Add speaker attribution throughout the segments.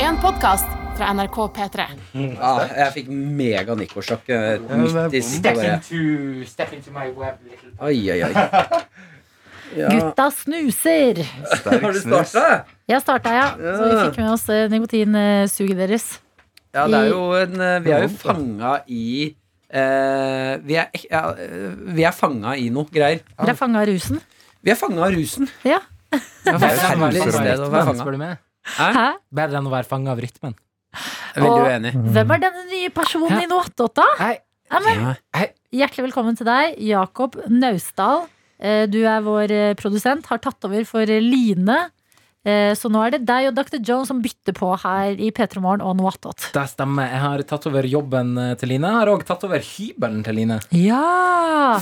Speaker 1: en podkast fra NRK P3.
Speaker 2: Ah, jeg fikk mega nikosjokk eh, midt i siste
Speaker 3: Step
Speaker 2: bare.
Speaker 3: into, step into my web little
Speaker 2: Oi, oi, oi. Ja.
Speaker 4: Gutta snuser!
Speaker 2: Har du starta?
Speaker 4: Jeg starta, ja. Så vi fikk med oss eh, nikotinsuget deres.
Speaker 2: Ja, det er jo en eh, Vi er jo fanga i eh, vi er, ek- ja, eh, vi er fanga i noe greier.
Speaker 4: Dere er fanga av rusen.
Speaker 2: Vi er fanga av rusen.
Speaker 4: Ja.
Speaker 2: Det er
Speaker 3: Bedre enn å
Speaker 2: forferdelig
Speaker 3: være
Speaker 2: sted å være
Speaker 3: fanget
Speaker 2: fanga.
Speaker 4: Hæ?
Speaker 3: Bedre enn å være fanget av rytmen.
Speaker 2: Veldig uenig.
Speaker 4: Hvem er denne nye personen i Noattotta?
Speaker 3: Nei,
Speaker 2: Ja.
Speaker 4: Hjertelig velkommen til deg, Jakob Naustdal. Eh, Du er vår eh, produsent, har tatt over for eh, Line. Eh, Så nå er det deg og Dr. Jones som bytter på her i P3 Morgen og Noattot.
Speaker 3: det stemmer. Jeg har tatt over jobben eh, til Line. Jeg har òg tatt over hybelen til Line.
Speaker 2: Ah.
Speaker 4: Ja!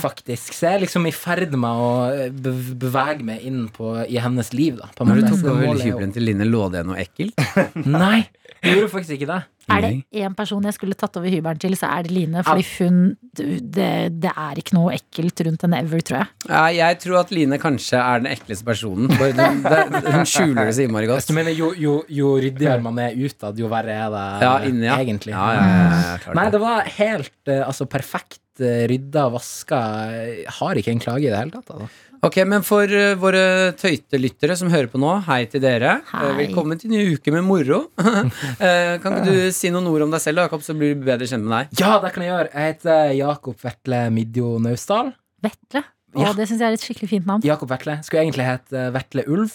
Speaker 3: Faktisk. Så jeg er liksom i ferd med å eh, bev- bevege meg inn på, i hennes liv. da på en
Speaker 2: Når du
Speaker 3: måte.
Speaker 2: tok
Speaker 3: Så
Speaker 2: over
Speaker 3: målet er jo-
Speaker 2: hybelen til Line, lå det noe ekkelt?
Speaker 3: Nei, jeg gjorde faktisk ikke det.
Speaker 4: Er det én person jeg skulle tatt over hybelen til, så er det Line. Fordi hun du, det, det er ikke noe ekkelt rundt henne ever, tror jeg.
Speaker 2: Nei, jeg tror at Line kanskje er den ekleste personen. Bare den- det- Hun skjuler det så innmari
Speaker 3: Altså,
Speaker 2: godt.
Speaker 3: du mener, jo, jo, jo ryddigere man er utad, jo verre er det
Speaker 2: Ja, inni, ja.
Speaker 3: egentlig.
Speaker 2: Ja, ja, ja, ja, klart
Speaker 3: Nei,
Speaker 2: det.
Speaker 3: det var helt eh, altså, perfekt eh, rydda, vaska. Jeg Har ikke en klage i det hele tatt. Altså.
Speaker 2: Ok, men for eh, våre tøytelyttere som hører på nå, hei til dere.
Speaker 4: Hei.
Speaker 2: Eh, Velkommen til en ny uke med moro. Eh, kan ikke du si noen ord om deg selv, Jakob, så blir vi bedre kjent med deg?
Speaker 3: Ja, det kan jeg gjøre. Jeg heter Jakob Vetle Midjo Naustdal.
Speaker 4: Vetle. Og
Speaker 3: Ja.
Speaker 4: det syns jeg er et skikkelig fint navn.
Speaker 3: Jakob Vetle skulle egentlig hete Vetle Ulv.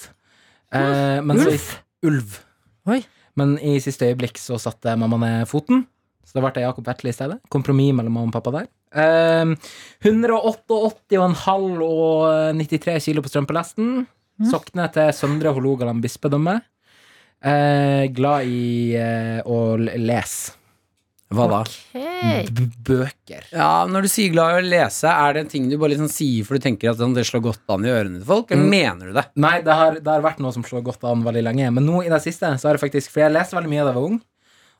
Speaker 3: Eh, men så i- Ulv.
Speaker 4: Oi.
Speaker 3: Men i siste øyeblikk så satte mamma ned foten, så da ble det Jakob Vetle i stedet. Kompromiss mellom mamma og pappa der. Eh, 188,5 og 93 kilo på strømpelesten. Sokne til Søndre Hålogaland bispedømme. Eh, glad i eh, å l- lese
Speaker 2: Hva da?
Speaker 4: Hei.
Speaker 3: b bøker.
Speaker 2: Ja, Når du sier glad i å lese, er det en ting du bare liksom sier for du tenker at sånn, det slår godt an i ørene til folk, eller
Speaker 3: Mm.
Speaker 2: mener du det?
Speaker 3: Nei, det har, det har vært noe som slår godt an veldig lenge. Men nå i det siste, så har jeg faktisk For jeg leste veldig mye da jeg var ung.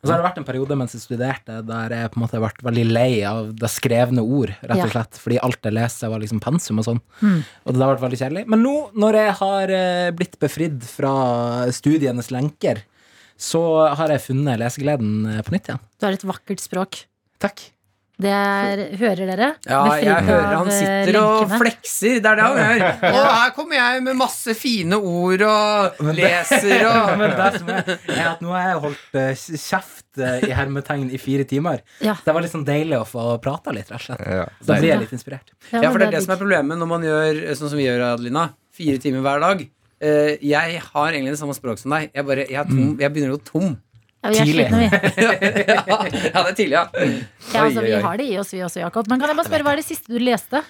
Speaker 3: Og så har det vært en periode mens jeg studerte, der jeg på en måte har vært veldig lei av det skrevne ord, rett
Speaker 4: Ja.
Speaker 3: og slett. Fordi alt jeg leser, var liksom pensum og sånn. Og det har vært veldig kjedelig. Men nå, når jeg har eh, blitt befridd fra studienes lenker, så har jeg funnet lesegleden eh, på nytt igjen.
Speaker 4: Du har et vakkert språk.
Speaker 3: Takk.
Speaker 4: Det er, hører dere?
Speaker 2: Ja,
Speaker 4: Befridd
Speaker 2: jeg hører han
Speaker 4: av, eh,
Speaker 2: sitter og
Speaker 4: lenkene.
Speaker 2: flekser. Det er det han gjør. Og her kommer jeg med masse fine ord og leser og
Speaker 3: Men det som er, er at nå har jeg holdt eh, kjeft eh, i hermetegn i fire timer.
Speaker 4: Ja.
Speaker 3: Det var litt sånn deilig å få prata litt, rett og slett.
Speaker 5: Ja.
Speaker 3: Så da blir jeg litt inspirert.
Speaker 2: Ja, for det er det
Speaker 4: digg.
Speaker 2: som er problemet når man gjør eh, sånn som vi gjør, Adelina. Fire timer hver dag. Eh, jeg har egentlig det samme språk som deg. Jeg, bare, jeg, er
Speaker 4: Mm.
Speaker 2: tom, jeg begynner å gå tom.
Speaker 4: Ja, vi er
Speaker 3: tidlig.
Speaker 4: slitne, vi.
Speaker 2: ja, det er tidlig, ja.
Speaker 4: Ja, altså,
Speaker 2: Oi,
Speaker 4: vi
Speaker 2: oi, oi.
Speaker 4: har det i oss, vi også, Jakob. Men kan jeg bare spørre, hva er det siste du leste?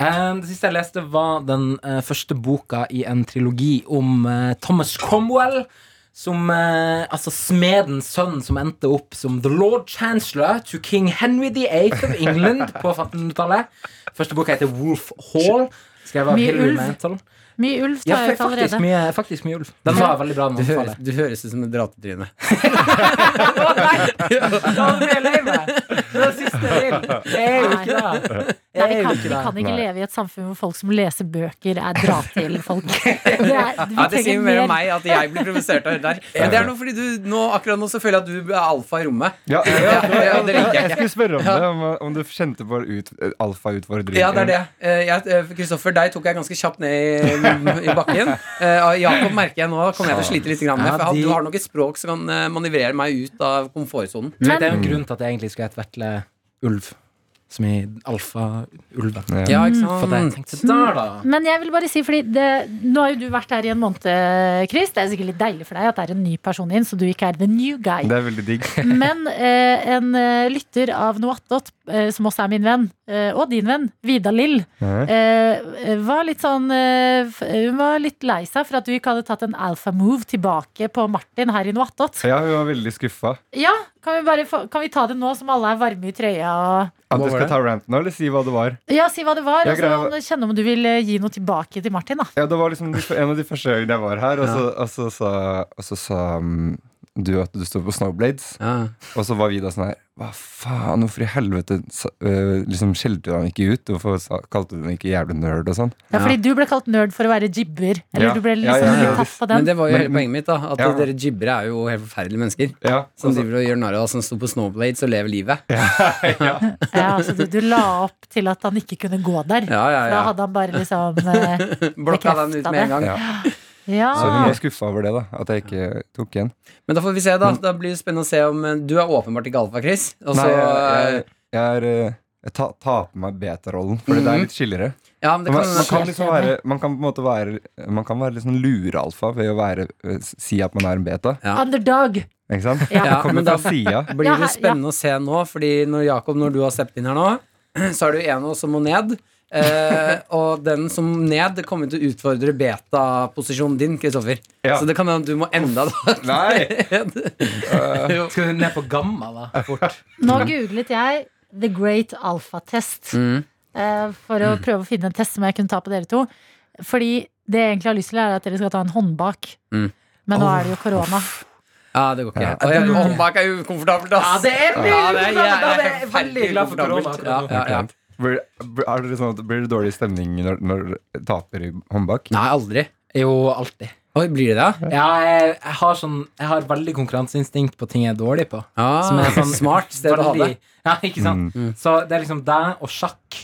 Speaker 3: Eh, Det siste jeg leste, var den eh, første boka i en trilogi om eh, Thomas Cromwell. Som eh, altså smedens sønn som endte opp som the lord chancellor to king Henry the Eighth of England på 1500-tallet. Første boka heter Wolf Hall. Skrevet av
Speaker 4: Mye
Speaker 3: Hilary
Speaker 4: ulv.
Speaker 3: Mantel.
Speaker 4: Mye ulv
Speaker 3: Ja,
Speaker 4: tar jeg ut
Speaker 3: faktisk,
Speaker 4: allerede.
Speaker 3: mye, faktisk mye ulv. Den var veldig bra.
Speaker 2: Du,
Speaker 3: Den
Speaker 2: høres,
Speaker 3: anbefaler
Speaker 2: du høres ut som et dratetryne.
Speaker 4: Nei, vi kan, vi kan ikke leve i et samfunn hvor folk som leser bøker, er dra til folk. Det er, vi
Speaker 2: Ja, det sier
Speaker 4: trenger
Speaker 2: mer om
Speaker 4: mer.
Speaker 2: meg at jeg blir provosert av det der. Men det er noe fordi du nå, akkurat nå så føler jeg at du er alfa i rommet.
Speaker 5: Ja, ja,
Speaker 2: Ja, ja, det liker jeg
Speaker 5: jeg
Speaker 2: ikke.
Speaker 5: skulle spørre om det, om, om du kjente på ut, alfautfordringen.
Speaker 2: Ja, det er det. Eh, jeg- eh, Kristoffer, deg tok jeg ganske kjapt ned i, i bakken. Eh, og Jakob merker jeg nå kommer jeg til å slite litt grann med,
Speaker 3: Ja,
Speaker 2: for han-
Speaker 3: de-
Speaker 2: du har nok et språk som kan eh, manøvrere meg ut av komfortsonen.
Speaker 3: Det er jo en grunn til at jeg egentlig skulle hett Vetle Ulv. Som i alfa-ulven.
Speaker 2: Ja, ikke
Speaker 5: Mm.
Speaker 3: For det jeg
Speaker 2: sant? Mm.
Speaker 3: tenkte der, da.
Speaker 4: Men jeg vil bare si, fordi det, nå har jo du vært her i en måned, Chris. Det er sikkert litt deilig for deg at det er en ny person inn, så du ikke er the new guy.
Speaker 5: Det er veldig digg.
Speaker 4: Men eh, en eh, lytter av Noattot, eh, som også er min venn, eh, og din venn, Vida Lill,
Speaker 5: Mhm.
Speaker 4: eh, var litt sånn eh, f- Hun var litt lei seg for at du ikke hadde tatt en alfa-move tilbake på Martin her i Noattot.
Speaker 5: Ja, hun var veldig skuffa.
Speaker 4: Ja, kan vi, bare få, kan vi ta det nå som alle er varme i trøya? Og,
Speaker 5: At
Speaker 2: Hva
Speaker 5: du
Speaker 2: var
Speaker 5: skal
Speaker 2: det?
Speaker 5: ta rant nå, eller si hva det var?
Speaker 4: ja, si hva det var,
Speaker 5: Ja,
Speaker 4: og så
Speaker 5: greia-
Speaker 4: kan du kjenne om du vil eh, gi noe tilbake til Martin, da.
Speaker 5: Ja, Det var liksom de, en av de første gangene jeg var her, og så, og så, sa- og så sa mm, du at du sto på Snowblades.
Speaker 2: Ja.
Speaker 5: Og så var vi da sånn her Hva faen, hvorfor i helvete sa- øh, liksom skjelte du han ikke ut? Hvorfor sa, kalte du han ikke jævlig nerd og sånn?
Speaker 4: Ja, fordi du ble kalt nerd for å være jibber. Eller
Speaker 5: Ja.
Speaker 4: du ble
Speaker 5: Ja,
Speaker 4: liksom
Speaker 5: ja, ja.
Speaker 4: litt tatt på
Speaker 2: Men
Speaker 4: den.
Speaker 2: det var jo
Speaker 5: Men-
Speaker 2: hele poenget mitt, da. At
Speaker 5: Ja.
Speaker 2: dere jibbere er jo helt forferdelige mennesker.
Speaker 5: Ja,
Speaker 2: Som
Speaker 5: altså,
Speaker 2: driver og gjør narr av oss som sto på snowblades og lever livet.
Speaker 4: Ja, altså, du, du la opp til at han ikke kunne gå der.
Speaker 2: Ja, ja,
Speaker 4: For da
Speaker 2: ja.
Speaker 4: hadde han bare liksom eh,
Speaker 2: Blokka den ut
Speaker 4: bekreftet
Speaker 2: med
Speaker 4: det.
Speaker 2: en gang.
Speaker 5: Ja.
Speaker 4: Ja.
Speaker 5: så hun var skuffa over det, da. At jeg ikke tok igjen.
Speaker 2: Men da får vi se, da. Da blir det spennende å se om eh, Du er åpenbart ikke alfa, Chris. Og så
Speaker 5: Nei, jeg,
Speaker 2: eh,
Speaker 5: jeg, jeg, er, øh, jeg ta, tar på meg beta-rollen, for det er litt chillere.
Speaker 2: eh, Ja, men Mhm. det
Speaker 5: Man, man,
Speaker 2: kan
Speaker 5: kan liksom være, man kan på en måte være Man kan være litt sånn lure-alfa ved å være, øh, si at man er en beta.
Speaker 2: ja.
Speaker 4: Underdog.
Speaker 5: Ikke sant?
Speaker 4: Ja.
Speaker 5: Det kommer
Speaker 2: men da-
Speaker 5: fra sida.
Speaker 2: blir
Speaker 4: Ja,
Speaker 2: det
Speaker 4: her-
Speaker 2: spennende å se nå, fordi når Jakob, når du har steppet inn her nå, så er det jo en av oss som må ned. Eh, og den som ned kommer til å utfordre beta-posisjonen din, Kristoffer.
Speaker 5: Ja.
Speaker 2: Så det kan hende at du må enda da.
Speaker 5: Nei!
Speaker 2: Jo.
Speaker 3: Skal du ned på gamma, da? Fort.
Speaker 4: Nå googlet jeg The Great Alpha Test
Speaker 2: Mm.
Speaker 4: eh, for å prøve å finne en test som jeg kunne ta på dere to. Fordi det jeg egentlig har lyst til, er at dere skal ta en håndbak.
Speaker 2: Mm.
Speaker 4: Men nå er det jo korona.
Speaker 2: Ja, det går ikke.
Speaker 5: Ja.
Speaker 2: Og jeg, hånd bak er ukomfortabelt, ass.
Speaker 3: Ja, det er mye
Speaker 2: Ja, det er
Speaker 3: ukomfortabelt. Da er
Speaker 2: jævlig
Speaker 3: jeg veldig glad for
Speaker 2: ukomfortabelt.
Speaker 3: korona akkurat
Speaker 2: Ja,
Speaker 3: nå.
Speaker 2: ja, ja.
Speaker 5: Blir, blir- er det sånn at det blir dårlig stemning når, når du taper i håndbak?
Speaker 2: Nei, aldri.
Speaker 3: Jo, alltid.
Speaker 2: Oi, blir det det?
Speaker 3: Ja, jeg, jeg, har sånn, jeg har veldig konkurranseinstinkt på ting jeg er dårlig på.
Speaker 2: Ah,
Speaker 3: Som er sånn
Speaker 2: smart sted å ha det.
Speaker 3: Veldig- Ja, ikke
Speaker 2: Mm.
Speaker 3: sant? Så det er liksom deg og sjakk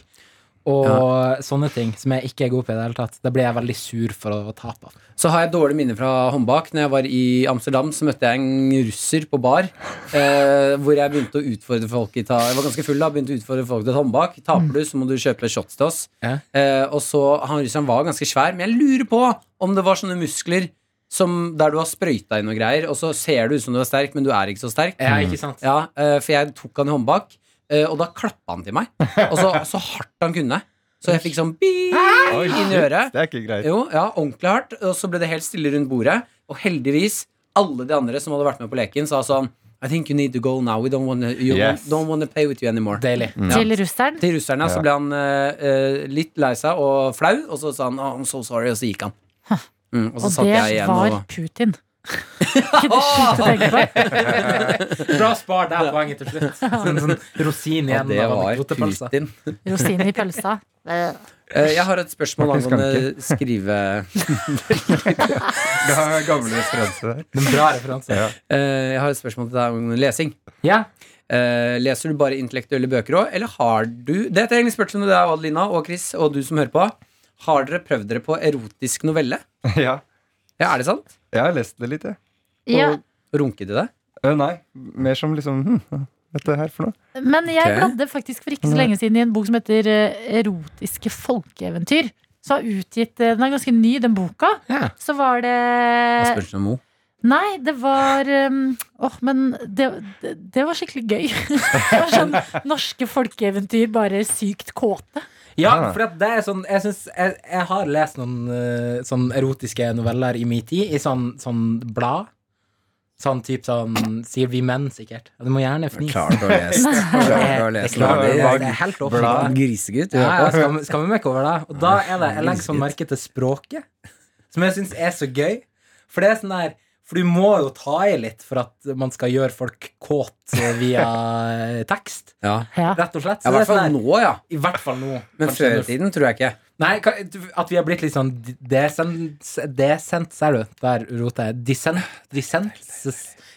Speaker 3: og sånne ting som jeg ikke er god på i det hele tatt. Da blir jeg veldig sur for å tape. av.
Speaker 2: Så har jeg dårlig minne fra håndbak. Når jeg var i Amsterdam, så møtte jeg en russer på bar. Eh, hvor jeg begynte å utfordre folk i ta Jeg var ganske full da, begynte å utfordre folk til et håndbak. Taper du, så må du kjøpe shots til oss.
Speaker 3: Ja.
Speaker 2: Eh, og så, Han russeren var ganske svær, men jeg lurer på om det var sånne muskler som der du har sprøyta inn noe greier, og så ser du ut som du er sterk, men du er ikke så sterk.
Speaker 3: Ja, ikke sant?
Speaker 2: Ja, eh, for jeg tok han i håndbak, eh, og da klappa han til meg. Og så, så hardt han kunne. Så jeg fikk sånn bing
Speaker 5: Oi,
Speaker 2: inn i øret.
Speaker 5: Det er ikke greit.
Speaker 2: Jo, ja, ordentlig hardt. Og så ble det helt stille rundt bordet. Og heldigvis, alle de andre som hadde vært med på leken, sa sånn I think you need to go now. We don't wanna, you
Speaker 5: Yes.
Speaker 2: don't wanna play with you anymore.
Speaker 3: Deilig.
Speaker 4: Til russeren.
Speaker 2: Til russerne så
Speaker 5: Ja.
Speaker 2: ble han eh, eh, litt lei seg og flau, og så sa han oh, I'm so sorry, og så gikk han. Mm, og så
Speaker 4: Og
Speaker 2: satt jeg
Speaker 4: det
Speaker 2: igjen
Speaker 4: var
Speaker 2: og
Speaker 4: Putin. Ikke det sjukt å tenke på?
Speaker 3: Bra spar der poenget til slutt. Sånn, sånn rosin
Speaker 2: ja,
Speaker 3: igjen
Speaker 2: det
Speaker 3: av
Speaker 2: var
Speaker 3: anekdotepølsa.
Speaker 2: Putin.
Speaker 4: Rosin i pølsa.
Speaker 2: Eh, jeg har et spørsmål
Speaker 5: Martin
Speaker 2: angående skrive...
Speaker 5: Det er gamle referanse der.
Speaker 3: Men bra referanse.
Speaker 5: Ja.
Speaker 2: Eh, jeg har et spørsmål til deg angående lesing.
Speaker 3: Ja.
Speaker 2: Eh, leser du bare intellektuelle bøker òg, eller har du Dette er egentlig spørsmålet til deg, Adelina og Chris, og du som hører på. Har dere prøvd dere på erotisk novelle?
Speaker 5: Ja.
Speaker 2: Ja, er det sant?
Speaker 5: Jeg har lest det litt, jeg.
Speaker 4: Ja,
Speaker 2: Og runket i det?
Speaker 5: Eh, Nei, mer som liksom hm, Dette her for noe?
Speaker 4: Men jeg
Speaker 2: Ok.
Speaker 4: bladde faktisk for ikke så lenge siden i en bok som heter eh, Erotiske folkeeventyr. Som har utgitt eh, Den er ganske ny, den boka.
Speaker 3: Ja.
Speaker 4: Så var det
Speaker 2: Asbjørnsen og Mo.
Speaker 4: Nei, det var um, Åh, men det, det, det var skikkelig gøy. det var sånn norske folkeeventyr, bare sykt kåte.
Speaker 3: Ja,
Speaker 2: Ah.
Speaker 5: Ja.
Speaker 3: for at det er sånn Jeg, synes, jeg, jeg har lest noen eh, sånn erotiske noveller i min tid, i sånn, sånn blad. Sånn type sånn Sier vi menn, sikkert. Du må gjerne fnise.
Speaker 2: Klart å lese.
Speaker 3: Det er-
Speaker 2: Klart å
Speaker 3: det er
Speaker 2: lese.
Speaker 3: klart, det er-
Speaker 5: Blad.
Speaker 3: det er helt
Speaker 5: Blad.
Speaker 3: lovlig.
Speaker 2: Grisegutt. du
Speaker 3: Ja, ja,
Speaker 2: hører på.
Speaker 3: skam- Skammemekk over det. Og da er det, jeg legger sånn merke til språket, som jeg syns er så gøy. For det er sånn der For du må jo ta i litt for at man skal gjøre folk kåt via eh, tekst.
Speaker 2: Ja,
Speaker 4: Ja.
Speaker 3: Rett og slett.
Speaker 2: Ja, I
Speaker 3: Så det er
Speaker 2: hvert fall
Speaker 3: sånn der,
Speaker 2: nå, ja.
Speaker 3: I hvert fall nå.
Speaker 2: Men
Speaker 3: Kanskje
Speaker 2: før i
Speaker 3: når-
Speaker 2: tiden tror jeg ikke.
Speaker 3: Nei, ka- at vi har blitt litt sånn desent, desent ser du. Der roter jeg. Dissent. Dissent.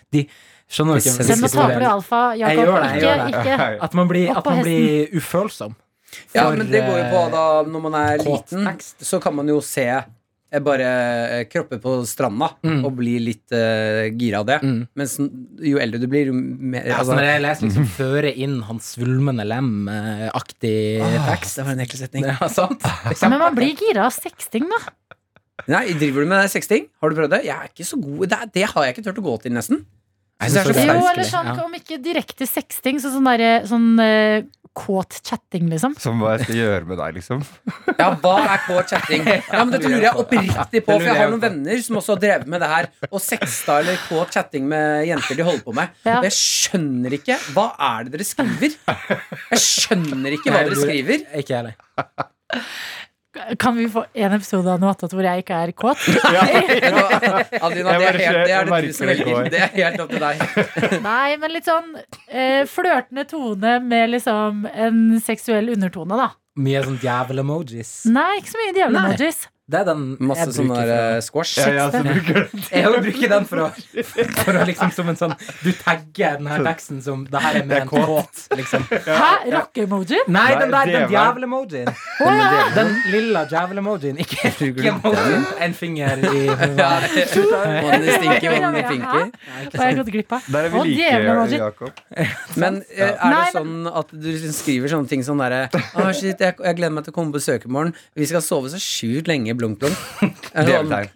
Speaker 3: De, skjønner du ikke?
Speaker 2: Dissens.
Speaker 4: Se, nå taper du alfa,
Speaker 3: Jeg
Speaker 4: Jakob.
Speaker 3: gjør det, jeg
Speaker 4: Ikke,
Speaker 3: gjør det.
Speaker 4: ikke.
Speaker 3: At man blir,
Speaker 4: Opp
Speaker 3: at
Speaker 4: på
Speaker 3: man blir ufølsom.
Speaker 2: Ja,
Speaker 3: For, eh,
Speaker 2: men det går jo på da Når man er
Speaker 3: kåt
Speaker 2: liten,
Speaker 3: tekst.
Speaker 2: så kan man jo se eh, bare eh, kropper på stranda
Speaker 3: Mm.
Speaker 2: og bli litt eh, gira av det.
Speaker 3: Mm.
Speaker 2: Mens n- jo eldre du blir, jo mer
Speaker 3: Ja, altså, når jeg leser liksom 'føre inn hans svulmende lem'-aktig
Speaker 2: Ah.
Speaker 3: tekst
Speaker 2: eh, Det var en ekkel setning.
Speaker 3: ja, sant?
Speaker 4: Men man blir gira av sexting, da.
Speaker 2: Nei, Driver du med sexting? Har du prøvd det? Jeg er ikke så god Det, det har jeg ikke turt å gå til, nesten.
Speaker 3: Nei,
Speaker 2: Synes jeg
Speaker 3: men
Speaker 2: er så
Speaker 4: Jo,
Speaker 2: flaut.
Speaker 4: eller sånn,
Speaker 3: Ja.
Speaker 4: om ikke direkte sexting, så sånn derre sånn eh, kåt chatting, liksom.
Speaker 5: Som hva jeg skal gjøre med deg, liksom.
Speaker 2: Ja, hva er på chatting? Ja, men Dette lurer jeg oppriktig på, for jeg har noen venner som også har drevet med det her. Og sexta eller på chatting med jenter de holder på med.
Speaker 4: Ja.
Speaker 2: Og jeg skjønner ikke Hva er det dere skriver? Jeg skjønner ikke hva dere skriver.
Speaker 3: Ikke jeg heller.
Speaker 4: Kan vi få en episode av Noe attåt hvor jeg ikke er kåt?
Speaker 2: Adelina, det er,
Speaker 6: Jeg
Speaker 2: helt, det er
Speaker 6: merker
Speaker 2: det du som
Speaker 6: det
Speaker 2: velger.
Speaker 6: går.
Speaker 2: Det er helt opp til deg.
Speaker 4: Nei, men litt sånn eh, flørtende tone med liksom en seksuell undertone, da.
Speaker 3: Mye sånn djevel-emojis.
Speaker 4: Nei, ikke så mye djevle
Speaker 3: Nei.
Speaker 4: emojis.
Speaker 3: Det er den
Speaker 2: Masse
Speaker 3: jeg
Speaker 2: sånne
Speaker 3: bruker.
Speaker 2: der, eh,
Speaker 3: for å-
Speaker 2: squash.
Speaker 6: Ja, ja, så bruker du
Speaker 3: Jeg vil bruke den for å, for å liksom som en sånn Du tagger den her teksten som Det her er med
Speaker 6: Jeg er
Speaker 3: en kåt, liksom.
Speaker 4: Hæ? Rocke-emoji?
Speaker 3: Nei,
Speaker 6: Nei,
Speaker 3: den der, den
Speaker 6: djevelen.
Speaker 3: djevel-emojien. Den lilla djevel-emojien. Ikke emojien. En finger i
Speaker 2: Ja, One is stinky, one is pinky.
Speaker 4: Hva har jeg gått glipp av?
Speaker 5: Der er vi
Speaker 4: Å,
Speaker 5: like,
Speaker 4: djevel-emoji.
Speaker 5: Jakob.
Speaker 2: Men eh, er
Speaker 4: Nei,
Speaker 2: det sånn at du liksom skriver sånne ting som derre «Å, shit, jeg, jeg gleder meg til å komme på besøk i morgen. Vi skal sove så sjukt lenge i blunk-blunk. Eller sånn-
Speaker 5: Djeveltegn.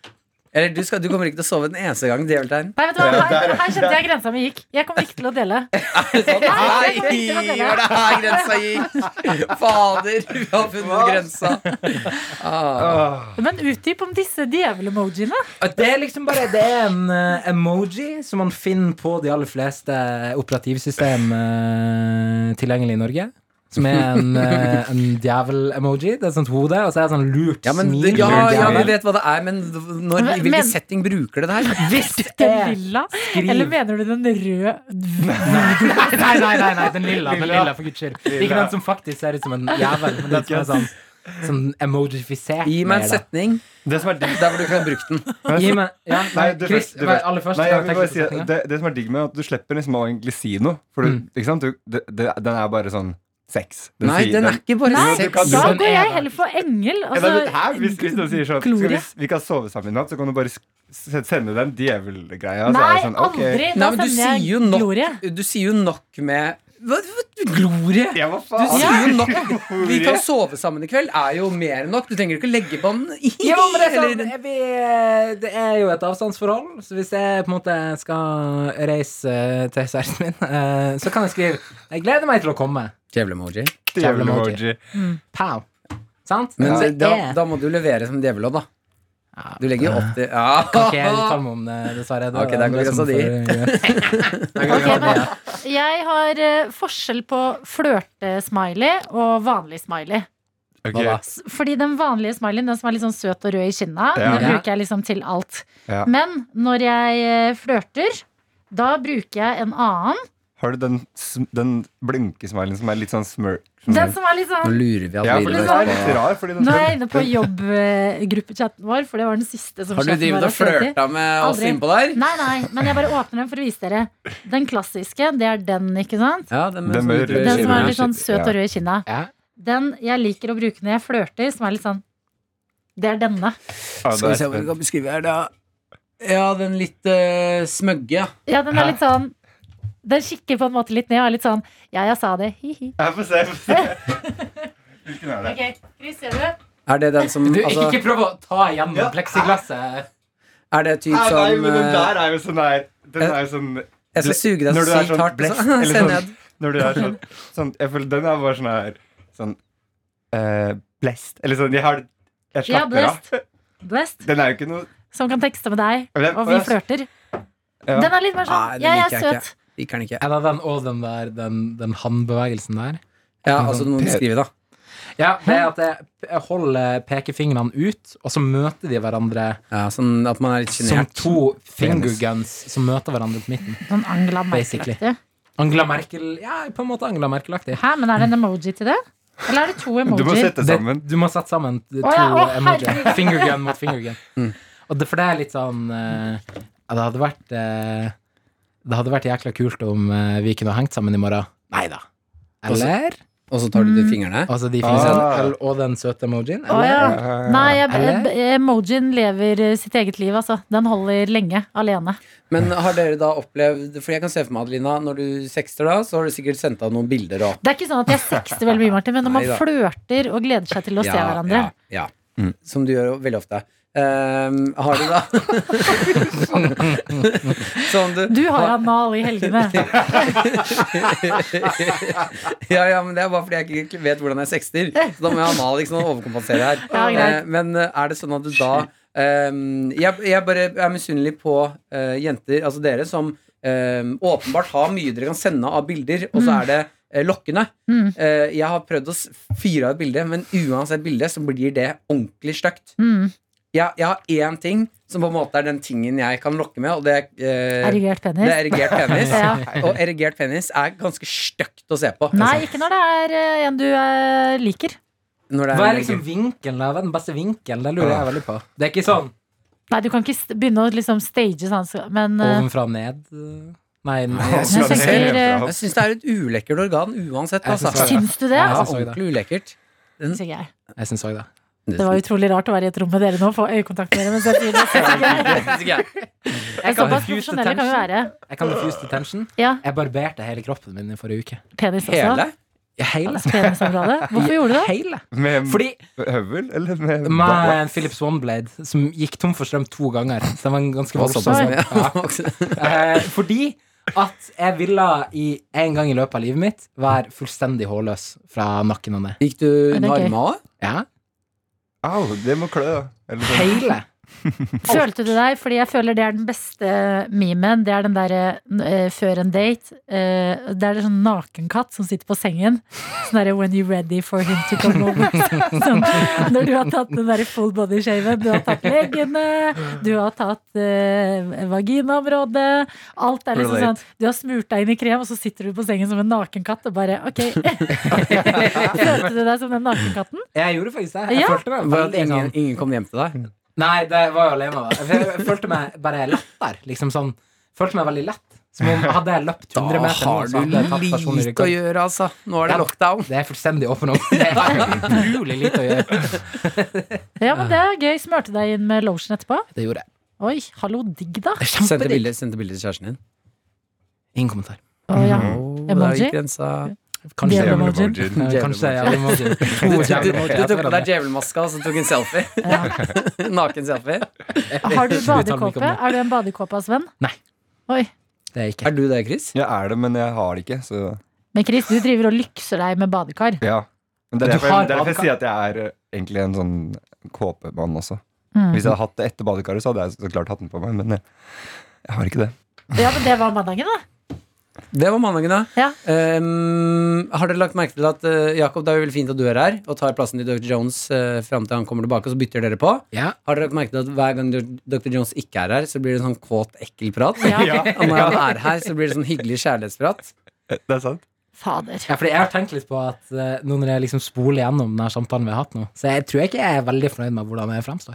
Speaker 2: eller du, skal, du kommer ikke til å sove en eneste gang. Djeveltegn.
Speaker 4: Nei, vet du hva? Her, her kjente jeg grensa mi gikk. Jeg kommer ikke til å dele.
Speaker 2: Sånn,
Speaker 4: Nei,
Speaker 2: Nei,
Speaker 4: det var ikke noe dere.
Speaker 2: var det her grensa gikk? Fader, vi har funnet grensa. Ah.
Speaker 4: Men utdyp om disse djevel-emojiene.
Speaker 3: Det er liksom bare Det er en eh, emoji som man finner på de aller fleste operativsystem eh, tilgjengelig i Norge. Som er en, eh, en djevel-emoji. Det er et sånt hode, og så er det sånn lurt
Speaker 2: Ja, men,
Speaker 3: smil.
Speaker 2: ja,
Speaker 3: rundt
Speaker 2: ja, vi
Speaker 3: hjernen.
Speaker 2: vet hva det er, men når, i
Speaker 4: Men-
Speaker 2: hvilken setting bruker det det her?
Speaker 3: Hvis det
Speaker 4: Den
Speaker 3: er
Speaker 4: lilla?
Speaker 3: skriv
Speaker 4: Eller mener du den røde?
Speaker 3: nei, nei, nei, nei, nei, den lilla, den
Speaker 6: Lilla.
Speaker 3: lilla, for guds skyld. Ikke den som faktisk ser ut som en jævel, men den som er sånn, sånn emojifisert.
Speaker 2: Gi meg en
Speaker 3: mer, da.
Speaker 2: setning
Speaker 6: Det som er digg
Speaker 2: der hvor du kan bruke den.
Speaker 3: Gi meg, ja, nei,
Speaker 6: Nei, du
Speaker 3: Chris,
Speaker 6: først, du
Speaker 3: vær
Speaker 6: først.
Speaker 3: aller først.
Speaker 5: Nei, jeg
Speaker 3: kan
Speaker 5: vil
Speaker 3: tenke
Speaker 5: bare
Speaker 3: på
Speaker 5: si at
Speaker 3: setningen.
Speaker 5: det, det som er digg med, er at du slipper liksom å anglisere noe. For du, ikke sant? Du, det, det, den er bare sånn sex. Den
Speaker 2: Nei,
Speaker 5: sier-
Speaker 2: den er ikke bare
Speaker 4: Nei,
Speaker 2: sex.
Speaker 4: Da
Speaker 3: den
Speaker 4: går
Speaker 3: er
Speaker 4: jeg
Speaker 3: der.
Speaker 4: heller for engel.
Speaker 5: Ja,
Speaker 4: Altså,
Speaker 5: men her, hvis, hvis noen sier sånn skal vi,
Speaker 4: Gloria.
Speaker 5: vi kan sove sammen i natt, så kan du bare sk- s- sende den djevelgreia. så er
Speaker 4: Nei,
Speaker 5: det sånn, ok.
Speaker 4: aldri.
Speaker 2: Nei,
Speaker 4: Da
Speaker 2: men du sier
Speaker 4: sender
Speaker 2: jo
Speaker 4: jeg
Speaker 2: nok
Speaker 4: glorie.
Speaker 2: Du sier jo nok med hva, hva, Glorie!
Speaker 5: Ja, hva
Speaker 2: Du
Speaker 5: faen?
Speaker 2: sier jo nok. Vi kan
Speaker 5: Glorie.
Speaker 2: sove sammen i kveld er jo mer enn nok. Du trenger ikke legge på den.
Speaker 3: Ja, men det er,
Speaker 2: Eller-
Speaker 3: sånn, vi, det er jo et avstandsforhold, så hvis jeg på en måte skal reise til kjæresten min, eh, så kan jeg skrive 'Jeg gleder meg til å komme'.
Speaker 2: Djevlemoji.
Speaker 5: Djevel-emoji.
Speaker 3: Pow. Sant?
Speaker 2: Men
Speaker 3: Så
Speaker 2: da,
Speaker 3: er-
Speaker 2: da må du levere som djevel òg, da. Du legger jo opp til ja.
Speaker 3: Kan ikke jeg uttale meg om det, dessverre. Det er
Speaker 2: Ok, der går
Speaker 3: andre
Speaker 2: grensa
Speaker 3: som
Speaker 2: di.
Speaker 3: får gjøre-
Speaker 4: Ok, men jeg har eh, forskjell på flørte-smiley og vanlig smiley.
Speaker 5: Ok.
Speaker 2: Hva da?
Speaker 4: S- Fordi den vanlige smileyen, den som er litt sånn søt og rød i kinna,
Speaker 5: Ja.
Speaker 4: den
Speaker 3: Ja.
Speaker 4: bruker jeg liksom til alt.
Speaker 5: Ja.
Speaker 4: Men når jeg eh, flørter, da bruker jeg en annen.
Speaker 5: Har du den, sm- den blinkesmilen som er litt sånn smørk?
Speaker 4: Den som er litt
Speaker 2: Nå
Speaker 4: sånn
Speaker 2: lurer vi
Speaker 5: Ja, for
Speaker 2: Adelina
Speaker 5: den
Speaker 2: ut på
Speaker 5: er litt rar. Fordi den,
Speaker 4: Nå er jeg inne på jobbgruppechatten vår, for det var den siste som
Speaker 2: Har du
Speaker 3: Sånn
Speaker 4: chatten
Speaker 2: drevet
Speaker 4: vår
Speaker 2: og flørta med oss
Speaker 4: Aldri.
Speaker 2: innpå der?
Speaker 4: Nei, nei, men jeg bare åpner den for å vise dere. Den klassiske, det er den, ikke sant?
Speaker 2: Ja, den
Speaker 3: sånn
Speaker 5: Den med
Speaker 2: med
Speaker 5: rød
Speaker 4: Den som
Speaker 5: kinne.
Speaker 4: er litt sånn søt og rød i kinna.
Speaker 3: Ja.
Speaker 4: Den jeg liker å bruke når jeg flørter, som er litt sånn Det er denne.
Speaker 5: Ja, det
Speaker 2: Skal vi se hva
Speaker 5: er
Speaker 2: vi
Speaker 5: spennende.
Speaker 2: kan beskrive her, da. Ja, den litt eh, smøgge. ja.
Speaker 4: Ja, den er litt sånn Den kikker på en måte litt ned og er litt sånn Ja, jeg sa det. Hi-hi.
Speaker 5: Ja, Få se. få se. Hvilken er det?
Speaker 4: Ok, Chris, ser du?
Speaker 2: Er det den som
Speaker 3: Du,
Speaker 2: altså,
Speaker 3: ikke prøv å ta gjennom pleksiglasset.
Speaker 2: Er det typ
Speaker 5: Nei, nei,
Speaker 2: som
Speaker 5: men den
Speaker 2: eh,
Speaker 5: der er jo sånn der Den er jo sånn
Speaker 2: Jeg skal suge deg
Speaker 5: Når
Speaker 2: så
Speaker 5: du er
Speaker 2: sykt
Speaker 5: sånn
Speaker 2: hardt.
Speaker 5: bleff,
Speaker 2: så-
Speaker 5: eller
Speaker 2: Se
Speaker 5: sånn-
Speaker 2: ned.
Speaker 5: Når du er sånn, sånn Jeg føler den er bare sånn her Sånn eh, Blest Eller sånn Jeg har Jeg
Speaker 4: Ja,
Speaker 5: slapper av
Speaker 4: blest. Blest,
Speaker 5: Den er jo ikke noe
Speaker 4: som kan tekste med
Speaker 5: Ja,
Speaker 4: deg,
Speaker 5: den-
Speaker 4: og vi
Speaker 5: ja.
Speaker 4: flørter.
Speaker 5: Ja.
Speaker 4: Den er litt mer
Speaker 2: Nei,
Speaker 4: sånn
Speaker 2: den
Speaker 4: Ja, jeg
Speaker 2: liker jeg
Speaker 4: er søt.
Speaker 2: Liker den eh, ikke.
Speaker 3: Eller den og den der, den, den handbevegelsen der.
Speaker 2: Ja, altså du må beskrive, da.
Speaker 3: Ja, det er at jeg, jeg holder pekefingrene ut, og så møter de hverandre
Speaker 2: Ja, sånn at man er litt
Speaker 3: som
Speaker 2: sjenert.
Speaker 3: to fingerguns som møter hverandre på midten.
Speaker 4: Sånn Angela
Speaker 3: Basically.
Speaker 4: Merkel-aktig.
Speaker 3: Angela Merkel Ja, på en måte Angela Merkel-aktig.
Speaker 4: Hæ, men er det en emoji til det? Eller er det to
Speaker 5: Du må
Speaker 4: emojier?
Speaker 5: sette sammen
Speaker 3: Det- Du må sette sammen to
Speaker 4: Å ja, å,
Speaker 3: emojier.
Speaker 4: herregud. Mm.
Speaker 3: Fingergun mot fingergun. Og det, for det er litt sånn eh, ja, Det hadde vært eh, Det hadde vært jækla kult om eh, vi kunne ha hengt sammen i morgen. Nei da. Eller?
Speaker 2: Og så tar du de fingrene.
Speaker 3: Altså de
Speaker 5: Ah.
Speaker 3: fingrene. Og den søte emojien.
Speaker 4: Å
Speaker 3: Eller?
Speaker 4: ja.
Speaker 5: Eh,
Speaker 4: Nei, jeg,
Speaker 3: Eller?
Speaker 4: emojien lever eh, sitt eget liv, altså. Den holder lenge alene.
Speaker 2: Men har dere da opplevd Fordi jeg kan se for meg, Adelina, når du sexter, da, så har du sikkert sendt av noen bilder òg.
Speaker 4: Det er ikke sånn at jeg sexter veldig mye, Martin, men når man
Speaker 2: Neida.
Speaker 4: flørter og gleder seg til å se hverandre
Speaker 2: Ja, ja. Som du gjør jo veldig ofte. Ehm, har du da Som du
Speaker 4: Du har anal i helgene.
Speaker 2: Ja, ja, men det er bare fordi jeg ikke vet hvordan jeg sexter. Så da må jeg ha mal, ikke sånn overkompensere her.
Speaker 4: Ja, greit.
Speaker 2: Eh, men eh, er det sånn at du da ehm, jeg, jeg bare er misunnelig på eh, jenter, altså dere, som ehm, åpenbart har mye dere kan sende av bilder, og så er det eh, lokkende.
Speaker 4: Mm.
Speaker 2: Eh, jeg har prøvd å s- fyre av et bilde, men uansett bilde så blir det ordentlig stygt.
Speaker 4: Mm.
Speaker 2: Jeg, jeg har én ting som på en måte er den tingen jeg kan lokke med, og det, eh, det
Speaker 4: Erigert penis?
Speaker 2: er erigert penis.
Speaker 4: Ja.
Speaker 2: Og erigert penis er ganske stygt å se på.
Speaker 4: Nei, ikke når det er eh, en du eh, liker.
Speaker 2: Når det er
Speaker 3: Hva
Speaker 2: en
Speaker 3: er liksom
Speaker 2: erigert-
Speaker 3: vinkelen der? Hva er den beste vinkelen? Det lurer jeg veldig på. Det er ikke sånn
Speaker 4: Nei, du kan ikke st- begynne å liksom stage sånn, så- men eh,
Speaker 3: ovenfra og ned. eh, Nei, nei.
Speaker 4: jeg tenker, eh,
Speaker 2: Jeg syns det er et ulekkert organ uansett.
Speaker 3: Jeg
Speaker 2: Altså.
Speaker 3: synes det.
Speaker 4: Syns du det?
Speaker 2: Ja,
Speaker 3: Jeg synes det.
Speaker 2: ordentlig ulekkert.
Speaker 4: Syns ikke jeg.
Speaker 3: Jeg syns òg det.
Speaker 4: Det var utrolig rart å være i et rom med dere nå og få øyekontakt med dere. Mens jeg sier det. Syns ikke jeg. Det er Såpass
Speaker 3: refuse the
Speaker 4: profesjonelle kan vi
Speaker 3: tension.
Speaker 4: være.
Speaker 3: Jeg kan refuse the tension.
Speaker 4: Ja,
Speaker 3: Jeg barberte hele kroppen min i forrige uke.
Speaker 4: penis også.
Speaker 2: Hele?
Speaker 3: Ja, hele.
Speaker 4: Altså, Penisområdet. Hvorfor gjorde du det?
Speaker 3: Hele.
Speaker 5: Med
Speaker 3: Fordi
Speaker 5: høvel, eller med
Speaker 3: meg er en Philips Oneblade som gikk tom for strøm to ganger. Så det var en ganske
Speaker 2: Og
Speaker 3: voldsom
Speaker 2: såpass,
Speaker 3: Ja.
Speaker 2: ja.
Speaker 3: Eh, Fordi at jeg ville i en gang i løpet av livet mitt være fullstendig hårløs fra nakken og ned.
Speaker 2: Gikk du
Speaker 4: Er det
Speaker 2: under
Speaker 4: gøy?
Speaker 2: armene òg?
Speaker 3: Ja,
Speaker 5: Au, det må klø, da. Eller sånn.
Speaker 3: hele.
Speaker 4: Følte du deg? Fordi jeg føler det er den beste memen. Det er den derre eh, før en date. eh, det er en sånn nakenkatt som sitter på sengen. Sånn derre 'when you're ready for him to come over'. Sånn, når du har tatt den derre full body shaven. Du har tatt leggene, du har tatt eh, vaginaområdet. Alt er liksom sånn.
Speaker 5: Relate.
Speaker 4: Du har smurt deg inn i krem, og så sitter du på sengen som en nakenkatt og bare ok. Følte du deg som den nakenkatten?
Speaker 3: Jeg gjorde faktisk det. Jeg
Speaker 4: Ja.
Speaker 3: følte
Speaker 2: Var
Speaker 3: meg
Speaker 2: det at
Speaker 3: veldig
Speaker 2: Ingen,
Speaker 3: sånn
Speaker 2: ingen kom hjem til deg?
Speaker 3: Nei, det var jo alene. da. Jeg jeg følte meg bare lettere. Liksom sånn. Følte meg veldig lett. Som om hadde jeg løpt 100 meter nå, så hadde jeg tatt personlig rekord.
Speaker 2: gjøre, altså. Nå er
Speaker 3: Ja.
Speaker 2: lockdown.
Speaker 3: Det er fullstendig åpen om. Det er utrolig lite å gjøre.
Speaker 4: Ja, men det er gøy. Smørte deg inn med lotion etterpå.
Speaker 3: Det gjorde jeg.
Speaker 4: Oi, hallo, digg da.
Speaker 2: Sendte bilde, sendte bilde til kjæresten din.
Speaker 3: Ingen kommentar.
Speaker 4: Å, ja.
Speaker 2: Oh,
Speaker 4: Emoji?
Speaker 2: grensa.
Speaker 3: Kanskje
Speaker 4: Djevel
Speaker 3: djevel-
Speaker 4: emoji.
Speaker 5: Djevel-emoji.
Speaker 3: eh, Kanskje djevel-emoji. To
Speaker 2: Du, du,
Speaker 3: djevel-emoji
Speaker 2: du tok
Speaker 3: etter
Speaker 2: på deg
Speaker 3: hverandre.
Speaker 2: djevelmaska og så tok en selfie.
Speaker 4: Ja.
Speaker 2: Naken selfie.
Speaker 4: Har du
Speaker 3: Vi tar den ikke
Speaker 4: badekåpe?
Speaker 3: om det.
Speaker 4: Er du en badekåpas venn?
Speaker 3: Nei.
Speaker 4: Oi.
Speaker 3: Det er jeg ikke.
Speaker 2: Er du det, Chris?
Speaker 5: Jeg er det, men jeg har det ikke, så
Speaker 4: Men Chris, du driver og lykser deg med badekar.
Speaker 5: ja. Men det
Speaker 3: Du
Speaker 5: er derfor,
Speaker 3: har
Speaker 5: jeg- derfor jeg
Speaker 3: badekar?
Speaker 5: sier at jeg er eh, egentlig en sånn kåpemann også.
Speaker 4: Mm.
Speaker 5: Hvis jeg hadde hatt det etter badekaret, så hadde jeg så klart hatt den på meg, men jeg, jeg har ikke det.
Speaker 4: Ja, men det var mandagen, da.
Speaker 2: Det var mandagen, da.
Speaker 4: Ja.
Speaker 2: Ehm, har dere lagt merke til at eh, Jakob, det er jo veldig fint at du er her og tar plassen til Dr. Jones uh, fram til han kommer tilbake, og så bytter dere på?
Speaker 3: Ja.
Speaker 2: Har dere lagt merke til at hver gang Dr. Jones ikke er her, så blir det en sånn kåt, ekkel prat?
Speaker 4: Ja.
Speaker 2: Og når han er her, så blir det sånn hyggelig kjærlighetsprat?
Speaker 5: Det er sant.
Speaker 4: Fader.
Speaker 3: Ja, fordi jeg har tenkt litt på at eh, nå når jeg liksom spoler gjennom denne samtalen vi har hatt nå, så jeg tror ikke jeg er veldig fornøyd med hvordan jeg fremstår.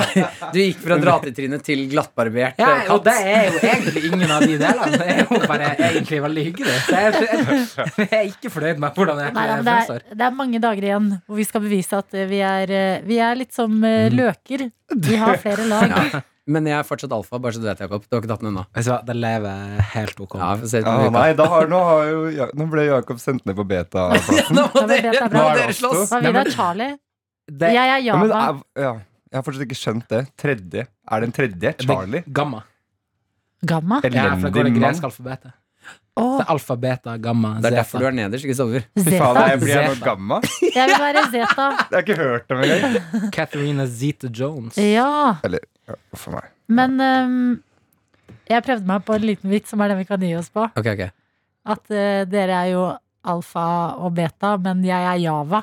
Speaker 2: Nei, du gikk fra dratetryne til glattbarbert
Speaker 3: Ja,
Speaker 2: eh, katt.
Speaker 3: og det er jo egentlig ingen av de delene. Det er jo bare egentlig veldig hyggelig. Så jeg, jeg, jeg er ikke fornøyd med hvordan jeg
Speaker 4: Nei, da, men det,
Speaker 3: fremstår.
Speaker 4: er, det er mange dager igjen hvor vi skal bevise at eh, vi er, eh, vi er litt som eh, løker. Vi har flere lag.
Speaker 2: Men jeg er fortsatt alfa, bare så du vet, Jakob. Du har ikke tatt den ennå.
Speaker 3: Vet du hva, det lever jeg helt ok.
Speaker 2: Ja, vi får se
Speaker 5: Ja,
Speaker 2: litt om uka.
Speaker 5: Ah, nei, da har, nå, har jo, ja, nå ble Jakob sendt ned på beta. plassen.
Speaker 2: Nå må
Speaker 4: Ja, men det
Speaker 2: dere,
Speaker 4: er
Speaker 2: nå
Speaker 4: bra.
Speaker 2: må dere slåss!
Speaker 4: Hva
Speaker 3: Nei,
Speaker 4: vil
Speaker 3: men-
Speaker 4: da, Charlie?
Speaker 3: Det,
Speaker 4: Jeg er
Speaker 5: Ja, men,
Speaker 4: Java.
Speaker 5: er- ja, jeg har fortsatt ikke skjønt det. Tredje. Er det en tredje?
Speaker 3: det-
Speaker 5: Charlie?
Speaker 3: Gamma.
Speaker 4: Gamma.
Speaker 3: Jeg er fra
Speaker 5: Elendig
Speaker 3: det
Speaker 5: mann.
Speaker 3: greske alfabetet.
Speaker 4: Å,
Speaker 3: Det er alfa, beta, gamma,
Speaker 2: Det er derfor du er nederst, ikke sover.
Speaker 5: Fy faen,
Speaker 4: Zeta.
Speaker 5: nei, jeg blir jeg nå
Speaker 3: Zeta.
Speaker 5: gamma?
Speaker 4: Jeg vil være Zeta.
Speaker 5: Jeg har ikke hørt dem engang.
Speaker 3: Katharina Zeta Jones.
Speaker 4: Ja.
Speaker 5: Ja, For meg.
Speaker 4: Men ehm, jeg prøvde meg på en liten vits som er den vi kan gi oss på.
Speaker 2: Ok, ok.
Speaker 4: At eh, dere er jo alfa og beta, men jeg er java.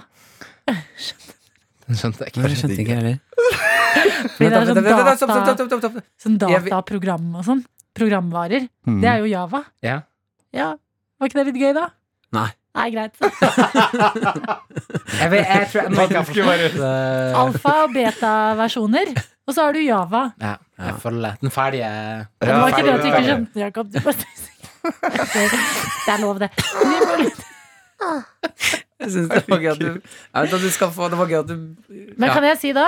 Speaker 3: Den skjønte jeg
Speaker 2: Nei,
Speaker 3: ikke.
Speaker 2: Jeg skjønte ikke heller.
Speaker 4: Fordi det er
Speaker 2: Vent,
Speaker 4: sånn
Speaker 2: vent, vent,
Speaker 4: data-
Speaker 2: stopp, stopp, stopp, stopp, stopp.
Speaker 4: Sånn
Speaker 2: Jeg vil-
Speaker 4: dataprogram og sånn. Programvarer.
Speaker 5: Mm.
Speaker 4: Det er jo java.
Speaker 3: Ja.
Speaker 4: Ja. Var ikke det litt gøy, da?
Speaker 2: Nei.
Speaker 4: Nei, greit.
Speaker 3: Jeg, vet, jeg tror jeg nok har forstått eh,
Speaker 4: Alfa og beta-versjoner. Og så har du java.
Speaker 3: ja, jeg følger den ferdige
Speaker 4: Det var ikke det at du ikke
Speaker 5: ferdig.
Speaker 4: skjønte, Jakob. Du bare Det er lov, det. Vi må-
Speaker 2: Jeg synes det var gøy at du Jeg vet at du skal få Det var gøy at du
Speaker 4: Men
Speaker 2: Ja.
Speaker 4: kan jeg si da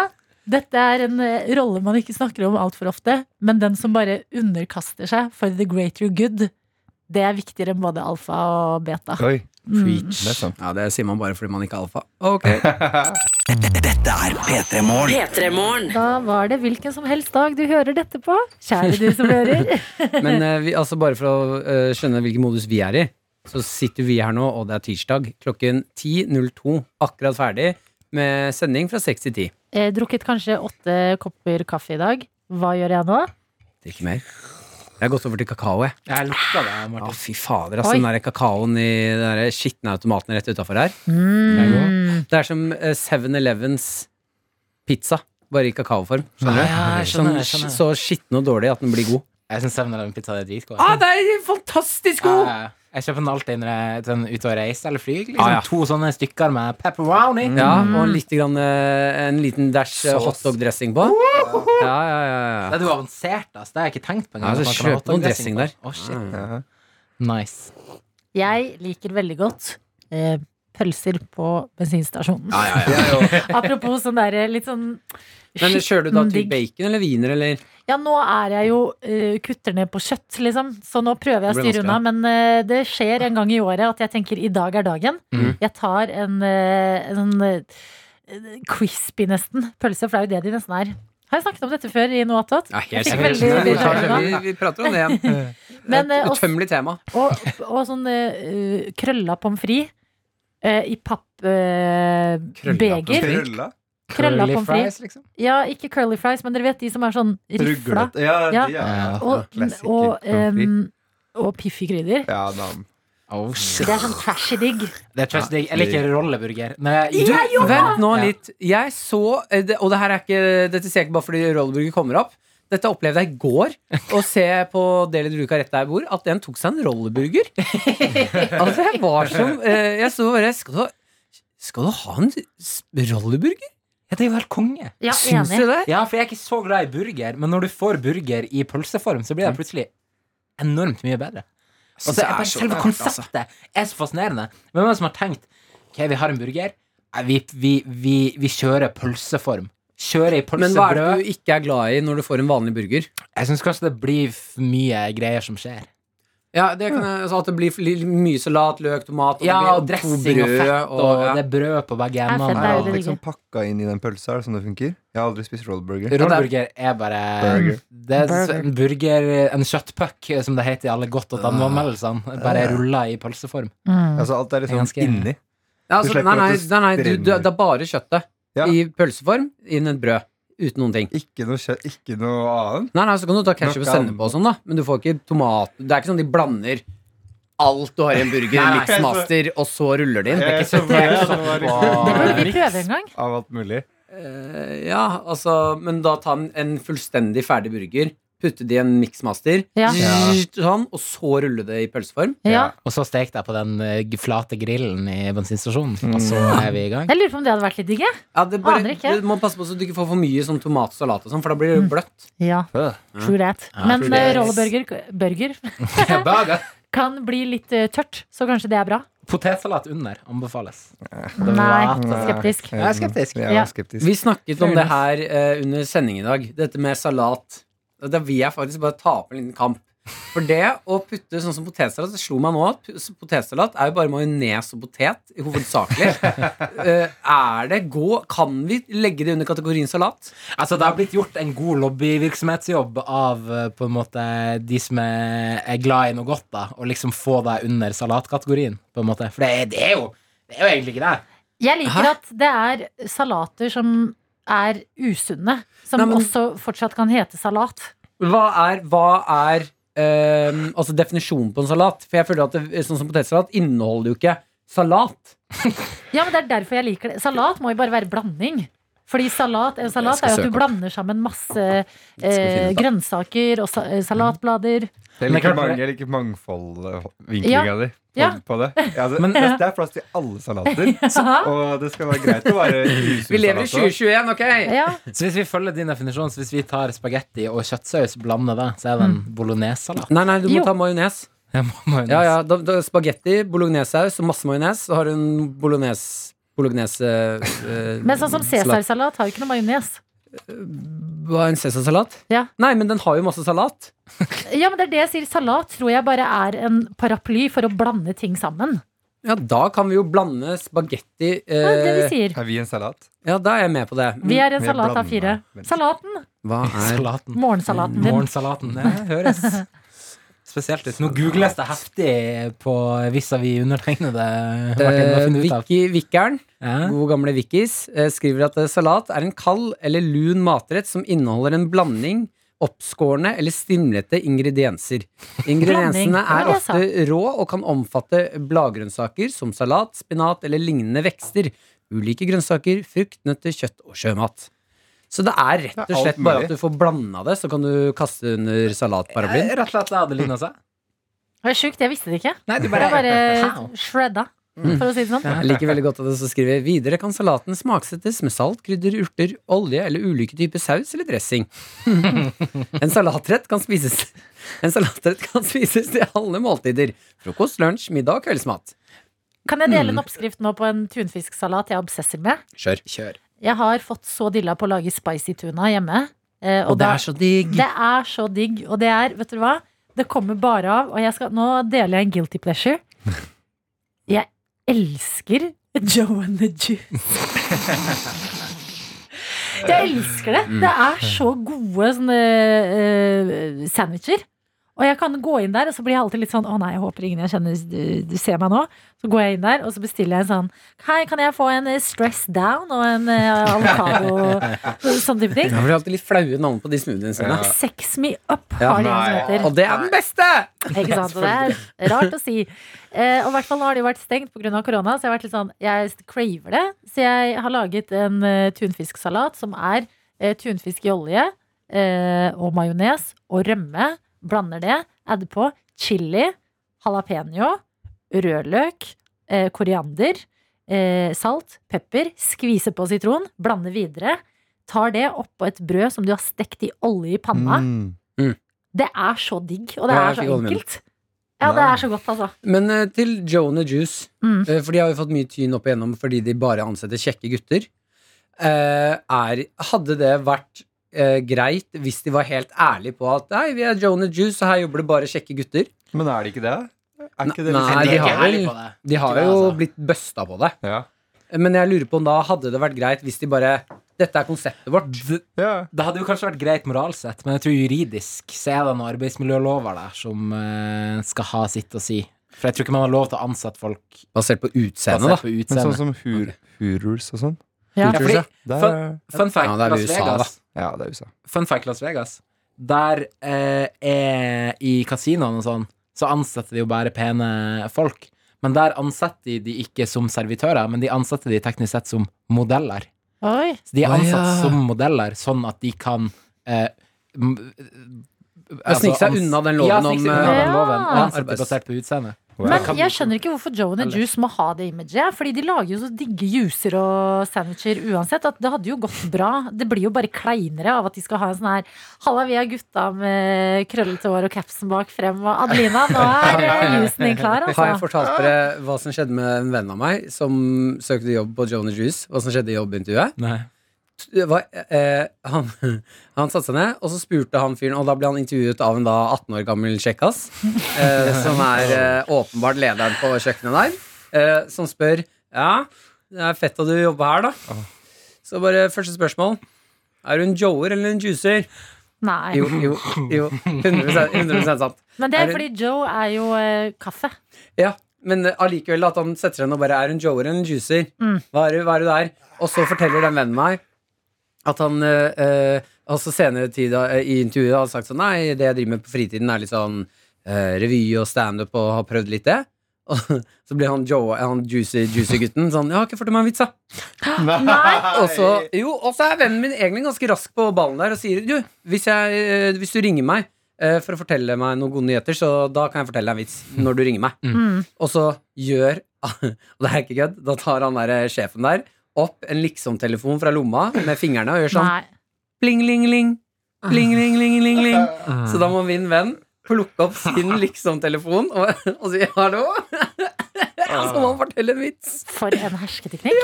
Speaker 4: dette er en eh, rolle man ikke snakker om altfor ofte, men den som bare underkaster seg for the greater good, det er viktigere enn både alfa og beta.
Speaker 5: Oi,
Speaker 4: Mm.
Speaker 5: det er sant.
Speaker 2: Ja, det sier man bare fordi man ikke er alfa. Ok.
Speaker 4: Da var det hvilken som helst dag du hører dette på, kjære du som hører.
Speaker 2: Men eh, vi, altså bare for å eh, skjønne hvilken modus vi er i, så sitter vi her nå, og det er tirsdag, klokken 10.02, akkurat ferdig, med sending fra 6 til 10.
Speaker 4: Eh, drukket kanskje åtte kopper kaffe i dag. Hva gjør jeg nå?
Speaker 2: Drikker mer. Jeg har gått over til kakao, jeg.
Speaker 3: Jeg lukta det, Martin.
Speaker 2: Å, fy fader. Altså,
Speaker 4: Oi.
Speaker 2: den der kakaoen i den der skitne automaten rett utafor her.
Speaker 4: Mm.
Speaker 2: Det er som eh, 7-Elevens pizza, bare i kakaoform. Skjønner du?
Speaker 3: Ja, jeg skjønner, jeg
Speaker 2: Sånn-
Speaker 3: skjønner.
Speaker 2: Så skitten og dårlig at den blir god.
Speaker 3: Jeg syns 7-Eleven-pizza er dritgod. altså.
Speaker 2: Ah, det er fantastisk
Speaker 3: Ja,
Speaker 2: god!
Speaker 3: ja, ja. Jeg kjøper den alltid når jeg sånn, er ute og reiser eller flyr. Liksom.
Speaker 2: Ah, ja.
Speaker 3: To sånne stykker med pepperoni.
Speaker 2: Ja,
Speaker 4: Mm.
Speaker 2: og litt grann, eh, en liten dash eh,
Speaker 3: Sås.
Speaker 2: hotdog-dressing på. Ja, ja, ja, ja.
Speaker 3: Det er jo avansert, ass. Det har jeg ikke tenkt på
Speaker 2: Ja, så
Speaker 3: engang. at man kan ha
Speaker 2: kjøp noen
Speaker 3: hotdog-dressing
Speaker 2: dressing der.
Speaker 3: på. Å, shit.
Speaker 5: Ja.
Speaker 3: Nice.
Speaker 4: Jeg liker veldig godt eh, pølser på bensinstasjonen. Apropos sånn derre litt sånn
Speaker 2: Men kjører du da
Speaker 4: skitten
Speaker 2: til
Speaker 4: digg.
Speaker 2: bacon eller wiener, eller?
Speaker 4: Ja, nå er jeg jo eh, kutter ned på kjøtt, liksom. Så nå prøver jeg å
Speaker 2: Det blir
Speaker 4: styre unna. Men eh, det skjer en gang i året at jeg tenker i dag er dagen.
Speaker 3: Mhm.
Speaker 4: Jeg tar en, eh, en eh, crispy, nesten, pølse. For det er jo det de nesten er. Har jeg snakket om dette før i noe attåt?
Speaker 2: helt
Speaker 4: Jeg fikk
Speaker 3: sikkert.
Speaker 4: veldig
Speaker 2: Vi,
Speaker 4: bilde av
Speaker 2: tar,
Speaker 4: det
Speaker 2: vi,
Speaker 4: nå.
Speaker 2: vi prater om det igjen.
Speaker 4: Men, eh,
Speaker 2: Et
Speaker 4: også-
Speaker 2: utømmelig tema.
Speaker 4: Og, og sånn eh, eh, krølla pommes frites eh, i pappbeger.
Speaker 2: Krølla
Speaker 4: beger
Speaker 5: Krølla?
Speaker 4: krølla
Speaker 3: Curly
Speaker 4: pommes frites.
Speaker 3: fries, liksom.
Speaker 4: Ja, ikke curly fries, men dere vet de som er sånn rifla.
Speaker 5: Ruglete. Ja,
Speaker 4: Ja.
Speaker 5: de er-
Speaker 4: Og,
Speaker 5: Klassiker,
Speaker 4: og, ehm,
Speaker 5: pommes frites.
Speaker 4: em, og piffikrydder.
Speaker 5: ja, da.
Speaker 3: Oh, shit.
Speaker 4: Det er sånn trashy digg.
Speaker 3: Det er trust digg. Jeg liker rolleburger. Når jeg-
Speaker 2: Du, vent nå
Speaker 3: Ja.
Speaker 2: litt. Jeg så eh, det- Og det her er ikke, dette ser jeg ikke bare fordi rolleburger kommer opp. Dette opplevde jeg i går, å se på Deli Druka rett der jeg bor, at den tok seg en rolleburger. altså, jeg var som eh, Jeg så bare Skal du, skal du ha en s- rolleburger?
Speaker 3: Ja, det er jo helt konge.
Speaker 4: Ja,
Speaker 2: Syns
Speaker 4: enig.
Speaker 2: du det?
Speaker 3: Ja, for jeg er ikke så glad i burger, men når du får burger i pølseform, så blir det plutselig enormt mye bedre.
Speaker 2: synes
Speaker 3: Altså,
Speaker 2: det
Speaker 3: Mm. jeg
Speaker 2: er
Speaker 3: bare,
Speaker 2: så
Speaker 3: selve
Speaker 2: rart,
Speaker 3: konseptet er så fascinerende. Hvem er det som har tenkt Ok, vi har en burger. Nei, Vi, vi, vi, vi kjører pølseform. Kjører i
Speaker 2: Men hva er det
Speaker 3: pølsebrød.
Speaker 2: du ikke er glad i når du får en vanlig burger?
Speaker 3: Jeg syns kanskje det blir for mye greier som skjer.
Speaker 2: Ja, det kan jeg, altså At det blir for li- mye salat, løk, tomat
Speaker 3: Ja,
Speaker 2: det blir
Speaker 3: og
Speaker 2: to
Speaker 3: dressing og
Speaker 2: brød,
Speaker 3: fett, og,
Speaker 2: ja.
Speaker 3: det er brød på begge
Speaker 4: er fett,
Speaker 5: Er
Speaker 4: det
Speaker 3: endene.
Speaker 4: jo
Speaker 5: alt
Speaker 4: det
Speaker 5: liksom
Speaker 4: digge.
Speaker 5: pakka inn i den pølsa? Er det sånn det funker? Jeg har aldri spist rollburger.
Speaker 3: Rollburger er bare
Speaker 5: Burger.
Speaker 3: Det er
Speaker 4: Burger.
Speaker 3: en burger En kjøttpuck, eh, som det heter i alle godt og anmeldelsene. Bare rulla i pølseform.
Speaker 4: Mm.
Speaker 5: Altså, alt er liksom
Speaker 3: Ganske-
Speaker 5: inni.
Speaker 2: Ja, altså,
Speaker 5: Du slipper
Speaker 2: nei, nei,
Speaker 5: at det
Speaker 2: nei, nei du, du,
Speaker 5: brenner.
Speaker 2: det er bare kjøttet.
Speaker 5: Ja.
Speaker 2: I pølseform, inn et brød. Uten noen ting.
Speaker 5: Ikke noe kjøtt, ikke noe annet.
Speaker 2: Nei, nei, Så kan du ta ketsjup og
Speaker 5: Knockout.
Speaker 2: sennep og sånn, da. Men du får ikke tomat Det er ikke sånn de blander alt du har i en burger,
Speaker 3: Nei, nei.
Speaker 2: mixmaster, og så ruller det inn.
Speaker 5: Jeg så for meg at det var
Speaker 4: Det
Speaker 5: liksom
Speaker 4: burde vi prøve en gang.
Speaker 5: Av alt mulig.
Speaker 2: Eh, ja, altså Men da ta en, en fullstendig ferdig burger, putte det i en mixmaster,
Speaker 4: Ja.
Speaker 2: sånn, og så rulle det i pølseform.
Speaker 4: Ja.
Speaker 3: Og så stekte jeg på den eh, g- flate grillen i bensinstasjonen, og så er vi i gang.
Speaker 4: Jeg lurer på om det hadde vært litt digg. jeg.
Speaker 2: Ja, det bare,
Speaker 4: Aner ikke. Mm.
Speaker 2: Du må passe på så du ikke får for mye sånn tomat og salat og sånn, for da blir det bløtt.
Speaker 4: Ja, true that.
Speaker 3: Ja,
Speaker 4: Men
Speaker 3: true
Speaker 4: eh,
Speaker 3: that.
Speaker 4: rolleburger burger,
Speaker 3: Burger.
Speaker 4: kan bli litt eh, tørt, så kanskje det er bra.
Speaker 3: Potetsalat under anbefales. Det
Speaker 4: Nei,
Speaker 3: var-
Speaker 4: skeptisk.
Speaker 3: Jeg er skeptisk.
Speaker 5: Jeg
Speaker 4: Ja.
Speaker 5: er skeptisk.
Speaker 2: Vi snakket om det her eh, under sending i dag, dette med salat. Og Da vil jeg faktisk bare ta opp en liten kamp. For det å putte sånn som potetsalat Det slo meg nå at p- potetsalat er jo bare majones og potet hovedsakelig. Eh, er det gå Kan vi legge det under kategorien salat?
Speaker 3: Altså, det har blitt gjort en god lobbyvirksomhetsjobb av eh, på en måte de som er er glad i noe godt, da, og liksom få deg under salatkategorien, på en måte. For det er, det er jo det er jo egentlig ikke det.
Speaker 4: Jeg liker
Speaker 2: Hæ?
Speaker 4: at det er salater som er usunne, som
Speaker 2: Nei, men-
Speaker 4: også fortsatt kan hete salat.
Speaker 2: Hva er, hva er eh, altså definisjonen på en salat? For jeg føler at det, sånn som potetsalat inneholder jo ikke salat.
Speaker 4: Ja, men det er derfor jeg liker det. Salat må jo bare være blanding. Fordi salat, en salat
Speaker 2: skal
Speaker 4: er jo at du
Speaker 2: søke opp.
Speaker 4: blander sammen masse eh,
Speaker 2: finne ut av.
Speaker 4: grønnsaker og sa eh, salatblader.
Speaker 5: Jeg
Speaker 3: Men det er
Speaker 5: liker,
Speaker 3: klart-
Speaker 5: mange, jeg liker mangfoldvinklinga
Speaker 4: Ja.
Speaker 5: di på,
Speaker 4: Ja.
Speaker 5: på det. Ja, det,
Speaker 3: Men-
Speaker 5: det. Det er plass til alle salater, og det skal være greit å være usunn
Speaker 2: Vi lever i
Speaker 5: salat også.
Speaker 2: 2021, ok?
Speaker 4: Ja,
Speaker 3: Så hvis vi følger din definisjon, så hvis vi tar spagetti og kjøttsaus, blander det, så er det en bolognesalat.
Speaker 2: Nei, nei, du må
Speaker 4: Jo.
Speaker 2: ta majones.
Speaker 3: Ja, må- må jo
Speaker 2: Ja, ja,
Speaker 3: nesten-
Speaker 2: da, da, spagetti, bolognesaus og masse majones. Så har du en bolognese Bolognese eh,
Speaker 4: Men sånn som
Speaker 2: salat.
Speaker 4: cæsarsalat har jo ikke noe majones.
Speaker 2: Hva er en cæsarsalat?
Speaker 4: Ja.
Speaker 2: Nei, men den har jo masse salat.
Speaker 4: Ja, men det er det jeg sier. Salat tror jeg bare er en paraply for å blande ting sammen.
Speaker 2: Ja, da kan vi jo blande spagetti
Speaker 4: Det er det vi
Speaker 2: eh,
Speaker 4: sier.
Speaker 5: Er vi en salat?
Speaker 2: Ja, da er jeg med på det. Mm.
Speaker 4: Vi er en
Speaker 5: vi er
Speaker 4: salat av fire.
Speaker 5: blandende mennesker.
Speaker 4: Salaten.
Speaker 2: Hva er
Speaker 3: Salaten.
Speaker 4: Morgensalaten din.
Speaker 3: Morgensalaten. Det høres spesielt ut. Nå googles det heftig på vis-à-vis undertegnede. Martin, hva
Speaker 2: eh,
Speaker 3: finner du ut av?
Speaker 2: Vicky Vikkeren,
Speaker 3: Ja.
Speaker 2: god gamle Vikkis, eh, skriver at eh, salat er en kald eller lun matrett som inneholder en blanding oppskårne eller strimlete ingredienser. Ingrediensene
Speaker 4: Blanding, det var
Speaker 2: er
Speaker 4: det jeg sa.
Speaker 2: ofte rå og kan omfatte bladgrønnsaker som salat, spinat eller lignende vekster, ulike grønnsaker, frukt, nøtter, kjøtt og sjømat. Så det er rett
Speaker 5: Det er
Speaker 2: og
Speaker 5: alt
Speaker 2: slett bare
Speaker 5: mulig.
Speaker 2: at du får blanda det, så kan du kaste under salatparaplyen.
Speaker 3: Eh, Rett og slett det hadde lignet seg.
Speaker 4: Det er sjukt, jeg visste det ikke.
Speaker 3: Nei, du
Speaker 4: Det er
Speaker 3: bare,
Speaker 4: bare
Speaker 3: Wow.
Speaker 4: shredda,
Speaker 2: Mm.
Speaker 4: for å si det sånn.
Speaker 2: Jeg liker veldig godt at det så skriver Videre kan salaten smaksettes med salt, krydder, urter, olje eller ulike typer saus eller dressing. en salatrett kan spises En salatrett kan spises til alle måltider. Frokost, lunsj, middag og kveldsmat.
Speaker 4: Kan jeg
Speaker 2: Mm.
Speaker 4: dele en oppskrift nå på en tunfisksalat jeg obsesser med?
Speaker 2: Kjør.
Speaker 3: Kjør.
Speaker 4: Jeg har fått så dilla på å lage spicy tuna hjemme. eh,
Speaker 2: Og det er så digg.
Speaker 4: det er så digg. Og det er, vet du hva, det kommer bare av. Og jeg skal, nå deler jeg en guilty pleasure. Jeg elsker Joe and the Juice. Jeg elsker det. Det er så gode sånne eh, sandwicher. Og jeg kan gå inn der, og så blir jeg alltid litt sånn Å nei, jeg håper ingen jeg kjenner du, du ser meg nå. Så går jeg inn der, og så bestiller jeg en sånn Hei, kan jeg få en eh, stress down og en eh, avokado? Sånn type ting.
Speaker 2: Jeg blir alltid litt flaue navn på de smoothiene sine.
Speaker 4: Sex me up
Speaker 2: Ja,
Speaker 4: har de en som heter.
Speaker 2: Og det er den beste!
Speaker 4: Ikke sant? Og det er rart å si. Eh, og i hvert fall nå har de vært stengt pga. korona, så jeg har vært litt sånn Jeg craver det. Så jeg har laget en eh, tunfisksalat som er eh, tunfisk i olje eh, og majones og rømme. Blander det. Adder på chili, jalapeño, rødløk, eh, koriander, eh, salt, pepper. Skviser på sitron. Blander videre. Tar det oppå et brød som du har stekt i olje i panna.
Speaker 5: Mm.
Speaker 4: Det er så digg, og det
Speaker 2: Ja, jeg
Speaker 4: er så
Speaker 2: fikk holde med
Speaker 4: enkelt. Ja, det er så godt, altså.
Speaker 2: Men eh, til Jonah Juice,
Speaker 4: Mm.
Speaker 2: eh, for de har jo fått mye tyn opp igjennom fordi de bare ansetter kjekke gutter. Eh, er, hadde det vært eh, greit hvis de var helt ærlige på at Hei, vi er Jonah Juice, og her jobber det bare kjekke gutter?
Speaker 5: Men er det ikke det? Er ikke det
Speaker 2: Nei,
Speaker 5: liksom-
Speaker 2: de
Speaker 3: Jeg er
Speaker 2: har
Speaker 3: ikke ærlig
Speaker 2: vel-
Speaker 3: på det.
Speaker 2: De har
Speaker 3: Ikke det,
Speaker 2: jo
Speaker 3: altså.
Speaker 2: blitt busta på det.
Speaker 5: Ja.
Speaker 2: Men jeg lurer på om da hadde det vært greit hvis de bare Dette er konseptet vårt.
Speaker 3: Det,
Speaker 5: ja.
Speaker 3: det hadde jo kanskje vært greit moralsk sett, men jeg tror juridisk så er det noen arbeidsmiljølover der som eh, skal ha sitt å si. For jeg tror ikke man har lov til å ansette folk
Speaker 2: Basert på utseendet, da.
Speaker 3: basert på
Speaker 5: Men sånn
Speaker 3: utseende.
Speaker 5: som hur, Hurus og sånn?
Speaker 4: Ja.
Speaker 3: Ja, fordi,
Speaker 5: Der,
Speaker 3: Fun- fun fact,
Speaker 2: Ja, det er
Speaker 3: Las
Speaker 2: USA,
Speaker 3: Vegas,
Speaker 5: ja, det er USA.
Speaker 3: fun fact Las Vegas Der eh, er i kasinoene og sånn, så ansetter de jo bare pene folk. Men der ansetter de de ikke som servitører, men de ansetter de teknisk sett som modeller.
Speaker 4: Oi.
Speaker 3: Så de er
Speaker 2: Å,
Speaker 3: ansatt
Speaker 2: ja.
Speaker 3: som modeller, sånn at de kan eh, m- altså,
Speaker 2: snike seg
Speaker 3: ans-
Speaker 2: unna den loven
Speaker 3: ja, snike seg
Speaker 2: om,
Speaker 3: unna
Speaker 4: eh,
Speaker 3: den loven
Speaker 4: Ja.
Speaker 3: ansette
Speaker 2: arbeids-
Speaker 3: basert på utseende.
Speaker 4: Men
Speaker 3: Kan-
Speaker 4: jeg skjønner ikke hvorfor Joan and Juice må ha det imaget. Fordi de lager jo så digge juicer og sandwicher uansett. At det hadde jo gått bra. Det blir jo bare kleinere av at de skal ha en sånn her Halla, vi er gutta med krøllete hår og capsen bak frem. Og Adelina, nå er eh, juicen din klar,
Speaker 2: Har jeg
Speaker 4: altså.
Speaker 2: fortalt dere hva som skjedde med en venn av meg som søkte jobb på Jonah Juice? Hva som skjedde i jobbintervjuet?
Speaker 3: Nei.
Speaker 2: Det var, eh, han, han satte seg ned, og så spurte han fyren, og da ble han intervjuet av en da 18 år gammel kjekkas, eh, som er eh, åpenbart lederen på kjøkkenet der, eh, som spør Ja, det er fett at du jobber her, da. Så bare første spørsmål. Er du en joer eller en juicer?
Speaker 4: Nei.
Speaker 2: Jo, jo, jo. 100, 100 sant.
Speaker 4: Men det
Speaker 2: Er
Speaker 4: er
Speaker 2: det-
Speaker 4: fordi Joe er jo eh, kaffe.
Speaker 2: Ja, men allikevel at han setter seg ned og bare er hun joer eller en juicer? Hva, er du, hva er du der? Og så forteller den vennen meg at han eh, eh, også senere tid, da, eh, i intervjuet har sagt sånn Nei, det jeg driver med på fritiden, er litt sånn eh, revy og standup og har prøvd litt det. Og så blir han, Joe, han juicy, juicy gutten sånn Jeg har ikke fått meg en vits, da.
Speaker 4: Nei.
Speaker 2: Og så, jo, og så er vennen min egentlig ganske rask på ballen der og sier du, hvis, jeg, eh, hvis du ringer meg eh, for å fortelle meg noen gode nyheter, så da kan jeg fortelle deg en vits når du ringer meg. Og så gjør Og det er ikke kødd, da tar han der eh, sjefen der opp en liksomtelefon fra lomma med fingrene og gjør sånn
Speaker 4: Nei.
Speaker 2: pling, ling, ling. Pling, ling, ling, ling, ling. Så da må min venn plukke opp sin liksomtelefon og, og si hallo. Så må han fortelle en vits.
Speaker 4: For en hersketeknikk.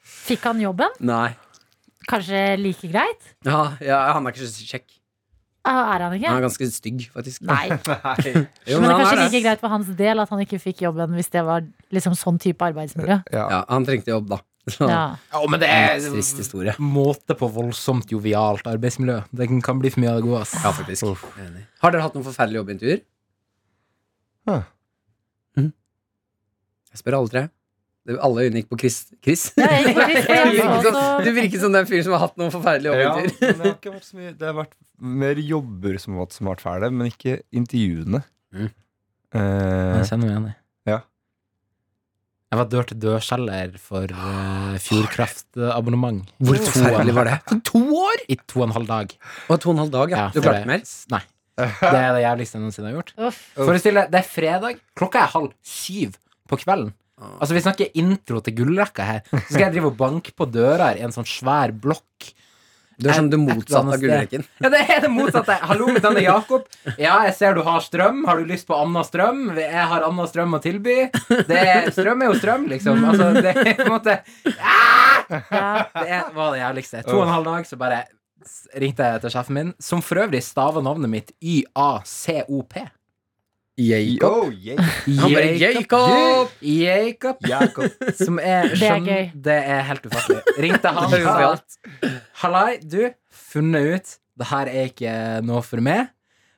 Speaker 4: Fikk han jobben?
Speaker 2: Nei.
Speaker 4: Kanskje like greit?
Speaker 2: Ja, ja, han er ikke så kjekk.
Speaker 4: Ah, Er han ikke?
Speaker 2: Han er ganske stygg, faktisk.
Speaker 4: Nei.
Speaker 2: Jo,
Speaker 4: Men det er
Speaker 2: han
Speaker 4: kanskje
Speaker 2: er
Speaker 4: like greit for hans del at han ikke fikk jobben hvis det var liksom sånn type arbeidsmiljø.
Speaker 5: Ja.
Speaker 2: Ja, han trengte jobb, da. Så,
Speaker 4: Ja.
Speaker 3: Å, men det
Speaker 2: en
Speaker 3: er
Speaker 2: Trist historie.
Speaker 3: måte på voldsomt jovialt arbeidsmiljø. Det kan bli for mye av det gode. ass.
Speaker 2: Ja, faktisk. Enig. Har dere hatt noen forferdelige jobbintervjuer?
Speaker 5: Huh.
Speaker 2: Jeg Mm. spør alle tre. Det, alle øyne gikk på Chris. Chris?
Speaker 4: Ja, altså- jeg gikk på Chris,
Speaker 2: Du
Speaker 4: og
Speaker 2: virket
Speaker 4: jeg så
Speaker 2: som,
Speaker 4: også-
Speaker 2: du virket som den fyren som har hatt noen forferdelige
Speaker 5: Ja, men
Speaker 2: opptur.
Speaker 5: det har ikke vært så mye Det har vært mer jobber som har vært, som har vært fæle, men ikke intervjuene.
Speaker 2: Mm.
Speaker 5: Eh,
Speaker 3: Jeg kjenner meg igjen i.
Speaker 5: Ja.
Speaker 3: Jeg var dør-til-dør-selger for uh, Fjordkraft-abonnement.
Speaker 2: Hvor
Speaker 3: I to og en
Speaker 2: forferdelig var det?
Speaker 3: halv-
Speaker 2: To år?!
Speaker 3: I to og en halv dag.
Speaker 2: Og to og en halv dag, ja.
Speaker 3: Ja,
Speaker 2: Du
Speaker 3: for
Speaker 2: klarte
Speaker 3: det-
Speaker 2: mer?
Speaker 3: Nei. Det er det jævligste jeg noensinne har gjort.
Speaker 4: Uff.
Speaker 3: Forestill deg, det er fredag. Klokka er halv syv på kvelden. Altså Vi snakker intro til gullrekka her. Så skal jeg drive og banke på døra i en sånn svær blokk.
Speaker 2: Du er som det
Speaker 3: Et- et
Speaker 2: motsatte
Speaker 3: eller
Speaker 2: av
Speaker 3: annet sted.
Speaker 2: gullrekken.
Speaker 3: Ja, det er det motsatte. Hallo, mitt navn er Jakob. Ja, jeg ser du har strøm. Har du lyst på Anna strøm? Jeg har Anna strøm å tilby. Det er, strøm er jo strøm, liksom. Altså, det er på en måte
Speaker 4: Ja.
Speaker 3: Det var det jævligste. To og en halv dag, så bare s- ringte jeg til sjefen min, som for øvrig staver navnet mitt Y-A-C-O-P.
Speaker 2: Jacob.
Speaker 5: oh, yeah.
Speaker 2: Han bare, Jacob!
Speaker 3: Jacob. Som er
Speaker 4: Det er
Speaker 3: skjønn-
Speaker 4: gøy.
Speaker 3: Det er helt ufattelig. Ringte han
Speaker 2: Det er
Speaker 3: sa
Speaker 2: gøyalt.
Speaker 3: Hallai, du, funnet ut Det her er ikke noe for meg.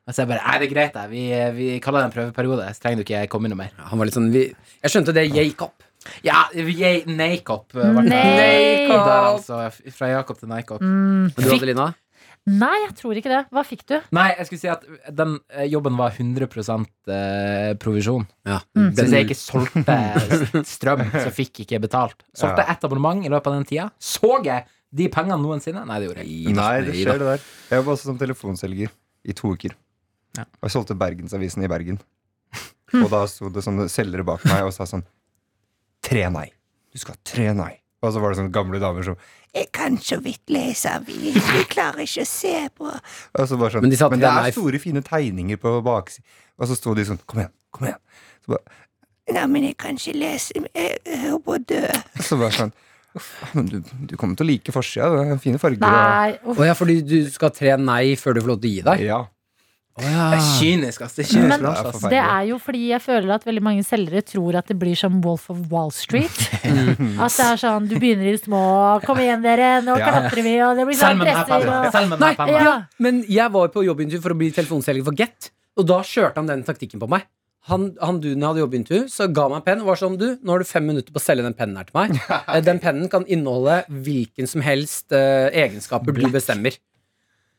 Speaker 3: Og så jeg bare Nei, det er greit, det. Vi, vi kaller det en prøveperiode. Så trenger du ikke komme noe mer.
Speaker 2: Han var litt sånn vi, Jeg skjønte det. Jacob.
Speaker 3: Ja, jeg- Naikop. eh, var det.
Speaker 4: Nei.
Speaker 3: Der, altså. f- Fra Jakob til Naikop.
Speaker 2: Og du, Adelina?
Speaker 4: Nei, jeg tror ikke det. Hva fikk du?
Speaker 3: Nei, jeg skulle si at den eh, jobben var 100 eh, provisjon.
Speaker 2: Ja.
Speaker 3: Så
Speaker 2: Mm.
Speaker 3: hvis jeg
Speaker 2: Den,
Speaker 3: ikke solgte strøm, så fikk ikke jeg betalt. Solgte ett abonnement i løpet av den tida. Så jeg de pengene noensinne? Nei, det gjorde jeg ikke.
Speaker 5: Nei, det skjer, det der. Jeg jobba også som telefonselger i to uker.
Speaker 3: Ja.
Speaker 5: Og jeg solgte Bergensavisen i Bergen. Og da sto det sånne selgere bak meg og sa sånn Tre nei. Du skal ha tre nei. Og så var det sånne gamle damer som Jeg kan så vidt lese avis, jeg klarer ikke å se på Og så bare sånn,
Speaker 2: Men
Speaker 5: Men,
Speaker 2: de sa at
Speaker 5: det
Speaker 2: det er
Speaker 5: er
Speaker 2: nei.
Speaker 5: store, fine tegninger på baksiden. Og så sto de sånn Kom igjen, kom igjen. Så bare Nei, men jeg kan ikke lese, jeg jeg holder på å dø. Og så bare sånn «Uff, Men du, du kommer til å like forsida, det er fine farger. og-
Speaker 4: Nei, uff.
Speaker 2: Å ja, fordi du skal ha tre nei før du får lov til å gi deg?
Speaker 5: Ja.
Speaker 2: Å ja.
Speaker 3: Det er kynisk, ass. Det er kynisk
Speaker 4: Men-
Speaker 3: bransje, ass.
Speaker 5: forferdelig.
Speaker 4: Det er jo fordi jeg føler at veldig mange selgere tror at det blir som Wolf of Wall Street. At det er sånn, du begynner i det små, kom igjen dere, nå
Speaker 5: Ja.
Speaker 4: klatrer vi, og det blir sånn presser og
Speaker 3: Selmen
Speaker 2: Nei, ja,
Speaker 4: Ja.
Speaker 2: men jeg var på jobbintervju for å bli telefonselger for Get, og da kjørte han den taktikken på meg. Han, han duden jeg hadde jobbintervju, så ga meg en penn og var sånn Du, nå har du fem minutter på å selge den pennen her til meg. Eh, Den pennen kan inneholde hvilken som helst eh, egenskaper du bestemmer.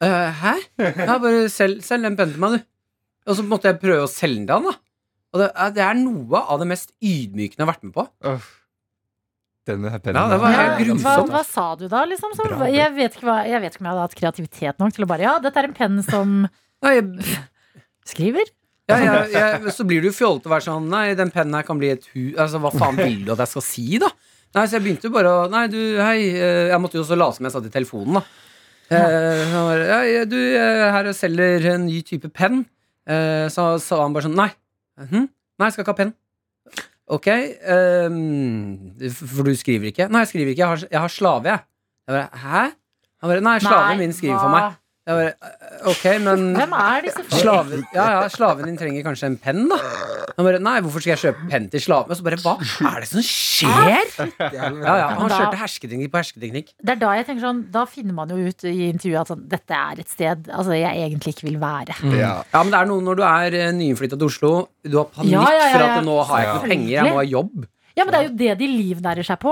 Speaker 2: Eh, hæ? Ja, bare selg, selg den pennen til meg, du. Og så måtte jeg prøve å selge den til han, da. Og det, er- det er noe av det mest ydmykende jeg har vært med på.
Speaker 5: Uff. Denne her pennen
Speaker 2: Ja, det var
Speaker 5: her.
Speaker 2: helt
Speaker 4: ja, hva,
Speaker 2: grusomt.
Speaker 4: hva sa du da, liksom? Sånn?
Speaker 5: Bra.
Speaker 4: Jeg, vet ikke hva, jeg vet ikke om jeg hadde hatt kreativitet nok til å bare Ja, dette er en penn som
Speaker 2: Nei, jeg,
Speaker 4: skriver.
Speaker 2: Ja, jeg, jeg, så blir det jo fjollete å være sånn Nei, den pennen her kan bli et hu Altså, hva faen vil du at jeg skal si, da? Nei, så jeg begynte jo bare å Nei, du, hei eh, Jeg måtte jo også late som jeg satt i telefonen, da. Eh, han bare, ja, ja, du, jeg er her og selger en ny type penn. Eh, så sa han bare sånn Nei. Mhm. Nei, jeg skal ikke ha penn. Ok, ehm, f- for du skriver ikke? Nei, jeg skriver ikke. Jeg har, jeg har slave, jeg. jeg bare, Hæ? Han bare Nei, slaven min skriver for meg. Jeg bare, «Eh, ok, men
Speaker 4: Hvem er disse folk?
Speaker 2: Slaven, ja, ja, slaven din trenger kanskje en penn, da. Han bare, nei, hvorfor skal jeg kjøpe penn til slaven? Og så bare, hva er det som skjer? Ja, ja, han kjørte hersketeknikk på hersketeknikk.
Speaker 4: Det er da jeg tenker sånn, da finner man jo ut i intervjuet at sånn, dette er et sted altså, jeg egentlig ikke vil være.
Speaker 5: Ja.
Speaker 2: Ja, men det er noe når du er eh, nyinnflytta til Oslo, du har panikk
Speaker 4: Ja, ja, ja,
Speaker 2: for
Speaker 4: ja.
Speaker 2: at nå har jeg ikke
Speaker 4: Ja.
Speaker 2: noe penger, jeg må ha jobb.
Speaker 4: Ja, men det er jo det de livnærer seg på.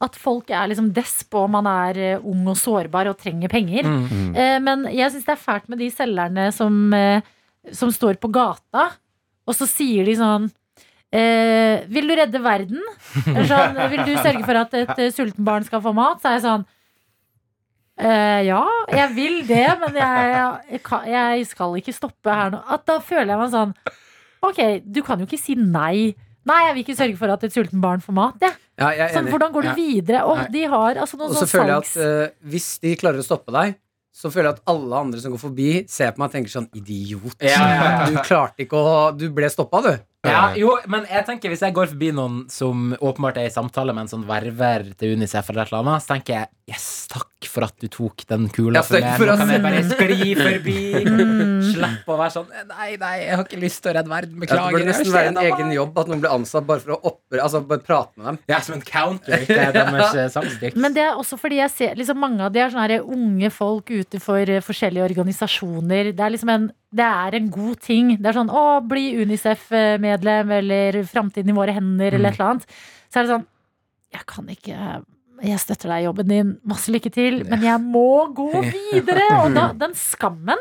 Speaker 4: At folk er liksom desp, og man er eh, ung og sårbar og trenger penger. Eh, men jeg syns det er fælt med de selgerne som, eh, som står på gata, og så sier de sånn eh, Vil du redde verden? Eller sånn, vil du sørge for at et eh, sulten barn skal få mat? Så er jeg sånn eh, ja, jeg vil det, men jeg, jeg, kan- jeg skal ikke stoppe her nå. At da føler jeg meg sånn Ok, du kan jo ikke si nei. Nei, jeg vil ikke sørge for at et sulten barn får mat. jeg.
Speaker 2: Ja, jeg er
Speaker 4: Sånn,
Speaker 2: enig.
Speaker 4: hvordan går du
Speaker 3: Ja.
Speaker 4: videre? Åh,
Speaker 3: Nei.
Speaker 4: de har altså noen
Speaker 2: Og så
Speaker 4: sånn
Speaker 2: føler jeg
Speaker 4: salgs...
Speaker 2: at eh, hvis de klarer å stoppe deg, så føler jeg at alle andre som går forbi, ser på meg og tenker sånn Idiot.
Speaker 3: Ja, ja, ja.
Speaker 2: Du klarte ikke å Du ble stoppa, du.
Speaker 3: Ja,
Speaker 2: Eh.
Speaker 3: jo, men jeg tenker hvis jeg går forbi noen som åpenbart er i samtale med en sånn verver til Unicef, eller et eller annet, så tenker jeg yes, takk for at du tok den kula
Speaker 2: Ja,
Speaker 3: for
Speaker 2: takk
Speaker 3: meg.
Speaker 2: for
Speaker 3: Nå
Speaker 2: at-
Speaker 3: kan jeg bare skli forbi.
Speaker 4: Mm.
Speaker 3: Slipp å være sånn Nei, nei, jeg har ikke lyst til å redde verden.
Speaker 2: Ja, det
Speaker 3: Beklager.
Speaker 2: burde nesten
Speaker 3: jeg
Speaker 2: være en
Speaker 3: kjeder
Speaker 2: egen
Speaker 3: meg.
Speaker 2: jobb at noen ble ansatt bare for å oppre, altså bare prate med dem.
Speaker 3: Ja, som en counter til deres eh, sangstick.
Speaker 4: Men det er også fordi jeg ser liksom, mange av de er sånne her unge folk ute for eh, forskjellige organisasjoner. Det er liksom en, det er en god ting. Det er sånn
Speaker 3: Mm.
Speaker 4: å, bli Unicef-medlem, eller Framtiden i våre hender, eller et eller annet. Så er det sånn Jeg kan ikke eh, Jeg støtter deg i jobben din, masse lykke til, men jeg må gå videre! Og da, den skammen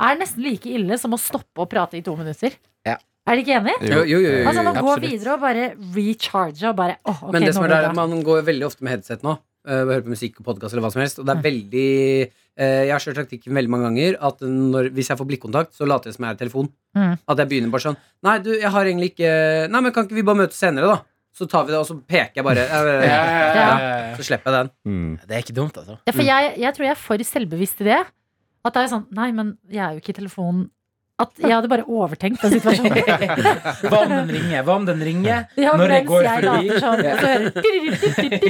Speaker 4: er nesten like ille som å stoppe å prate i to minutter.
Speaker 3: Ja.
Speaker 4: Er dere ikke enig?
Speaker 2: Jo, jo, jo, jo,
Speaker 4: Altså
Speaker 2: jo.
Speaker 4: nå gå
Speaker 3: absolutt.
Speaker 4: videre og bare recharge og bare åh, ok,
Speaker 2: Men det
Speaker 4: nå
Speaker 2: som er der,
Speaker 4: går det
Speaker 2: er at
Speaker 4: bra.
Speaker 2: man går veldig ofte med headset nå. eh, og hører på musikk og podkast eller hva som helst. Og det er
Speaker 4: Mm.
Speaker 2: veldig eh, Jeg har kjørt taktikken veldig mange ganger at når, hvis jeg får blikkontakt, så later jeg som jeg er i telefon.
Speaker 4: Mm.
Speaker 2: At jeg begynner bare sånn Nei, du, jeg har egentlig ikke Nei, men kan ikke vi bare møtes senere, da? Så tar vi det, og så peker jeg bare. eh, Så slipper jeg den.
Speaker 5: Mm.
Speaker 3: Det er ikke dumt, altså.
Speaker 4: Ja, for jeg, jeg tror jeg er for selvbevisst i det. At det er sånn Nei, men jeg er jo ikke i telefonen. At jeg hadde bare overtenkt den situasjonen.
Speaker 3: Hva om den ringer? Hva om den ringer?
Speaker 4: Ja,
Speaker 3: Når jeg
Speaker 4: mens
Speaker 3: går
Speaker 4: jeg
Speaker 3: forbi.
Speaker 4: later sånn, og så hører jeg- så bare, eh, det,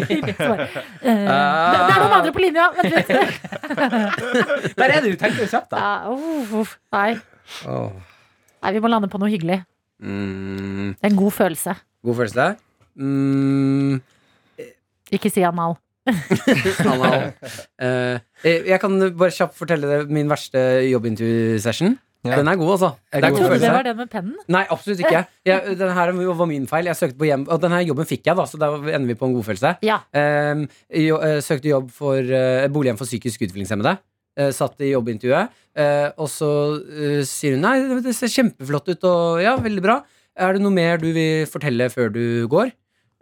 Speaker 4: det er noen andre på linja! Vent litt.
Speaker 3: Der er det jo tenkelig kjapt, da.
Speaker 4: Ja, uff, uff. Nei. Nei, vi må lande på noe hyggelig.
Speaker 2: Mm,
Speaker 4: Det er en god følelse.
Speaker 2: god følelse. Mm,
Speaker 4: Ikke si anal.
Speaker 2: anal. Eh, jeg kan bare kjapt fortelle deg min verste jobbintervju-session.
Speaker 5: Ja.
Speaker 2: Den er god, altså.
Speaker 3: Er
Speaker 2: Det er
Speaker 3: god.
Speaker 4: Jeg
Speaker 2: god
Speaker 4: trodde det
Speaker 2: følelse.
Speaker 4: var det med pennen.
Speaker 2: Nei, absolutt ikke. Jeg, den her var min feil. Jeg søkte på hjem, og denne jobben fikk jeg, da, så da ender vi på en godfølelse.
Speaker 4: Ja.
Speaker 2: Um, jo, eh, søkte jobb for eh, bolighjem for psykisk utviklingshemmede. Eh, satt i jobbintervjuet, eh, og så eh, sier hun nei, det- det ser kjempeflott ut, og ja, veldig bra. Er det noe mer du vil fortelle før du går?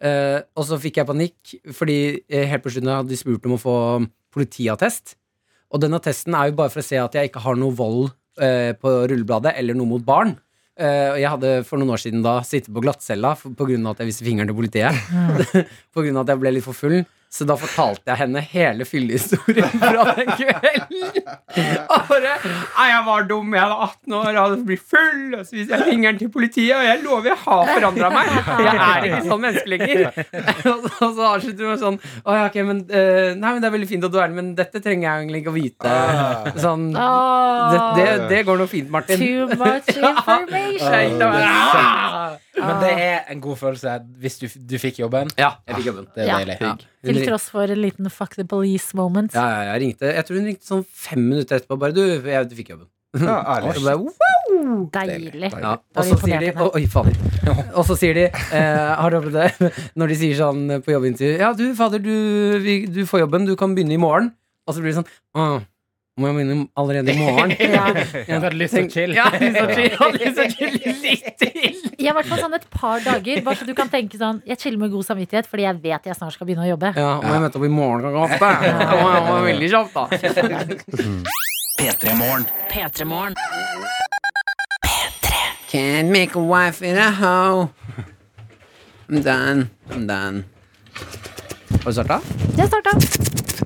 Speaker 2: Eh, og så fikk jeg panikk, fordi eh, helt på slutten hadde de spurt om å få politiattest. Og den attesten er jo bare for å se at jeg ikke har noe vold eh, på rullebladet eller noe mot barn. Eh, og jeg hadde for noen år siden da sittet på glattcella for- på grunn av at jeg viste fingeren til politiet. på grunn av at jeg ble litt for full. Så da fortalte jeg henne hele fyllehistorien fra den kvelden. Og bare Nei, jeg var dum. Jeg var 18 år, jeg hadde blitt full, og så viste jeg fingeren til politiet, og jeg lover jeg har forandra meg. Jeg er ikke sånn menneske lenger. og så og så avslutter hun med sånn Å ja, ok, men eh, Nei, men det er veldig fint at du er det, men dette trenger jeg egentlig ikke å vite. Sånn
Speaker 4: Ah,
Speaker 2: Det,
Speaker 4: Åh,
Speaker 2: det, det går nå fint, Martin.
Speaker 4: too much information.
Speaker 3: Men det er en god følelse hvis du, du fikk jobben.
Speaker 2: Ja, jeg fikk jobben.
Speaker 3: Det er
Speaker 4: Ja.
Speaker 3: deilig.
Speaker 2: Ja.
Speaker 4: Til tross for en liten fuck the police moment.
Speaker 2: Ja, ja, jeg ringte Jeg tror hun ringte sånn fem minutter etterpå. Bare du, jeg du fikk jobben.
Speaker 5: Ja,
Speaker 2: Og
Speaker 5: ærlig.
Speaker 2: så bare, wow.
Speaker 4: Deilig.
Speaker 2: ja.
Speaker 4: Da er
Speaker 2: Og
Speaker 4: vi
Speaker 2: så
Speaker 4: imponert
Speaker 2: sier de
Speaker 4: igjen.
Speaker 2: Oi, fader. Og så sier de eh, Har du opplevd det? Når de sier sånn på jobbintervju Ja, du, fader, du, vi, du får jobben. Du kan begynne i morgen. Og så blir det sånn Åh, må jeg begynne allerede i morgen?
Speaker 4: Ja.
Speaker 3: Jeg hadde lyst til å chille.
Speaker 2: Ja, litt sånn chill. Ja, litt sånn chill. Litt til.
Speaker 4: I hvert fall sånn et par dager, bare så du kan tenke sånn Jeg chiller med god samvittighet, fordi jeg vet jeg snart skal begynne å jobbe.
Speaker 2: Ja, må jeg møte opp i morgen klokka åtte? Det var- det var veldig kjapt, da.
Speaker 1: P3morgen.
Speaker 2: Can't make a wife in a hoe. I'm done. I'm done. Har du starta?
Speaker 4: Jeg starta.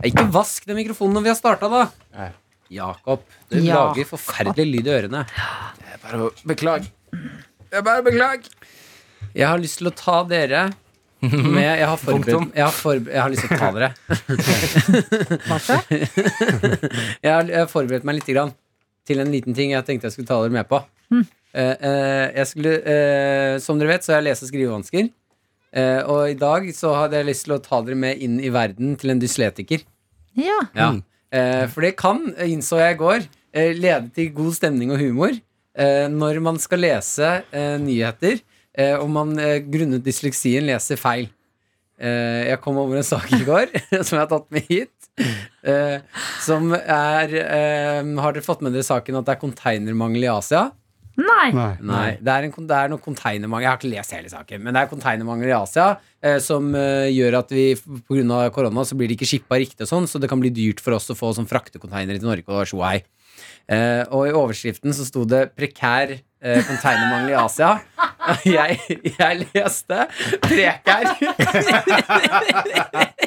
Speaker 2: Ikke vask den mikrofonen når vi har starta, da.
Speaker 3: Nei.
Speaker 2: Jakob, du
Speaker 4: Ja.
Speaker 2: lager forferdelig lyd i ørene.
Speaker 3: Bare å beklage.
Speaker 2: Jeg har lyst til å ta dere med Jeg har forberedt jeg har, forber jeg har lyst til å ta dere. jeg har jeg har forberedt meg litt grann, til en liten ting jeg tenkte jeg skulle ta dere med på. Eh, eh, jeg skulle, eh, som dere vet, så har jeg lese- og skrivevansker. Eh, og i dag så hadde jeg lyst til å ta dere med inn i verden til en dysletiker.
Speaker 4: Ja.
Speaker 2: Ja. Eh, for det kan, innså jeg i går, eh, lede til god stemning og humor eh, når man skal lese eh, nyheter, eh, og man eh, grunnet dysleksien leser feil. Eh, jeg kom over en sak i går som jeg har tatt med hit. Eh, som er eh, Har dere fått med dere saken at det er konteinermangel i Asia?
Speaker 4: Nei.
Speaker 2: Nei, det er, en, kon- det er noe konteinermangel Jeg har ikke lest hele saken, men det er konteinermangel i Asia eh, som eh, gjør at vi f- på grunn av korona så blir det ikke shippa riktig og sånn, så det kan bli dyrt for oss å få sånn fraktekonteinere til Norge og tjohei. Eh, og i overskriften så sto det 'prekær eh, konteinermangel i Asia'. Jeg, jeg leste 'prekær'.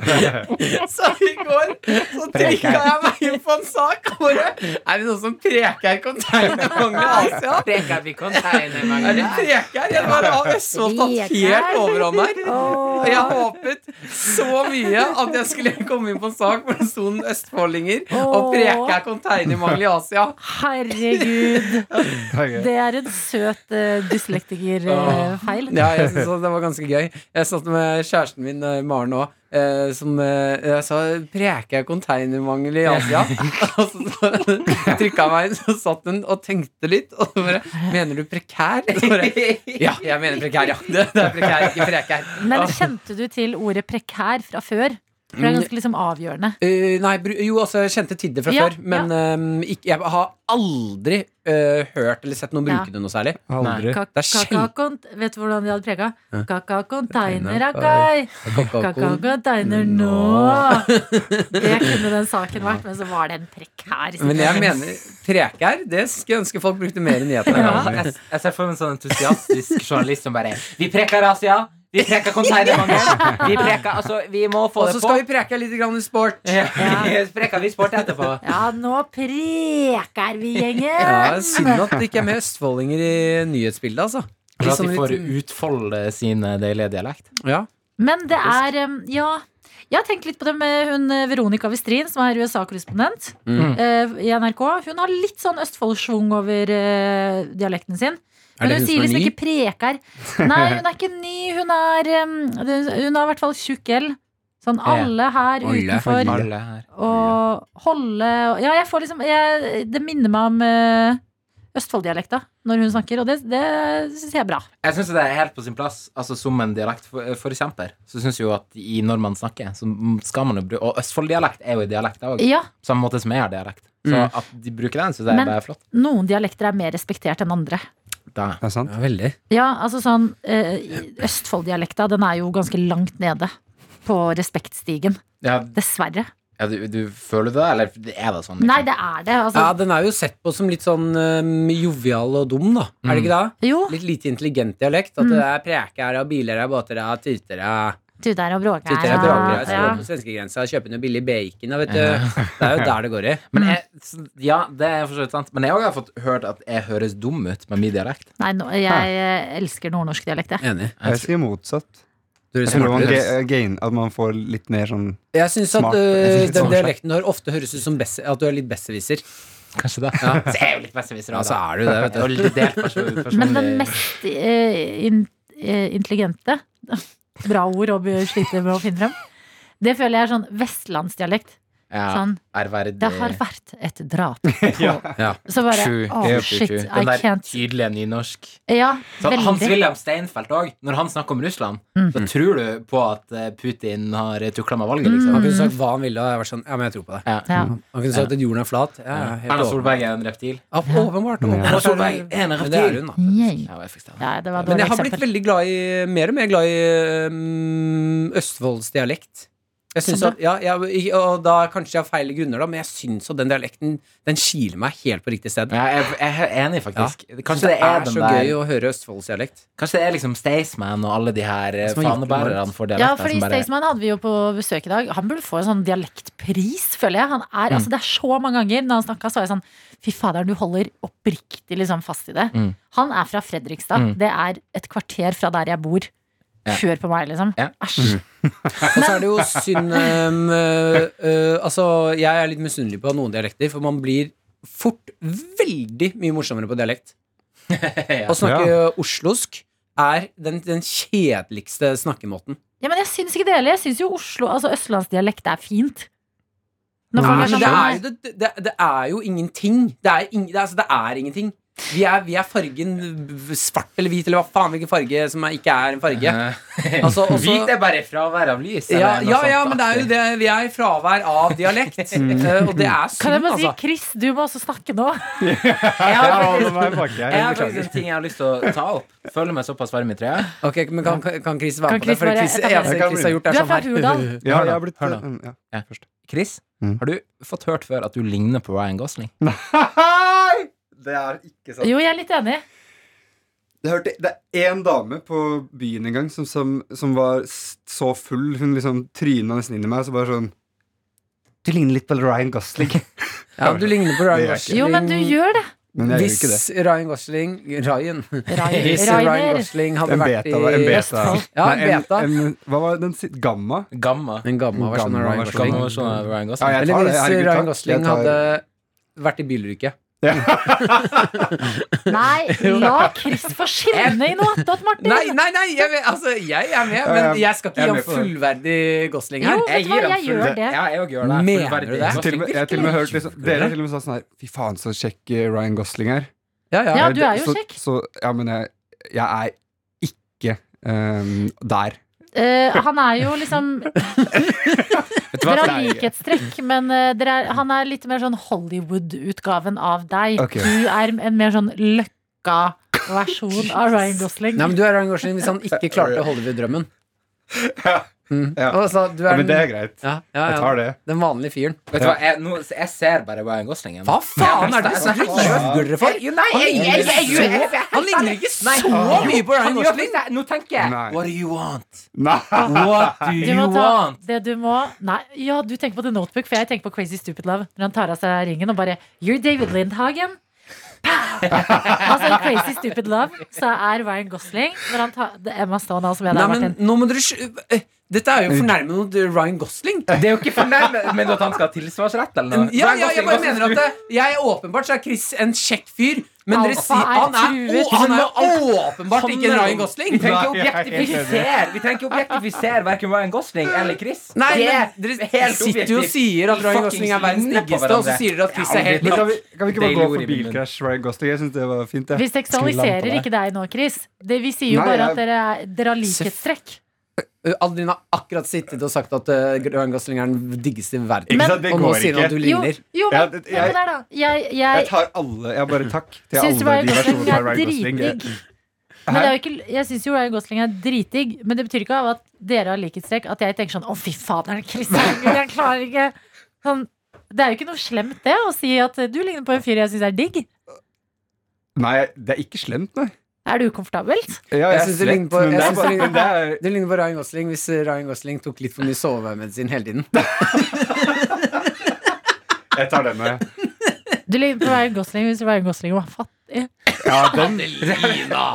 Speaker 2: Så i går så trykka jeg meg inn på en sak. og bare, Er det noen som preker konteinermangel i Asia?
Speaker 3: Preker
Speaker 2: Er
Speaker 3: vi
Speaker 2: det
Speaker 3: konteinermangel?
Speaker 2: preker? Jeg bare har Vestfold tatt helt overhånd her. Og jeg håpet så mye at jeg skulle komme inn på en sak hvor det sto en østfoldinger og preker konteinermangel i Asia.
Speaker 4: Herregud.
Speaker 5: Herregud.
Speaker 4: Det er en søt uh, dyslektikerfeil.
Speaker 2: Ja, jeg synes også det var ganske gøy. Jeg satt med kjæresten min, eh, Maren, òg. Eh, som eh, jeg sa preker jeg konteinermangel i Asia? og så, så trykka jeg meg inn, så satt hun og tenkte litt. Og så bare Mener du prekær? Så bare, ja, jeg mener prekær, ja. Det, det er prekær, ikke prekær.
Speaker 4: Men Kjente du til ordet prekær fra før? For det er ganske liksom avgjørende.
Speaker 2: Eh, nei, bru- jo, altså, jeg kjente til det fra
Speaker 4: Ja,
Speaker 2: før, men eh, ikke, jeg har aldri eh, hørt eller sett noen
Speaker 4: Ja.
Speaker 2: bruke det noe særlig.
Speaker 5: Aldri.
Speaker 4: Ka-
Speaker 2: Det er sjelden-
Speaker 4: kakakont- Vet du hvordan de hadde preka?
Speaker 2: Hæ?
Speaker 4: Kakakonteinerakei! Kakakonteiner nå! Det kunne den saken vært, men så var det en prekær situasjon.
Speaker 2: Men jeg mener prekær, det skulle jeg ønske folk brukte mer i nyhetene.
Speaker 3: Jeg, jeg ser for meg en sånn entusiastisk journalist som bare Vi preker Asia! Vi preker konteinermangel! Vi preker Altså, vi må få
Speaker 2: Og
Speaker 3: det
Speaker 2: så
Speaker 3: på!
Speaker 2: skal vi preke litt grann i sport.
Speaker 3: Ja. preker vi sport etterpå.
Speaker 4: Ja, nå preker vi,
Speaker 2: Ja,
Speaker 4: gjengen!
Speaker 2: Synd at det ikke er mer østfoldinger i nyhetsbildet, altså.
Speaker 3: For
Speaker 2: Litt
Speaker 3: at de
Speaker 2: sånn
Speaker 3: får
Speaker 2: litt-
Speaker 3: utfolde sin deilige dialekt.
Speaker 2: ja.
Speaker 4: Men det er em, Ja. Jeg har tenkt litt på det med hun eh, Veronica Westrin, som er USA-korrespondent
Speaker 2: Mm.
Speaker 4: eh, i NRK. Hun har litt sånn Østfold-schwung over eh, dialekten sin.
Speaker 2: Er
Speaker 4: Men
Speaker 2: det
Speaker 4: hun
Speaker 2: hun som
Speaker 4: sier
Speaker 2: er
Speaker 4: liksom
Speaker 2: ny?
Speaker 4: ikke preker. Nei, hun er ikke ny. Hun er um, det- Hun er i hvert fall tjukk L. Sånn alle her
Speaker 2: Alle,
Speaker 4: utenfor
Speaker 2: alle.
Speaker 3: Alle her.
Speaker 4: og holde og Ja, jeg får liksom jeg, Det minner meg om eh, Østfold-dialekta når hun snakker, og det, det syns jeg er bra.
Speaker 3: Jeg syns det er helt på sin plass. Altså Som en dialektforkjemper så syns jeg jo at i når man snakker, så skal man jo bruke Og Østfold-dialekt er jo en dialekt òg.
Speaker 4: Ja,
Speaker 3: Samme måte som jeg har dialekt. Så
Speaker 2: Mm.
Speaker 3: at de bruker den, syns jeg
Speaker 4: Men-
Speaker 3: bare er flott.
Speaker 4: noen dialekter er mer respektert enn andre.
Speaker 3: Da.
Speaker 5: Det er sant.
Speaker 2: Ja, veldig.
Speaker 4: Ja, altså sånn eh, Østfold-dialekta, den er jo ganske langt nede på respektstigen.
Speaker 3: Ja,
Speaker 4: Dessverre.
Speaker 3: ja, du, du føler det, eller er det sånn? liksom?
Speaker 4: Nei, det er det. Altså,
Speaker 2: Ja, den er jo sett på som litt sånn eh, jovial og dum, da. Er
Speaker 3: Mm.
Speaker 2: det ikke det?
Speaker 4: jo,
Speaker 2: Litt lite intelligent dialekt.
Speaker 4: Mm.
Speaker 2: At det er prekere og bilere og båtere og tytere.
Speaker 4: du der og bråker
Speaker 2: Tytere og bråkere. Står
Speaker 4: ja.
Speaker 2: på svenskegrensa og kjøper noe billig bacon, da, vet du. Det er jo der det går i.
Speaker 3: Men jeg, s- ja, det er for så vidt sant. Men jeg også har fått hørt at jeg høres dum ut med min dialekt.
Speaker 4: Nei, nå- jeg eh, elsker nordnorsk dialekt, jeg.
Speaker 2: Enig.
Speaker 5: Jeg sier motsatt.
Speaker 2: Du
Speaker 5: Jeg
Speaker 2: høres
Speaker 5: tror man
Speaker 2: smartere ut.
Speaker 5: ga- eh, gain, at man får litt mer sånn
Speaker 2: Jeg syns at
Speaker 5: Smart. Jeg
Speaker 2: øh,
Speaker 5: synes litt
Speaker 2: den
Speaker 5: smart.
Speaker 2: dialekten du har, ofte høres ut som besse, at du er litt besserwisser.
Speaker 3: Kanskje det.
Speaker 2: Ja.
Speaker 3: Så jeg er jo litt besserwisser.
Speaker 2: Ja, så er
Speaker 3: da.
Speaker 2: du det, vet
Speaker 3: Jeg er
Speaker 2: du.
Speaker 3: jo litt delt perso- personlig.
Speaker 4: Men den mest eh, in, eh, intelligente Bra ord å be- slite med å finne frem. Det føler jeg er sånn vestlandsdialekt.
Speaker 3: ja,
Speaker 4: Sånn
Speaker 3: ærverdig.
Speaker 4: 'Det har vært et drap på
Speaker 2: Ja.
Speaker 4: Så bare
Speaker 3: True.
Speaker 4: Oh
Speaker 3: Helt
Speaker 4: shit,
Speaker 3: true.
Speaker 4: I
Speaker 3: Den der
Speaker 4: can't
Speaker 3: tydelige nynorsk.
Speaker 4: Ja,
Speaker 3: Så Hans
Speaker 4: veldig. Mm.
Speaker 3: Wilhelm Steinfeld òg, når han snakker om Russland, så tror du på at eh, Putin har tukla med valget,
Speaker 2: Han
Speaker 3: liksom.
Speaker 2: kunne sagt hva han ville, og jeg var sånn Ja, men jeg tror på det.
Speaker 3: Ja.
Speaker 4: Mm. Ja.
Speaker 2: Han kunne sagt at jorden er flat. Ja, ja,
Speaker 3: Erna
Speaker 2: helt åpenbart.
Speaker 3: Solberg er en reptil.
Speaker 2: Ja, åpenbart.
Speaker 3: Erna
Speaker 2: åpenbart er
Speaker 3: Solberg
Speaker 2: det-
Speaker 3: er en
Speaker 2: Men det er
Speaker 3: reptil.
Speaker 2: hun, da.
Speaker 4: Ja,
Speaker 3: Ja, jeg fikk det.
Speaker 4: det var et
Speaker 2: Men
Speaker 4: dårlig
Speaker 2: jeg har blitt
Speaker 4: eksempel.
Speaker 2: veldig glad i mer og mer glad i um, Østfoldsdialekt. Jeg synes
Speaker 4: Som
Speaker 2: at, ja, jeg, og da kanskje jeg har feil grunner, da, men jeg syns at den dialekten Den kiler meg helt på riktig sted.
Speaker 3: Ja, jeg, jeg er enig, faktisk.
Speaker 2: Så
Speaker 3: Kanskje det er, den
Speaker 2: så
Speaker 3: der
Speaker 2: gøy å høre Østfoldsdialekt.
Speaker 3: Kanskje det er liksom Staysman og alle de her eh,
Speaker 2: Som har gjort
Speaker 3: fanebærerne
Speaker 2: noe.
Speaker 3: for
Speaker 4: Ja,
Speaker 3: dialekter
Speaker 4: fordi
Speaker 3: som bare
Speaker 4: Staysman hadde vi jo på besøk i dag. Han burde få en sånn dialektpris, føler jeg. Han er, altså, det er så mange ganger når han snakka, så var jeg sånn Fy fader, du holder oppriktig liksom fast i det.
Speaker 3: Mm.
Speaker 4: Han er fra Fredrikstad.
Speaker 3: Mm.
Speaker 4: Det er et kvarter fra der jeg bor.
Speaker 3: Ja.
Speaker 4: Hør på meg, liksom.
Speaker 3: Ja.
Speaker 4: Æsj.
Speaker 2: Og så er det jo synd um, øh, øh, Altså, jeg er litt misunnelig på noen dialekter, for man blir fort veldig mye morsommere på dialekt. Å snakke oslosk er den, den kjedeligste snakkemåten.
Speaker 4: Ja, men jeg syns ikke det heller. Jeg syns jo Oslo, altså østlandsdialekt, er fint. Når folk
Speaker 5: Nei,
Speaker 4: er
Speaker 2: Men
Speaker 4: sånn,
Speaker 2: det er,
Speaker 4: «Nei,
Speaker 2: jo, det, det, det er jo ingenting. Det er, ing, det, er- altså, det er ingenting. Vi er, vi er fargen v- svart eller hvit, eller hva faen hvilken farge som er, ikke er en
Speaker 5: Eh,
Speaker 2: farge. Altså, også-
Speaker 3: Hvit Eh, er bare fravær av lys.
Speaker 2: Ja, ja, ja, men det er jo det. Vi er i fravær av dialekt. Eh, Og det er
Speaker 4: Kan jeg
Speaker 2: synd,
Speaker 4: bare si
Speaker 2: altså.
Speaker 4: Chris, du må også snakke nå.
Speaker 3: Jeg
Speaker 5: Jeg
Speaker 3: har
Speaker 5: holder
Speaker 3: faktisk,
Speaker 5: meg baki her.
Speaker 3: jeg
Speaker 5: jeg
Speaker 3: har faktisk en
Speaker 5: Beklager.
Speaker 3: ting jeg har lyst til å ta opp. Føler meg såpass varm i trøya.
Speaker 2: Ok, men kan, kan- kan Chris være
Speaker 4: Kan
Speaker 2: med på det?
Speaker 4: Chris
Speaker 2: For
Speaker 4: bare
Speaker 2: Chris,
Speaker 4: etablere-
Speaker 2: eneste
Speaker 5: Jeg kan
Speaker 2: Chris har
Speaker 5: bli med.
Speaker 2: gjort, er
Speaker 4: Du er fra
Speaker 2: sånn her.
Speaker 4: Hurdal.
Speaker 5: Ja,
Speaker 3: Hør nå,
Speaker 5: jeg har blitt
Speaker 3: hør nå.
Speaker 5: mm, ja,
Speaker 3: Ja.
Speaker 5: først.
Speaker 3: Chris,
Speaker 5: Mm.
Speaker 3: har du fått hørt før at du ligner på Ryan Gosling?
Speaker 5: Det er ikke sant.
Speaker 4: Jo, jeg er litt enig.
Speaker 5: Jeg hørte, det er én dame på byen en gang som, som, som var s- så full. Hun liksom tryna nesten inn i meg og så bare sånn Du ligner litt på Ryan Gosling.
Speaker 2: Ja, du ligner på
Speaker 5: Det
Speaker 2: Ryan
Speaker 5: gjør jeg
Speaker 2: Gosling.
Speaker 4: Jo, men du gjør det.
Speaker 5: Men jeg gjør ikke det.
Speaker 2: Hvis Ryan Gosling Ryan. Hvis Ryan
Speaker 4: Rainer.
Speaker 2: Gosling hadde
Speaker 5: En
Speaker 2: vært
Speaker 5: beta. var- En
Speaker 2: i
Speaker 5: beta.
Speaker 4: Østfold.
Speaker 2: Ja, en
Speaker 5: Nei,
Speaker 2: beta.
Speaker 5: En, en, hva var den si- Gamma?
Speaker 3: Gamma.
Speaker 2: En gammel versjon av
Speaker 5: Gammel
Speaker 2: Ryan
Speaker 5: versjon.
Speaker 2: Gosling.
Speaker 3: Gamma versjon av Ryan
Speaker 5: Ja,
Speaker 3: Gosling.
Speaker 5: jeg tar
Speaker 2: Eller
Speaker 5: det.
Speaker 2: hvis
Speaker 5: Herregud,
Speaker 2: Ryan
Speaker 5: takk.
Speaker 2: Gosling
Speaker 5: Jeg tar-
Speaker 2: hadde vært i bilulykke.
Speaker 4: Nei, la Chris få skinne i noe attåt, Martin.
Speaker 2: Nei, nei, nei! Jeg, vet- altså, jeg er med,
Speaker 5: Ja,
Speaker 2: men
Speaker 5: jeg-
Speaker 2: jeg skal ikke
Speaker 5: jeg
Speaker 2: gi
Speaker 5: er
Speaker 2: ham
Speaker 5: med på det.
Speaker 2: fullverdig Gosling
Speaker 4: Jo,
Speaker 2: her.
Speaker 4: vet du hva, jeg gjør
Speaker 3: full-
Speaker 4: det.
Speaker 3: Ja, jeg òg gjør det.
Speaker 2: Mener
Speaker 3: Fullverdig
Speaker 2: du det?
Speaker 5: Jeg har til og med, jeg har til og med hørt liksom, Dere har til og med sagt sånn her Fy faen, så kjekk eh, Ryan Gosling er.
Speaker 2: Ja, ja.
Speaker 4: Ja,
Speaker 5: Jeg-
Speaker 4: du er jo
Speaker 5: så,
Speaker 4: kjekk.
Speaker 5: Så, ja, men jeg, jeg er ikke ehm, der.
Speaker 4: Eh, han er jo liksom
Speaker 3: Vet du hva?
Speaker 4: Dere har
Speaker 3: Nei.
Speaker 4: likhetstrekk, men eh, dere er, han er litt mer sånn Hollywood-utgaven av deg.
Speaker 5: Ok.
Speaker 4: Du er en mer sånn Løkka-versjon av Ryan Gosling.
Speaker 2: Nei, men du er Ryan Gosling hvis han ikke klarte Hollywood-drømmen.
Speaker 5: Ja.
Speaker 2: Mm.
Speaker 5: Ja.
Speaker 2: Altså, du
Speaker 5: Ja,
Speaker 2: er
Speaker 5: men det er
Speaker 2: den,
Speaker 5: greit.
Speaker 2: ja, ja,
Speaker 5: Jeg
Speaker 2: ja,
Speaker 5: tar det.
Speaker 2: den vanlige fyren.
Speaker 3: Vet du hva? Jeg, nå, jeg ser bare Ryan Gosling igjen.
Speaker 2: Hva faen er det
Speaker 3: Jeg-
Speaker 2: som du gjøvler dere for?
Speaker 3: Jo, Nei, jeg, jeg, jeg, jeg, jeg, jeg, jeg,
Speaker 2: Han ligner ikke så
Speaker 3: Nei.
Speaker 2: mye på Ryan Gosling.
Speaker 3: Nå tenker jeg
Speaker 5: Nei.
Speaker 3: What do you want? Ah,
Speaker 5: Nei.
Speaker 3: What do
Speaker 4: Du må
Speaker 3: you
Speaker 4: ta
Speaker 3: want?
Speaker 4: det du må Nei, ja, du tenker på The Notebook, for jeg tenker på Crazy Stupid Love. Når han tar av seg ringen og bare You're David Lindhagen. Pow! altså, i Crazy Stupid Love så er Ryan Gosling når han tar det er Emma Stone, altså med
Speaker 2: Nei,
Speaker 4: deg,
Speaker 2: men
Speaker 4: Martin.
Speaker 2: nå må dere sj- eh, Dette er jo fornærmende mot Ryan Gosling.
Speaker 3: Det er jo ikke fornærmet Men at han skal ha tilsvarsrett, eller noe?
Speaker 2: Ja,
Speaker 3: Ryan
Speaker 2: ja, jeg
Speaker 3: Gosling,
Speaker 2: bare
Speaker 3: hva synes
Speaker 2: mener at
Speaker 3: du?
Speaker 2: det- jeg er åpenbart så er Chris en kjekk fyr. Men dere
Speaker 4: Alfa
Speaker 2: sier
Speaker 4: er
Speaker 2: han er,
Speaker 4: truet.
Speaker 2: å, han er åpenbart
Speaker 3: Han
Speaker 2: ikke en
Speaker 3: er-
Speaker 2: Ryan Gosling.
Speaker 3: Vi trenger ikke
Speaker 5: Nei, jeg er helt
Speaker 3: objektifisere Vi trenger ikke objektifisere hverken Ryan Gosling eller Chris.
Speaker 2: Nei,
Speaker 3: Det
Speaker 2: men
Speaker 3: er
Speaker 2: dere
Speaker 3: helt
Speaker 2: sitter jo og
Speaker 3: objektivt.
Speaker 2: sier at
Speaker 3: Vi
Speaker 2: Ryan
Speaker 3: fucking
Speaker 2: Gosling er verdens
Speaker 3: ligner på
Speaker 2: diggeste, og så
Speaker 3: hverandre.
Speaker 2: sier dere at Chris
Speaker 3: Ja,
Speaker 2: er helt
Speaker 5: Men kan, vi, kan vi ikke bare
Speaker 3: Daily
Speaker 5: gå
Speaker 3: ord i
Speaker 5: for
Speaker 3: min munn.
Speaker 5: bilkrasj Ryan Gosling? Jeg synes det var fint.
Speaker 4: Vi
Speaker 5: Jeg.
Speaker 4: seksualiserer
Speaker 3: deg.
Speaker 4: ikke deg nå, Chris. Det, vi sier jo
Speaker 5: Nei,
Speaker 4: bare
Speaker 5: jeg-
Speaker 4: at dere, er- dere har likhetstrekk.
Speaker 2: Uh, Adeline har akkurat sittet og sagt at uh, Ryan Gosling er den diggeste i verden.
Speaker 5: Ikke sant, det
Speaker 2: og nå
Speaker 5: går
Speaker 2: sier han
Speaker 5: ikke.
Speaker 2: at du
Speaker 4: Jo,
Speaker 2: ligner.
Speaker 4: jo,
Speaker 5: Ja,
Speaker 4: men
Speaker 5: det-
Speaker 4: hør på
Speaker 5: jeg-
Speaker 4: der, da. Jeg, jeg,
Speaker 5: Jeg tar alle. Jeg bare takk til
Speaker 4: Syns
Speaker 5: alle
Speaker 4: Ryan
Speaker 5: de
Speaker 4: Gosling
Speaker 5: versjonene
Speaker 4: er
Speaker 5: av Ryan Gosling.
Speaker 4: dritdigg? Men det er jo ikke, jeg syns jo Ryan Gosling er dritdigg, men det betyr ikke av at dere har likhetstrekk at jeg tenker sånn Å, fy fader, Kristian, jeg klarer ikke sånn, Det er jo ikke noe slemt, det, å si at du ligner på en fyr jeg syns er digg.
Speaker 5: Nei, det er ikke slemt, nei.
Speaker 4: Er det ukomfortabelt?
Speaker 5: Ja,
Speaker 2: Jeg
Speaker 5: jeg er
Speaker 2: synes det ligner
Speaker 5: slett,
Speaker 2: på-
Speaker 5: men
Speaker 2: jeg
Speaker 5: det er
Speaker 2: synes
Speaker 5: bare
Speaker 2: det-
Speaker 5: men det er,
Speaker 2: Du ligner på Ryan Gosling hvis uh, Ryan Gosling tok litt for mye sovemedisin hele tiden.
Speaker 5: Jeg tar den med.
Speaker 4: Du ligner på Ryan Gosling hvis Ryan Gosling var fattig.
Speaker 5: Ja, den,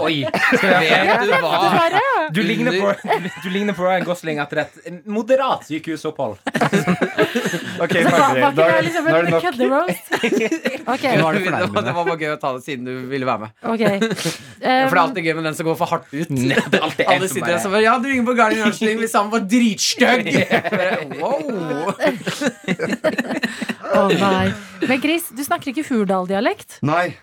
Speaker 3: Oi. Vet du
Speaker 5: Ah,
Speaker 3: hva?
Speaker 4: Dessverre.
Speaker 3: Du ligner, på, du ligner på Ryan Gosling etter et moderat sykehusopphold.
Speaker 5: ok,
Speaker 4: Så
Speaker 5: ferdig.
Speaker 4: var
Speaker 5: Da
Speaker 4: var ikke det liksom
Speaker 5: da er
Speaker 4: en
Speaker 5: det nok.
Speaker 4: kødderoast? Ok.
Speaker 2: Det var,
Speaker 5: Nå er det fornærmende.
Speaker 2: bare gøy å ta det siden du ville være med.
Speaker 4: ok
Speaker 2: For det er
Speaker 4: Um,
Speaker 2: alltid gøy med den som går for hardt ut.
Speaker 3: Nei, det er alltid en
Speaker 2: Alle
Speaker 3: som
Speaker 2: sitter
Speaker 3: bare-
Speaker 2: der som bare Ja, du ringer på Garden Gosling hvis han var dritstygg! Bare, Wow.
Speaker 4: å nei. Men Chris, du snakker ikke Hurdal-dialekt.
Speaker 5: Nei,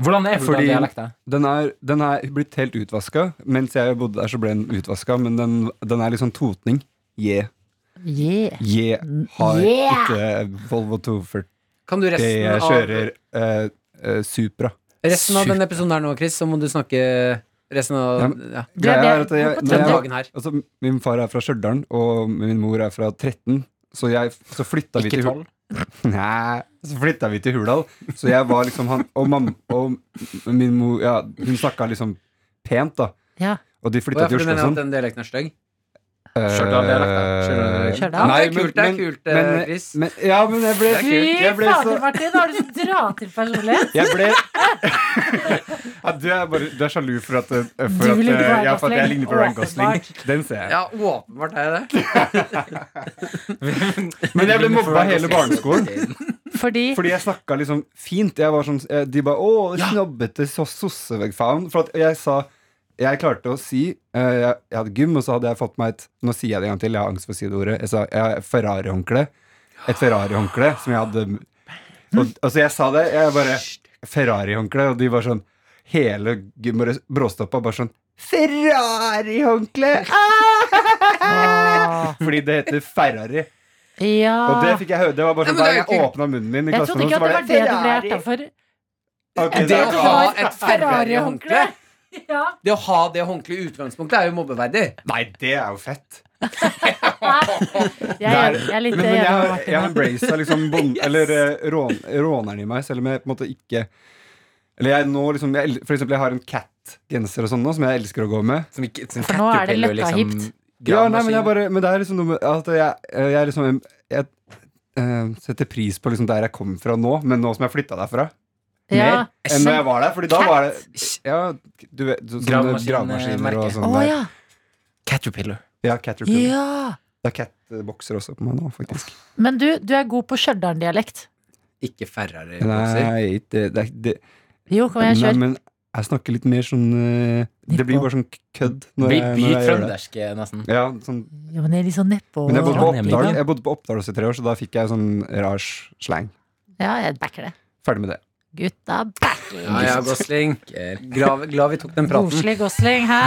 Speaker 3: Hvordan er
Speaker 5: Fordi-
Speaker 3: dialekten?
Speaker 5: den er, den er blitt helt utvaska. Mens jeg bodde der, så ble den utvaska, men den, den er litt sånn totning. Je.
Speaker 4: Yeah.
Speaker 5: Je har
Speaker 4: Yeah.
Speaker 5: ikke Volvo 240.
Speaker 2: Kan du resten
Speaker 5: Jeg
Speaker 2: av
Speaker 5: kjører eh, eh, Supra.
Speaker 2: Resten av
Speaker 3: Super.
Speaker 2: denne episoden her nå, Chris, så må du snakke resten av
Speaker 5: Ja,
Speaker 2: ja.
Speaker 5: Greia er at jeg, når jeg,
Speaker 2: Trøndelagen her.
Speaker 5: altså, min far er fra Stjørdal, og min mor er fra 13. Så, jeg, så flytta vi
Speaker 3: Ikke
Speaker 5: til Hurdal.
Speaker 3: tolv?
Speaker 5: Nei, så flytta vi til Hurdal. Så jeg var liksom han Og mamma og min mor ja, Hun snakka liksom pent, da.
Speaker 4: Ja.
Speaker 5: Og de
Speaker 2: Å, ja,
Speaker 5: flytta
Speaker 2: for
Speaker 5: til
Speaker 2: du
Speaker 5: Oslo og
Speaker 2: mener at
Speaker 5: sånn.
Speaker 2: den dialekten er stygg?
Speaker 5: Eh,
Speaker 2: Stjørdal-dialekt,
Speaker 4: da.
Speaker 5: nei,
Speaker 2: Ja, det er kult, det er kult, eh,
Speaker 5: men-
Speaker 2: Chris.
Speaker 5: Men, ja, men jeg ble,
Speaker 4: Fy
Speaker 5: jeg ble så
Speaker 4: fader, Martin, har du så dra til personlighet?
Speaker 5: jeg ble, ja, du, er bare, du er sjalu for at, eh, for
Speaker 4: Du
Speaker 5: at,
Speaker 4: ligner på
Speaker 5: eh,
Speaker 4: Ryan
Speaker 5: ja, for at jeg
Speaker 4: Gosling.
Speaker 5: ligner på Ryan Gosling.
Speaker 4: Åpenbart.
Speaker 5: Den ser jeg.
Speaker 2: Ja, åpenbart er jeg det.
Speaker 5: Men jeg ble mobba hele barneskolen.
Speaker 4: Fordi
Speaker 5: Fordi jeg snakka liksom fint. Jeg var sånn, eh, de bare 'Å, snobbete så sosseveggfaen'. For at jeg sa Jeg klarte å si eh, jeg, jeg hadde gym, og så hadde jeg fått meg et Nå sier jeg det en gang til, jeg har angst for å si det ordet. Jeg sa jeg har et Ferrari-håndkle. Et Ferrari-håndkle som jeg hadde og, Altså, jeg sa det, jeg bare Ferrari-håndkle, og de var sånn Hele gymmet bråstoppa bare sånn Ferrari-håndkle! Ah! Fordi det heter Ferrari.
Speaker 4: Ja.
Speaker 5: Og det fikk jeg høre. Det var bare
Speaker 2: Nei,
Speaker 5: sånn
Speaker 2: men
Speaker 5: Hver
Speaker 2: det er jo
Speaker 5: gang jeg
Speaker 2: ikke-
Speaker 5: åpna munnen min i
Speaker 4: Jeg trodde
Speaker 5: klasserommet,
Speaker 4: ikke
Speaker 5: så
Speaker 4: at det
Speaker 5: var
Speaker 4: var
Speaker 5: det
Speaker 4: det du ble hjerta for.
Speaker 5: Ok,
Speaker 2: Det
Speaker 5: da-
Speaker 2: å
Speaker 4: det
Speaker 2: ha
Speaker 4: var
Speaker 2: et Ferrari-håndkle
Speaker 4: Ja.
Speaker 2: Det å ha det håndkleet i utgangspunktet er jo mobbeverdig.
Speaker 5: Nei, det er jo fett.
Speaker 4: Jeg, er, jeg er litt eh,
Speaker 5: men, men jeg,
Speaker 4: enig med
Speaker 5: har- jeg har
Speaker 4: Martin. her.
Speaker 5: embraced liksom bond, eller eh, rån, råneren i meg, selv om jeg på en måte ikke Eller jeg nå liksom jeg, el- For eksempel, jeg har en cat-genser og sånn nå, som jeg elsker å gå med.
Speaker 3: Som ikke, som
Speaker 4: For nå er det
Speaker 3: caterpillar,
Speaker 4: løkka
Speaker 3: liksom,
Speaker 4: hipt.
Speaker 5: Ja, nei, men, jeg
Speaker 3: gravemaskin.
Speaker 5: bare, men det er liksom noe med at jeg, jeg er liksom en- Jeg eh, setter pris på liksom der jeg kom fra nå, men nå som jeg flytta derfra.
Speaker 4: Ja.
Speaker 5: Mer enn når jeg var der. Fordi da
Speaker 4: Cat?
Speaker 5: var det Ja, du vet sånne
Speaker 3: Gravemaskin,
Speaker 5: gravemaskiner og
Speaker 3: merke.
Speaker 5: sånn.
Speaker 4: Å
Speaker 5: der.
Speaker 4: ja.
Speaker 3: Caterpillar.
Speaker 5: Ja, Caterpillar.
Speaker 4: ja.
Speaker 5: Det er cat-bokser også på meg nå, faktisk.
Speaker 4: Men du, du er god på Stjørdal-dialekt.
Speaker 2: Ikke Ferrari-bokser.
Speaker 5: Nei, det, det, er- det
Speaker 4: Jo, kom igjen,
Speaker 5: Nei,
Speaker 4: kjør.
Speaker 5: men jeg snakker litt mer sånn eh, Det blir bare sånn kødd når jeg,
Speaker 3: Blir
Speaker 5: når
Speaker 3: blir
Speaker 5: jeg gjør det.
Speaker 3: trøndersk, eh, nesten.
Speaker 5: Ja, sånn.
Speaker 4: Jo, men det er litt sånn nedpå.
Speaker 5: Men jeg bodde, på
Speaker 3: Trondheim,
Speaker 5: Oppdal,
Speaker 3: ikke?
Speaker 5: jeg bodde på Oppdal også i tre år, så da fikk jeg sånn rar slang.
Speaker 4: Ja, jeg backer det.
Speaker 5: Ferdig med det.
Speaker 4: Gutta
Speaker 2: Ja, ja, Gosling. Glad, glad vi tok den praten.
Speaker 4: Koselig Gosling, hæ?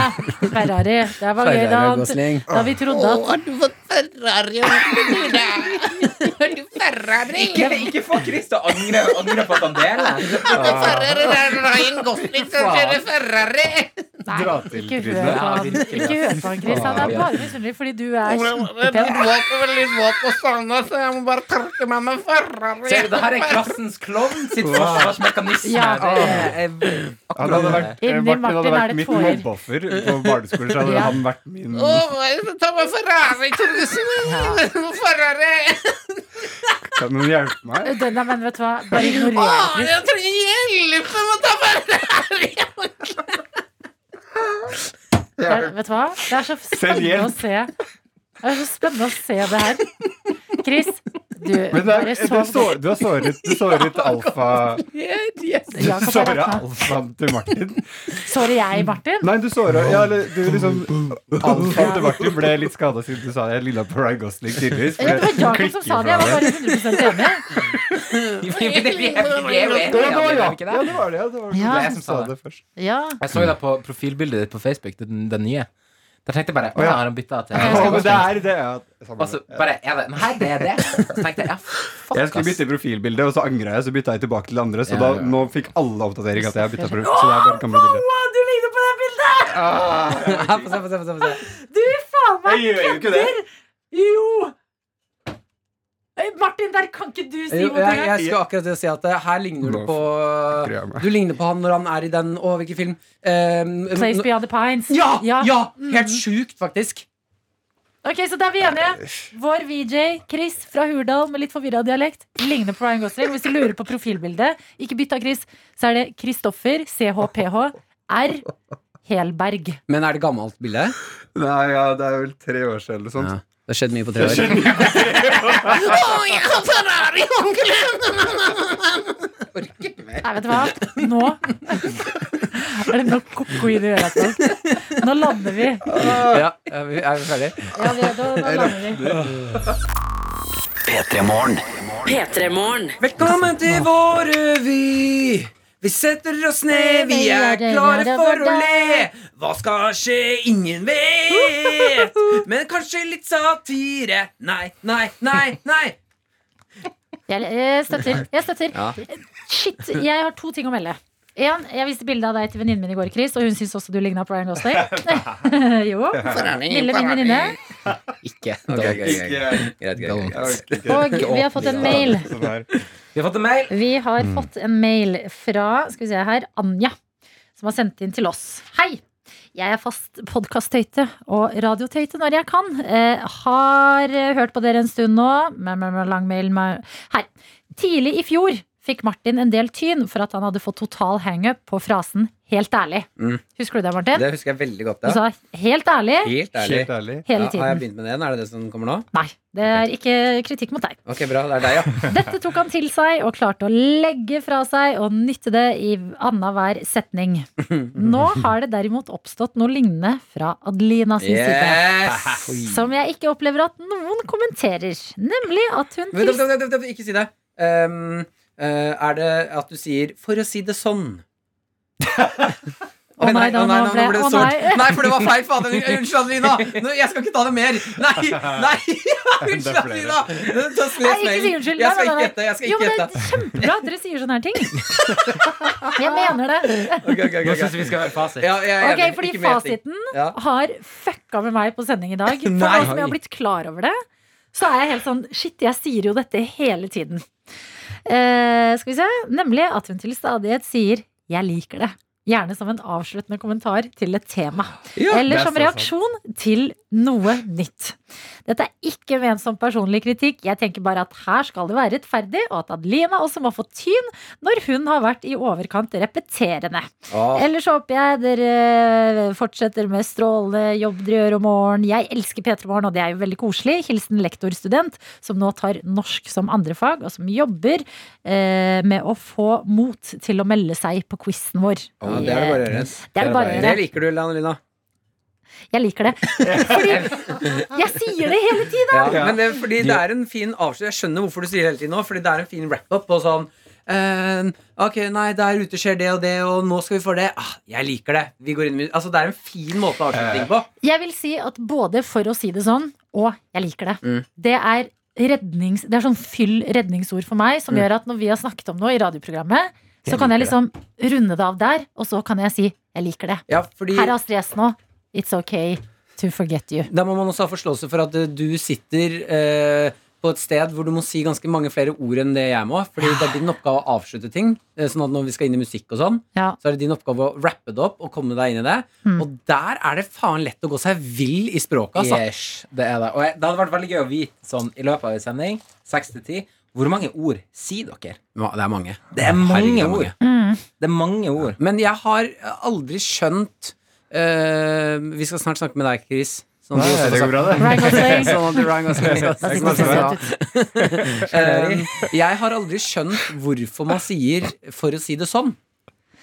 Speaker 4: Ferrari. Det var gøy da,
Speaker 2: Ferrari og Gosling.
Speaker 4: da vi trodde at
Speaker 3: Ikke, ikke få Chris til å angre, angre på at han deler.
Speaker 4: Nei, ikke hør på han. Ikke hør på han, Chris. Han er bare misunnelig fordi du er kjempepen.
Speaker 3: Ser du, det her er klassens klovn sitt forsvarsmekanisme.
Speaker 4: Ja.
Speaker 3: Det er
Speaker 5: Han hadde vært, eh,
Speaker 4: Inni
Speaker 5: Martin hadde
Speaker 4: Martin er
Speaker 5: vært
Speaker 4: det
Speaker 5: mitt
Speaker 4: tårer.
Speaker 5: mobbeoffer på barneskolen. Så hadde
Speaker 4: Ja.
Speaker 5: han vært min Kan noen hjelpe meg?
Speaker 4: Den der, men vet du hva, bare ignorer Chris. Det er, vet du hva? Det er så spennende å
Speaker 5: hjelp.
Speaker 4: se. Det er så spennende å se det her. Chris, du
Speaker 5: Men det er,
Speaker 4: bare
Speaker 5: det er
Speaker 4: sov.
Speaker 5: sår, du har såret, du såret alfa Du
Speaker 4: Jakob har
Speaker 5: såret
Speaker 4: rakna.
Speaker 5: alfaen til Martin.
Speaker 4: Sorry, jeg, Martin.
Speaker 5: Nei, du såra ja, eller du liksom Alfaen til Martin ble litt skada siden du sa jeg lilla på Ryan Gosling tidligvis.
Speaker 4: Ja, det var Jakob som sa det. Jeg var bare 100 enig.
Speaker 5: Ja, det var
Speaker 3: jo
Speaker 5: Jakob. Ja, det var det. Ja, det var det.
Speaker 4: Ja.
Speaker 5: Det er jeg som sa det først.
Speaker 4: Ja.
Speaker 3: Jeg så deg på profilbildet ditt på Facebook, den, den nye. Der tenkte jeg bare
Speaker 5: ja.
Speaker 3: Å, har han bytta til
Speaker 5: Å, men det er det, ja.
Speaker 3: Og
Speaker 2: Altså,
Speaker 3: så bare er det Nei, det er det. Så tenkte jeg ja, fuck,
Speaker 5: Jeg skulle
Speaker 3: ass.
Speaker 5: bytte profilbilde, og så angra jeg. Så bytta jeg tilbake til det andre. Så
Speaker 3: Ja,
Speaker 5: da,
Speaker 3: ja.
Speaker 5: nå fikk alle oppdatering at jeg har bytta profil. Så det er bare kamerabilde.
Speaker 4: Du ligner på det bildet!
Speaker 2: Ja, få se, få se, få se, få se.
Speaker 4: Du faen meg
Speaker 5: Jeg gjør jo ikke det.
Speaker 4: Jo! Øy, Martin, der kan ikke du si
Speaker 2: Jo,
Speaker 4: noe.
Speaker 2: Jeg,
Speaker 4: til
Speaker 2: jeg skulle akkurat til å si at eh, her ligner du på
Speaker 5: Nå f-
Speaker 2: Du ligner på han når han er i den Å, hvilken film? Eh,
Speaker 4: det. Place Beyond the Pines.
Speaker 2: ja,
Speaker 4: Ja.
Speaker 2: ja! Helt sjukt, faktisk.
Speaker 4: Ok, Så da er vi enige. Vår VJ, Chris fra Hurdal med litt forvirra dialekt, ligner på Ryan Gosling. Hvis du lurer på profilbildet, ikke bytt av Chris, så er det Kristoffer, CHPH, R, Helberg.
Speaker 2: Men er det gammelt bilde?
Speaker 5: Nei, ja, det er vel tre år siden eller noe sånt.
Speaker 2: Ja. Det har skjedd mye på tre år.
Speaker 4: Nei, vet du hva? Nå er det nok koko i det øret. folk. Nå lander vi.
Speaker 2: Ja, er vi er vi ferdige?
Speaker 4: Ja, vi, da, nå lander vi.
Speaker 6: P3-morgen.
Speaker 2: Velkommen til vår revy. Vi setter oss ned, vi er klare for å le. Hva skal skje, ingen vet. Men kanskje litt satire. Nei, nei, nei, nei.
Speaker 4: Jeg, jeg støtter. Jeg støtter. Shit, jeg har to ting å melde. En, jeg viste bilde av deg til venninnen min i går, Chris, og hun syns også du ligna på Ryan Gosling. jo. Lille min venninne.
Speaker 3: Ikke.
Speaker 5: Ikke-
Speaker 2: Greit,
Speaker 3: greit.
Speaker 5: jeg orker ikke.
Speaker 4: Og vi har fått en mail.
Speaker 5: Sånn her.
Speaker 3: Vi har fått en mail.
Speaker 4: Vi har
Speaker 2: Mm.
Speaker 4: fått en mail fra skal vi se her, Anja, som har sendt inn til oss. Hei! Jeg er fast podkast-tøyte og radiotøyte når jeg kan. Eh, har eh, hørt på dere en stund nå. Men, men, men, lang mail men- Her. Tidlig i fjor fikk Martin en del tyn for at han hadde fått total hangup på frasen 'helt ærlig'.
Speaker 2: Mm.
Speaker 4: Husker du det, Martin?
Speaker 2: Det husker jeg veldig godt.
Speaker 4: Du
Speaker 2: Ja.
Speaker 4: sa 'helt ærlig'
Speaker 2: Helt ærlig.
Speaker 5: Helt ærlig.
Speaker 2: Ja,
Speaker 4: hele
Speaker 2: har jeg
Speaker 4: tiden.
Speaker 2: begynt med det igjen? Er det det som kommer nå?
Speaker 4: Nei, det er ikke kritikk mot deg.
Speaker 2: Ok, bra. Det er deg, ja.
Speaker 4: Dette tok han til seg og klarte å legge fra seg og nytte det i annenhver setning. Nå har det derimot oppstått noe lignende fra Adelina sin side.
Speaker 2: Yes!
Speaker 4: Som jeg ikke opplever at noen kommenterer. Nemlig at hun
Speaker 2: Vent, vent,
Speaker 4: til...
Speaker 2: vent, vent, vent, ikke si det. Um, eh, er det at du sier 'for å si det sånn'?
Speaker 4: Å nei, da,
Speaker 2: å
Speaker 4: nå ble- å
Speaker 2: det sort.
Speaker 4: nei.
Speaker 2: nei, for det var feil. Fader. Unnskyld, Adelina. Nå, jeg skal ikke ta det mer. Nei, nei. Unnskyld, Adelina. Ta les
Speaker 4: Nei, ikke si
Speaker 2: mailen.
Speaker 4: unnskyld.
Speaker 2: Jeg
Speaker 4: Nei,
Speaker 2: skal
Speaker 4: nei,
Speaker 2: ikke
Speaker 4: nei.
Speaker 2: gjette. Jeg skal
Speaker 4: Jo,
Speaker 2: ikke
Speaker 4: men det
Speaker 2: gjette.
Speaker 4: er kjempebra at dere sier sånne her ting. Jeg mener det.
Speaker 2: Ok, ok, ok,
Speaker 3: Nå
Speaker 2: ok.
Speaker 3: syns vi skal høre fasit.
Speaker 2: Ja, jeg er
Speaker 4: Ok,
Speaker 2: enig.
Speaker 4: fordi
Speaker 2: Ikke mer gjetting.
Speaker 4: fasiten
Speaker 2: Ja.
Speaker 4: har fucka med meg på sending i dag. For
Speaker 2: Nei.
Speaker 4: nå som jeg har blitt klar over det, så er jeg helt sånn Shit, jeg sier jo dette hele tiden. Eh, skal vi se. Nemlig at hun til stadighet sier 'jeg liker det'. Gjerne som en avsluttende kommentar til et tema.
Speaker 2: Ja,
Speaker 4: Eller
Speaker 5: det er
Speaker 4: som
Speaker 5: så
Speaker 4: reaksjon til noe nytt. Dette er ikke ment som personlig kritikk. Jeg tenker bare at her skal det være rettferdig, og at Adelina også må få tyn når hun har vært i overkant repeterende.
Speaker 2: Åh,
Speaker 4: Ellers håper jeg dere eh, fortsetter med strålende jobb dere gjør om morgenen. Jeg elsker P3 Morgen, og det er jo veldig koselig. Hilsen lektorstudent, som nå tar norsk som andrefag, og som jobber eh, med å få mot til å melde seg på quizen vår.
Speaker 2: ja, det er det bare å gjøre.
Speaker 4: Det er det bare å
Speaker 2: Det
Speaker 4: gjøre.
Speaker 2: liker du, Adelina.
Speaker 4: Jeg liker det. Fordi jeg sier det hele tiden!
Speaker 2: Ja, men det, fordi det er en fin avslutning. Jeg skjønner hvorfor du sier det hele tiden nå, fordi det er en fin wrap-up på sånn eh, Ok, nei, der ute skjer det og det, og nå skal vi få det. Ah, jeg liker det. Vi går inn i Altså, det er en fin måte å avslutte ting på.
Speaker 4: Jeg vil si at både for å si det sånn, og jeg liker det.
Speaker 2: Mm.
Speaker 4: Det er rednings, det er sånn fyll redningsord for meg, som
Speaker 2: Mm.
Speaker 4: gjør at når vi har snakket om noe i radioprogrammet, så
Speaker 5: Jeg
Speaker 4: kan jeg
Speaker 5: liker
Speaker 4: liksom runde det av der, og så kan jeg si 'jeg liker det'.
Speaker 2: Ja, fordi
Speaker 4: Her er Astrid S nå. It's okay to forget you.
Speaker 2: Da må man også ha forståelse for at eh, du sitter eh, på et sted hvor du må si ganske mange flere ord enn det jeg må. Fordi det er din oppgave å avslutte ting. eh, Sånn at når vi skal inn i musikk og sånn,
Speaker 4: Ja.
Speaker 2: så er det din oppgave å rappe det opp og komme deg inn i det.
Speaker 4: Mm.
Speaker 2: Og der er det faen lett å gå seg vill i språket, altså.
Speaker 3: Yes, det er det. Og jeg, det hadde vært veldig gøy å vite sånn i løpet av en sending, seks til ti, hvor mange ord sier dere?
Speaker 2: Ma- Det er mange.
Speaker 3: Det er
Speaker 2: Herregud,
Speaker 3: mange
Speaker 2: det er
Speaker 3: ord.
Speaker 4: Mm.
Speaker 3: Det er mange ord.
Speaker 2: Men jeg har aldri skjønt eh, Vi skal snart snakke med deg, Chris. Sånn at du også får
Speaker 5: det går
Speaker 2: sagt-
Speaker 5: bra, det.
Speaker 4: Ryan Gosling.
Speaker 2: Sånn at du- Ryan Gosling skal-
Speaker 4: Da sitter
Speaker 2: skal
Speaker 4: det så
Speaker 2: snakke med
Speaker 4: søt
Speaker 2: deg.
Speaker 4: ut.
Speaker 2: Eh, jeg har aldri skjønt hvorfor man sier 'for å si det sånn'.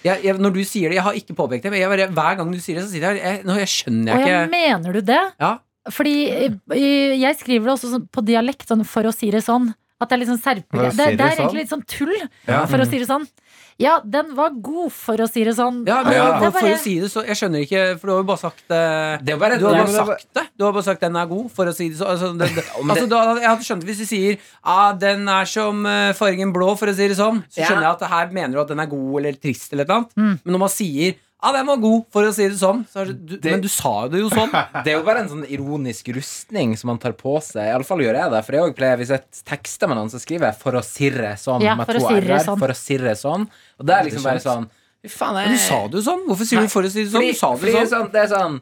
Speaker 2: Jeg, jeg, når du sier det, Jeg har ikke påpekt det, men jeg bare, hver gang du sier det, så sier jeg, jeg, nå, jeg skjønner
Speaker 4: Og
Speaker 2: jeg
Speaker 4: jeg
Speaker 2: ikke
Speaker 4: mener du det?
Speaker 2: Ja.
Speaker 4: Fordi eh, jeg skriver det også sånn på dialekt, sånn, for å si det sånn. At det er litt sånn
Speaker 5: For å
Speaker 4: serpegreier.
Speaker 5: si
Speaker 4: Det, det
Speaker 5: det
Speaker 4: er
Speaker 5: sånn?
Speaker 4: egentlig litt sånn tull,
Speaker 5: Ja.
Speaker 4: for å si det sånn. Ja, den var god, for å si det sånn.
Speaker 2: ja, men,
Speaker 5: Ja.
Speaker 4: Det er
Speaker 2: For
Speaker 4: bare-
Speaker 2: å si det så Jeg skjønner ikke, for du har jo bare sagt eh,
Speaker 3: Det er bare
Speaker 2: du har bare
Speaker 5: Ja, men det er bare-
Speaker 2: sagt det. Du har bare sagt 'den er god', for å si det så. Altså, det, det,
Speaker 3: men
Speaker 2: altså,
Speaker 3: det-
Speaker 2: du hadde- jeg hadde skjønt hvis du sier ah, 'den er som eh, fargen blå', for å si det sånn. Så
Speaker 3: Ja.
Speaker 2: skjønner jeg at det her mener du at den er god eller trist eller et eller annet.
Speaker 4: Mm.
Speaker 2: Men når man sier 'ah, den var god', for å si det sånn, så er det, du,
Speaker 3: Det-
Speaker 2: Men du sa det jo sånn.
Speaker 3: Det er jo bare en sånn ironisk rustning som man tar på seg. I alle fall gjør jeg det. For jeg også pleier, hvis jeg tekster med noen, så skriver jeg 'for å sirre sånn'
Speaker 4: Ja,
Speaker 3: med
Speaker 4: for å
Speaker 3: to
Speaker 4: sirre
Speaker 3: r-er.
Speaker 4: sånn.
Speaker 3: For å sirre sånn. Og det er liksom bare
Speaker 2: Det
Speaker 3: sånn Fy faen,
Speaker 2: Men du
Speaker 3: jeg
Speaker 2: sa det jo sånn. Hvorfor sier
Speaker 3: Nei,
Speaker 2: du 'for å si det sånn'?
Speaker 3: Fordi,
Speaker 2: Du sa det
Speaker 3: fordi
Speaker 2: jo
Speaker 3: det er
Speaker 2: sånn.
Speaker 3: sånn, det er sånn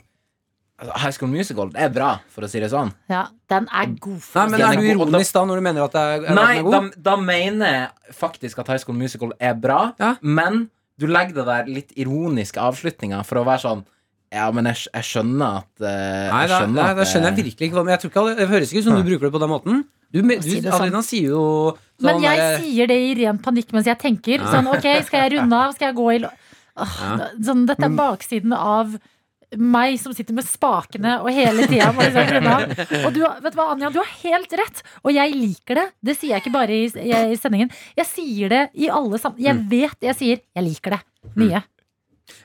Speaker 3: altså, High School Musical det er bra, for å si det sånn.
Speaker 4: Ja, den er god, for
Speaker 2: Nei,
Speaker 4: å
Speaker 2: men
Speaker 4: si
Speaker 2: er du
Speaker 3: god,
Speaker 4: det sånn.
Speaker 3: og da-
Speaker 2: ironisk da når du mener at, det er, at den
Speaker 3: Nei,
Speaker 2: er god?
Speaker 3: da, da mener jeg faktisk at High School Musical er bra,
Speaker 2: Ja.
Speaker 3: men du legger det der litt ironiske avslutninga for å være sånn Ja, men jeg, skj- jeg skjønner at eh,
Speaker 2: Nei,
Speaker 3: jeg
Speaker 2: da,
Speaker 3: skjønner
Speaker 2: nei,
Speaker 3: at
Speaker 2: da skjønner jeg
Speaker 3: det-
Speaker 2: virkelig ikke hva men Jeg tror ikke, Det høres ikke ut som du bruker det på den måten. Du, men- du,
Speaker 4: Si det sånn.
Speaker 2: Adelina sier jo sånn
Speaker 4: Men jeg
Speaker 2: der-
Speaker 4: sier det i ren panikk mens jeg tenker. Sånn, ok, skal jeg runde av? Skal jeg gå i lo- Åh, sånn, Dette
Speaker 5: Mm.
Speaker 4: er baksiden av meg som sitter med spakene og hele tida må liksom runde av. Og du, har- vet du hva, Anja, du har helt rett! Og jeg liker det. Det sier jeg ikke bare i, i sendingen. Jeg sier det i alle sammen.
Speaker 5: Mm.
Speaker 4: Jeg vet jeg sier 'jeg liker det' mye.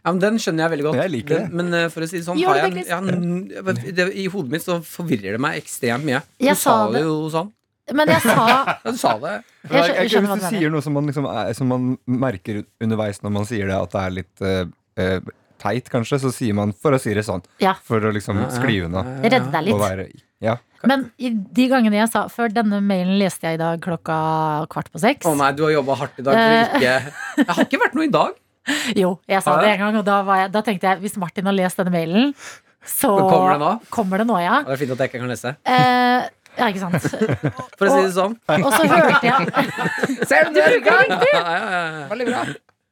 Speaker 2: ja, men Den skjønner jeg veldig godt.
Speaker 5: Jeg liker det.
Speaker 2: Den, men eh, for å si det sånn
Speaker 4: Gjør
Speaker 2: har
Speaker 4: det,
Speaker 2: jeg,
Speaker 4: Chris.
Speaker 2: jeg, har n- jeg, vet- det, I hodet mitt så forvirrer det meg ekstremt mye. Du
Speaker 4: Jeg
Speaker 2: sa
Speaker 4: sa
Speaker 2: det
Speaker 4: det.
Speaker 2: jo sånn.
Speaker 4: Men jeg sa
Speaker 2: Ja, du sa det.
Speaker 5: Men
Speaker 4: Jeg skjø-
Speaker 5: jeg- jeg-
Speaker 4: skjønner hva
Speaker 5: Hvis du
Speaker 4: du mener.
Speaker 5: sier noe som man, liksom er, som man merker underveis når man sier det, at det er litt eh, eh, teit, kanskje, så sier man for å si det sånn.
Speaker 4: ja,
Speaker 5: For å liksom skli
Speaker 2: Eh,
Speaker 5: unna.
Speaker 4: jeg reddet deg
Speaker 5: Og
Speaker 4: litt.
Speaker 5: være Ja.
Speaker 4: Men i de gangene jeg sa Før denne mailen leste jeg i dag klokka kvart på seks.
Speaker 2: Å nei, du har jobba hardt i dag
Speaker 4: Eh.
Speaker 2: for ikke Jeg har ikke vært noe i dag.
Speaker 4: Jo, jeg sa
Speaker 2: Har
Speaker 4: det
Speaker 2: jeg?
Speaker 4: en gang, og da, var jeg, da tenkte jeg hvis Martin har lest denne mailen, så
Speaker 2: Men kommer det nå?
Speaker 4: Kommer det nå, ja.
Speaker 2: Ja, Det er fint at jeg ikke kan lese.
Speaker 4: Eh, ja, ikke sant.
Speaker 2: For å si det sånn.
Speaker 4: Og så hørte jeg
Speaker 3: Ser du, du er i gang!
Speaker 2: Ja, ja, ja, ja.
Speaker 3: Veldig bra.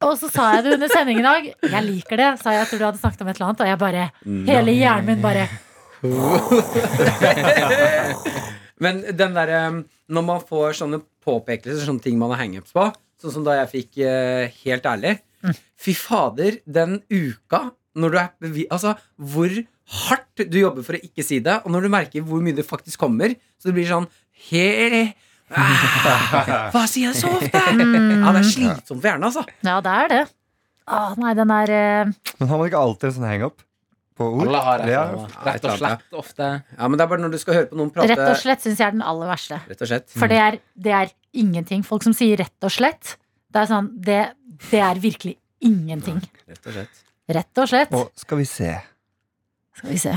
Speaker 4: Og så sa jeg det under sending i dag. Jeg liker det, sa jeg. Jeg tror du hadde snakket om et eller annet, og jeg bare
Speaker 2: Mm.
Speaker 4: Hele hjernen min bare
Speaker 2: Men den derre Når man får sånne påpekelser, sånne ting man har hangups på, sånn som da jeg fikk eh, Helt ærlig
Speaker 4: Mm.
Speaker 2: Fy fader, den uka når du er bevi- Altså, hvor hardt du jobber for å ikke si det, og når du merker hvor mye det faktisk kommer, så det blir sånn Heri ah, Hva sier jeg så ofte?
Speaker 4: Mm.
Speaker 2: Ja, det er slitsomt for hjernen, altså.
Speaker 4: Ja, det er det. Å nei, den er eh,
Speaker 5: Men har man ikke alltid en sånn hangup på ord?
Speaker 3: eh, Alle har
Speaker 5: Ja.
Speaker 3: det. Rett og slett ofte.
Speaker 2: Ja, men det er bare når du skal høre på noen prate
Speaker 4: Rett og slett syns jeg er den aller verste.
Speaker 2: Rett og slett.
Speaker 4: For det er, det er ingenting. Folk som sier rett og slett, det er sånn Det, det er virkelig ingenting.
Speaker 2: Rett og slett.
Speaker 4: Rett og slett.
Speaker 5: Og skal vi se
Speaker 4: Skal vi se.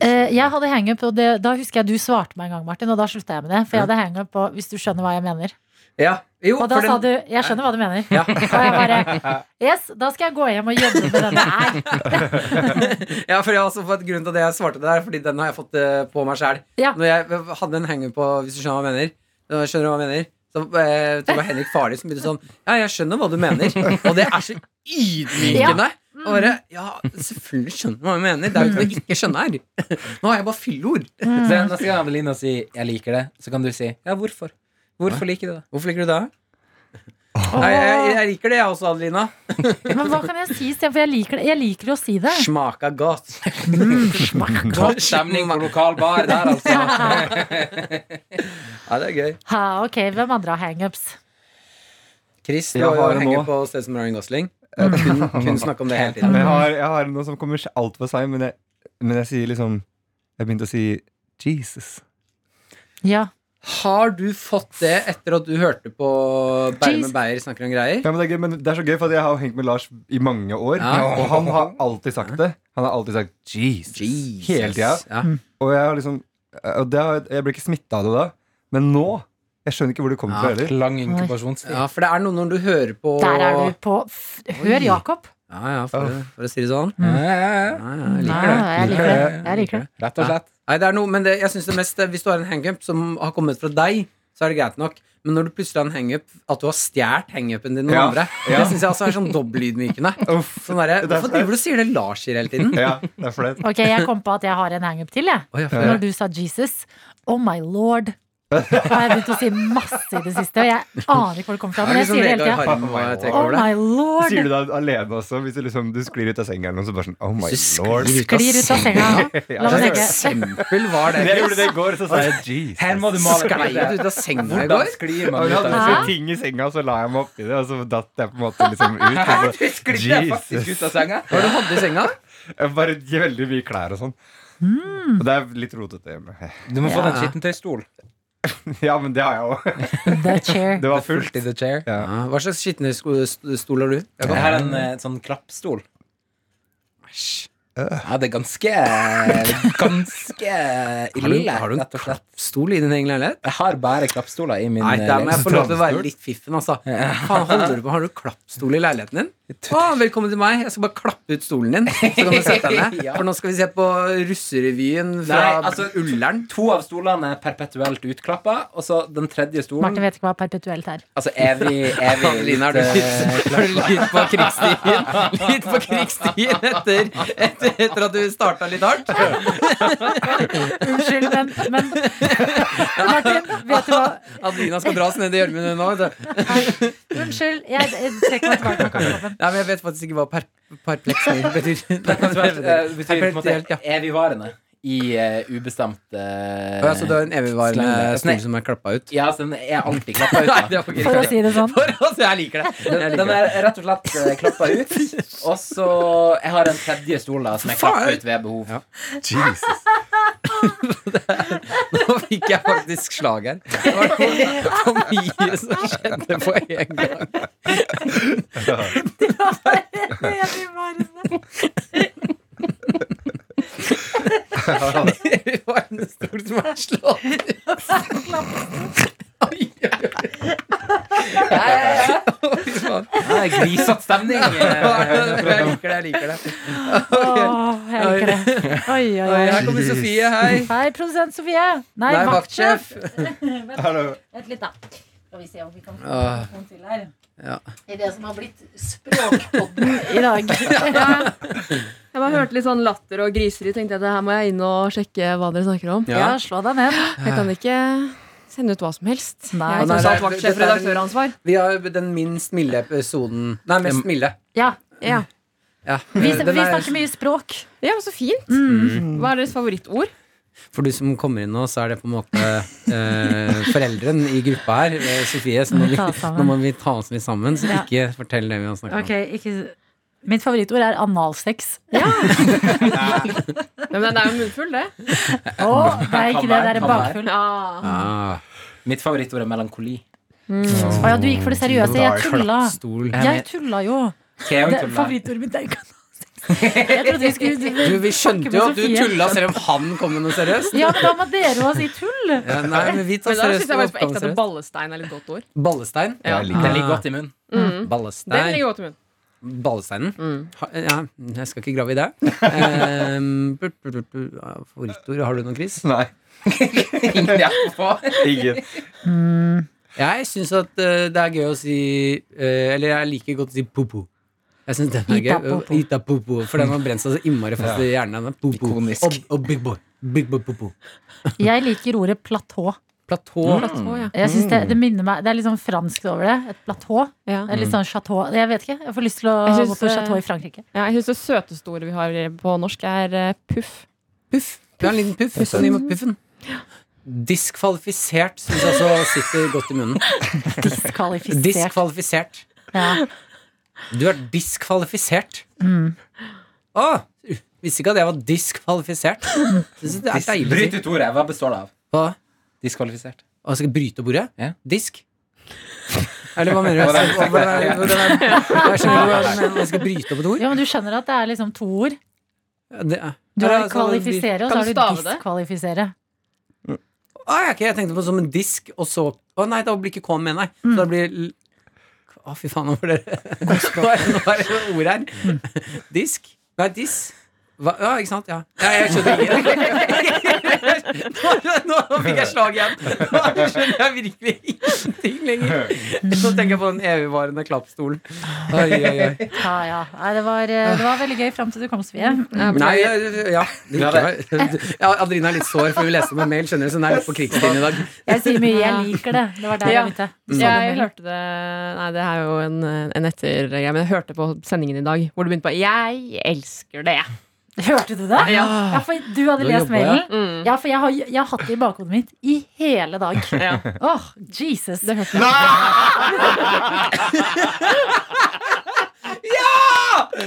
Speaker 4: Eh, jeg hadde hangup, og det, da husker jeg du svarte meg en gang, Martin, og da slutta jeg med det. For jeg hadde hangup på 'hvis du skjønner hva jeg mener'.
Speaker 2: Ja. Jo,
Speaker 4: Og da
Speaker 2: for
Speaker 4: sa
Speaker 2: den-
Speaker 4: du 'jeg skjønner hva du mener'.
Speaker 2: Ja.
Speaker 4: Og jeg bare 'yes, da skal jeg gå hjem og jobbe med denne her'.
Speaker 2: Ja, for jeg har også fått grunn til at jeg svarte det der, fordi den har jeg fått eh, på meg sjæl.
Speaker 4: Ja.
Speaker 2: Når jeg hadde en hanger på Hvis du skjønner hva jeg mener, Når jeg skjønner hva jeg mener så eh, tror jeg det var Henrik Farli som begynte sånn Ja, jeg skjønner hva du mener. Og det er så ydmykende. Og bare, ja, selvfølgelig skjønner du hva jeg mener. Det er jo ikke det jeg ikke skjønner. Nå har jeg bare fyllord.
Speaker 3: Så neste gang Adelina sier 'jeg liker det', så kan du si 'ja, hvorfor'? Hvorfor liker du det?
Speaker 2: Hvorfor liker du det? Nei, jeg, jeg liker det, jeg også, Adelina.
Speaker 4: Men hva kan jeg si istedenfor? Jeg liker det. Jeg liker jo å si det.
Speaker 2: Smaka godt.
Speaker 3: Mm, Topp stemning på lokal bar der, altså.
Speaker 2: Ja, det er gøy.
Speaker 4: Ha, ok, hvem andre har hangups?
Speaker 2: Chris, du
Speaker 5: Jeg
Speaker 2: har
Speaker 5: har
Speaker 2: jo
Speaker 5: det
Speaker 2: henger
Speaker 5: nå.
Speaker 2: på stedet som Ryan Gosling. Eh, Kun, kun snakke om det hele
Speaker 4: Mm.
Speaker 2: tiden.
Speaker 5: Men jeg har, jeg har noe som kommer altfor seint, men, jeg- men jeg sier liksom Jeg begynte å si Jesus.
Speaker 4: Ja.
Speaker 2: Har du fått det etter at du hørte på Bære med Beyer snakker om greier?
Speaker 5: Ja, men det, er gøy, men det er så gøy, for jeg har jo hengt med Lars i mange år,
Speaker 2: Ja.
Speaker 5: og han har alltid sagt det. Han har alltid sagt Jesus,
Speaker 2: Jesus.
Speaker 5: hele tida.
Speaker 2: Ja.
Speaker 5: Og jeg har liksom og det har, Jeg ble ikke smitta av det da, men nå Jeg skjønner ikke hvor det kommer fra
Speaker 2: Ja,
Speaker 5: heller.
Speaker 3: Lang inkubasjonstid.
Speaker 2: ja, for det er noe når du hører på
Speaker 4: Der er du på f Hør, Jakob.
Speaker 2: Ja, ja, for, for å si det sånn.
Speaker 3: Ja, ja, ja.
Speaker 2: Ja, ja, jeg
Speaker 4: Nei,
Speaker 2: liker det.
Speaker 4: jeg liker det. Jeg liker det.
Speaker 3: Rett og slett.
Speaker 2: Nei, det er noe, men det, jeg synes det mest eh, Hvis du har en hangup som har kommet fra deg, så er det greit nok. Men når du plutselig har en hangup, at du har stjålet hangupen din noen
Speaker 5: Ja,
Speaker 2: andre,
Speaker 5: ja.
Speaker 2: det syns jeg altså er sånn dobbeltydmykende.
Speaker 5: Uff,
Speaker 2: Sånn derre,
Speaker 5: det er
Speaker 2: Hvorfor driver du og sier det Lars sier hele tiden?
Speaker 5: Ja, det er flaut.
Speaker 4: Ok, jeg kom på at jeg har en hangup til, jeg.
Speaker 2: Å, jeg får-
Speaker 4: Når du sa Jesus. Oh my lord. Og jeg har begynt å si masse i det siste. og Jeg aner ikke hvor det kommer fra,
Speaker 2: Det er
Speaker 4: men jeg
Speaker 2: liksom
Speaker 4: sier det hele
Speaker 2: Vegard
Speaker 4: tida.
Speaker 2: Harm og trekk
Speaker 4: Oh
Speaker 2: over det.
Speaker 4: my lord.
Speaker 5: Sier du det alene også, hvis du liksom du sklir ut av senga eller noe, så bare sånn Oh my
Speaker 2: Du sklir
Speaker 5: lord.
Speaker 2: ut
Speaker 4: Sklir ut av senga. La
Speaker 2: Hva
Speaker 4: meg
Speaker 2: slags
Speaker 4: tenke.
Speaker 2: eksempel var det?
Speaker 5: Jeg gjorde det i går, så sa jeg
Speaker 3: Her
Speaker 5: Jesus.
Speaker 3: må du male et
Speaker 2: Sklei
Speaker 3: bilde.
Speaker 2: du ut av senga i
Speaker 3: Hvordan
Speaker 2: går?
Speaker 3: sklir man
Speaker 5: Og jeg
Speaker 3: ut av
Speaker 5: hadde
Speaker 3: det?
Speaker 5: så
Speaker 4: Hæ?
Speaker 5: ting i senga, så la jeg meg oppi det, og så datt jeg på en måte liksom ut. Og så,
Speaker 3: Sklidde jeg faktisk ut av senga?
Speaker 2: Hva var det du hadde i senga?
Speaker 5: jeg bare gir veldig mye klær og sånn. Og det er litt rotete hjemme.
Speaker 3: Du må få
Speaker 2: Ja.
Speaker 3: den skittentøystol.
Speaker 5: Ja, men det har jeg òg.
Speaker 4: The chair.
Speaker 5: Det var fullt.
Speaker 3: i the chair.
Speaker 5: Ja.
Speaker 2: Ja, hva slags skitnestol har du?
Speaker 3: Jeg har en eh, sånn klappstol. Ja, det er ganske Ganske
Speaker 2: Har du,
Speaker 3: ille,
Speaker 2: har du en
Speaker 3: rett og slett.
Speaker 2: klappstol i din egen leilighet?
Speaker 3: Jeg har bare klappstoler i min
Speaker 2: Nei,
Speaker 3: eh,
Speaker 2: der må jeg
Speaker 3: leilighet.
Speaker 2: få lov til å være litt fiffen, altså. Faen, holder du på? Har du klappstol i leiligheten din? Å, velkommen til meg. Jeg skal bare klappe ut stolen din, så kan du sette deg ned.
Speaker 3: Ja.
Speaker 2: For nå skal vi se på russerevyen fra
Speaker 3: Nei, altså-
Speaker 2: Ullern.
Speaker 3: To av stolene er perpetuelt utklappa, og så den tredje stolen
Speaker 4: Martin vet ikke hva perpetuelt er.
Speaker 3: Altså evig, evig
Speaker 2: Adeline, er du
Speaker 3: litt, eh,
Speaker 2: litt, litt på krigsstien? Litt på krigsstien etter, etter, etter at du starta litt hardt?
Speaker 4: Unnskyld, men, men Martin, vet du hva?
Speaker 2: Adelina skal dras ned i gjørmen nå. vet du.
Speaker 4: Unnskyld, jeg, jeg trekker meg tilbake. fra kaffekoppen.
Speaker 2: Nei, men jeg vet faktisk ikke hva per, perpleksing betyr.
Speaker 3: perpetuelt, eh, Det betyr på en
Speaker 2: Perpetuelt,
Speaker 3: måte
Speaker 2: ja.
Speaker 3: evigvarende i eh, ubestemt eh,
Speaker 2: Ja, så du har en evigvarende stol
Speaker 3: Slenge.
Speaker 2: som er klappa ut?
Speaker 3: Ja, så den er alltid klappa ut.
Speaker 2: Nei,
Speaker 3: Da.
Speaker 2: det var ikke
Speaker 4: For å
Speaker 2: greit.
Speaker 4: si det sånn.
Speaker 2: For oss, jeg liker det. Jeg liker
Speaker 3: Den
Speaker 2: det.
Speaker 3: er rett og slett eh, klappa ut. Og så Jeg har en tredje stol da som jeg klapper ut ved behov.
Speaker 5: Jesus.
Speaker 2: Nå fikk jeg faktisk slag her. Det var for, for mye som skjedde på en gang. Det var en stol som er slått ut.
Speaker 4: sånn.
Speaker 2: Oi, oi, oi. Fy faen.
Speaker 3: Ja, det er Grisete stemning. eh.
Speaker 2: Jeg liker det, jeg liker det.
Speaker 4: Åh, jeg liker det. Oi, oi,
Speaker 2: Oi, Her
Speaker 4: oi.
Speaker 2: kommer Sofie, hei.
Speaker 4: Hei, produsent Sofie. Nei,
Speaker 2: Nei, vaktsjef.
Speaker 4: vaktsjef.
Speaker 5: Hallo.
Speaker 4: Vent litt, da. Skal vi se om vi kan få
Speaker 2: Åh,
Speaker 4: noen til her.
Speaker 2: Ja.
Speaker 4: I det som har blitt språkpodden i dag.
Speaker 7: Ja. Jeg bare hørte litt sånn latter og griseri. Tenkte jeg det her må jeg inn og sjekke hva dere snakker om.
Speaker 4: Ja, slå deg ned.
Speaker 7: Jeg kan ikke sende ut hva som helst.
Speaker 4: Nei.
Speaker 7: Jeg
Speaker 2: Nei,
Speaker 7: er tross
Speaker 2: nei,
Speaker 7: alt
Speaker 2: dette
Speaker 7: vaktsjef,
Speaker 2: er en-
Speaker 7: redaktøransvar.
Speaker 2: Vi har den minst milde episoden Nei, mest milde.
Speaker 4: Ja,
Speaker 7: Ja.
Speaker 2: Ja,
Speaker 4: vi, vi
Speaker 2: den er-
Speaker 4: snakker mye språk.
Speaker 7: ja, men så fint. Hva er deres favorittord?
Speaker 2: For du som kommer inn nå, så er det på en måte eh, foreldren i gruppa her, eh, Sofie, så nå må,
Speaker 4: Må vi ta oss
Speaker 2: vi,
Speaker 4: sammen.
Speaker 2: nå må vi ta oss litt sammen. Så
Speaker 4: Ja.
Speaker 2: ikke fortell det vi har snakket
Speaker 4: Ok, ikke... Mitt favorittord er analsex.
Speaker 7: Ja, men den er jo munnfull, det.
Speaker 4: Å, det er ikke det, det er
Speaker 3: Kan være, kan
Speaker 4: bakfull.
Speaker 2: om. Ah,
Speaker 3: Mitt favorittord er melankoli.
Speaker 4: Å ja, du gikk for det seriøse. Jeg tulla.
Speaker 2: stol.
Speaker 4: Jeg tulla jo.
Speaker 3: Skal jeg jo
Speaker 4: Det,
Speaker 3: tulle?
Speaker 4: favorittordet mitt er ikke analsex. Jeg trodde vi skulle
Speaker 2: Du, vi skjønte jo at du
Speaker 4: Sofie.
Speaker 2: tulla selv om han kom med noe seriøst.
Speaker 4: Ja, men da må dere også si tull.
Speaker 2: Ja, nei, men vi tar
Speaker 7: Men da syns
Speaker 2: seriøst
Speaker 7: jeg faktisk på
Speaker 2: oppgaven
Speaker 7: ekte at
Speaker 2: seriøst.
Speaker 7: ballestein er litt godt ord.
Speaker 2: Ballestein?
Speaker 7: Ja.
Speaker 5: Jeg liker
Speaker 3: Den
Speaker 5: det.
Speaker 3: ligger godt i munnen.
Speaker 7: Den
Speaker 2: Ballestein.
Speaker 7: ligger godt i munnen.
Speaker 2: Ballesteinen?
Speaker 4: Mm.
Speaker 2: Ha- Ja, jeg skal ikke grave i det. Ehm, br- br- br- br- ja, Favorittord? Har du noen, Chris?
Speaker 5: Nei.
Speaker 3: Ingen jeg får på.
Speaker 5: Ingen.
Speaker 2: Jeg syns at eh, det er gøy å si eh, Eller jeg liker godt å si popo. Jeg synes den er
Speaker 4: Ita
Speaker 2: gøy. Og-
Speaker 4: popo.
Speaker 2: Ita popo. For den har brent seg så innmari fast i hjernen. den er Popo.
Speaker 3: Ikonisk.
Speaker 2: Og, og big boy. Big boy popo.
Speaker 4: Jeg liker ordet platå.
Speaker 2: Platå.
Speaker 7: Platå, ja.
Speaker 4: Jeg synes det, det minner meg Det er litt sånn fransk over det. Et platå.
Speaker 7: Ja.
Speaker 4: Det er litt sånn chateau. Jeg vet ikke. Jeg får lyst til å
Speaker 7: Mm. Jeg
Speaker 4: gå
Speaker 7: synes,
Speaker 4: på
Speaker 7: eh,
Speaker 4: chateau i Frankrike.
Speaker 7: Ja, jeg syns det søteste ordet vi har på norsk, er eh, puff.
Speaker 2: Puff. Du er en liten puff. Puff. Puffen. Diskvalifisert syns jeg også sitter godt i munnen.
Speaker 4: Diskvalifisert.
Speaker 2: Diskvalifisert.
Speaker 4: Ja.
Speaker 2: Du er diskvalifisert. Å! Visste ikke at jeg var diskvalifisert. Synes Det er deilig. å
Speaker 3: Bryt
Speaker 2: si.
Speaker 3: ut ordet. Hva består det av?
Speaker 2: Hva?
Speaker 3: Diskvalifisert.
Speaker 2: Hva skal jeg bryte opp ordet?
Speaker 3: Ja.
Speaker 2: Disk? Eller hva mener du?
Speaker 3: Hvordan-
Speaker 2: Hva- hva- hva- hvordan er- Jeg skjønner ikke hva du mener. Jeg skal bryte opp et ord?
Speaker 4: Ja, men du skjønner at det er liksom to ord.
Speaker 2: Det er-
Speaker 4: Du
Speaker 2: Eller,
Speaker 4: har
Speaker 2: altså,
Speaker 4: kvalifisere, og så
Speaker 7: sånn Kan
Speaker 4: har
Speaker 7: du
Speaker 4: du
Speaker 7: stave det?
Speaker 4: diskvalifisere.
Speaker 2: Å, jeg, er ikke- Ah, jeg tenkte på det som en disk, og så Å nei, da blir ikke K-en med, nei. Så da blir l- Å, fy faen, nå var det Nå er nå er det ord her. Disk? Nei, diss. Hva? Ja, ikke sant? Ja. ja jeg skjønner ikke. Nå, nå fikk jeg slag igjen. Nå skjønner jeg virkelig ingenting lenger. Så tenker jeg på den evigvarende klappstolen. Oi, oi, oi.
Speaker 4: Ja, ja. Nei, det, var, eh, det var veldig gøy fram til du kom, Sofie.
Speaker 2: Nei, ja. Det gikk meg. ja Adrina er litt sår, for vi leste om en mail, skjønner du, så hun er litt på krigsstien i dag.
Speaker 4: Jeg sier mye 'jeg liker det'. Det var der
Speaker 7: Ja.
Speaker 4: jeg begynte. Du sa det,
Speaker 7: Jeg
Speaker 4: Emil.
Speaker 7: hørte det Nei, det er jo en, en ettergreie, men jeg hørte på sendingen i dag hvor det begynte på 'Jeg elsker det'.
Speaker 4: Hørte du det? Ja, for du
Speaker 2: Da
Speaker 4: hadde lest
Speaker 2: jobba jeg.
Speaker 4: mailen? Ja, for jeg har, jeg har hatt det i bakhodet mitt i hele dag. Åh,
Speaker 7: Ja.
Speaker 4: Jesus.
Speaker 7: Det hørte jeg.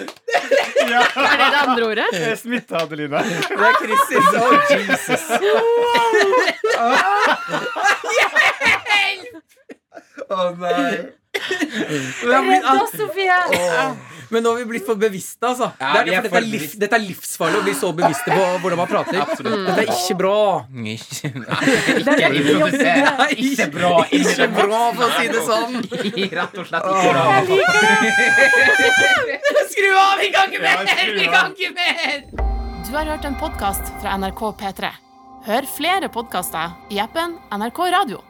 Speaker 7: Er det det andre ordet?
Speaker 8: Jeg smitta Adelina.
Speaker 2: Det er Kristin. Oh, Jesus.
Speaker 4: Redd oss, Sofie!
Speaker 2: Men nå har vi blitt for bevisste, altså.
Speaker 3: Ja,
Speaker 2: det er
Speaker 3: vi
Speaker 2: det, for
Speaker 3: er for
Speaker 2: dette, er liv,
Speaker 3: bevisste.
Speaker 2: dette er livsfarlig å bli så bevisste på hvordan man prater. Dette er ikke bra.
Speaker 3: Ikke improviser. Ikke bra.
Speaker 2: Ikke bra, for å si det sånn.
Speaker 3: Rett og slett ikke bra.
Speaker 2: Skru av! Vi kan ikke mer!
Speaker 8: Vi
Speaker 2: kan ikke mer!
Speaker 1: Du har hørt en podkast fra NRK P3. Hør flere podkaster i appen NRK Radio.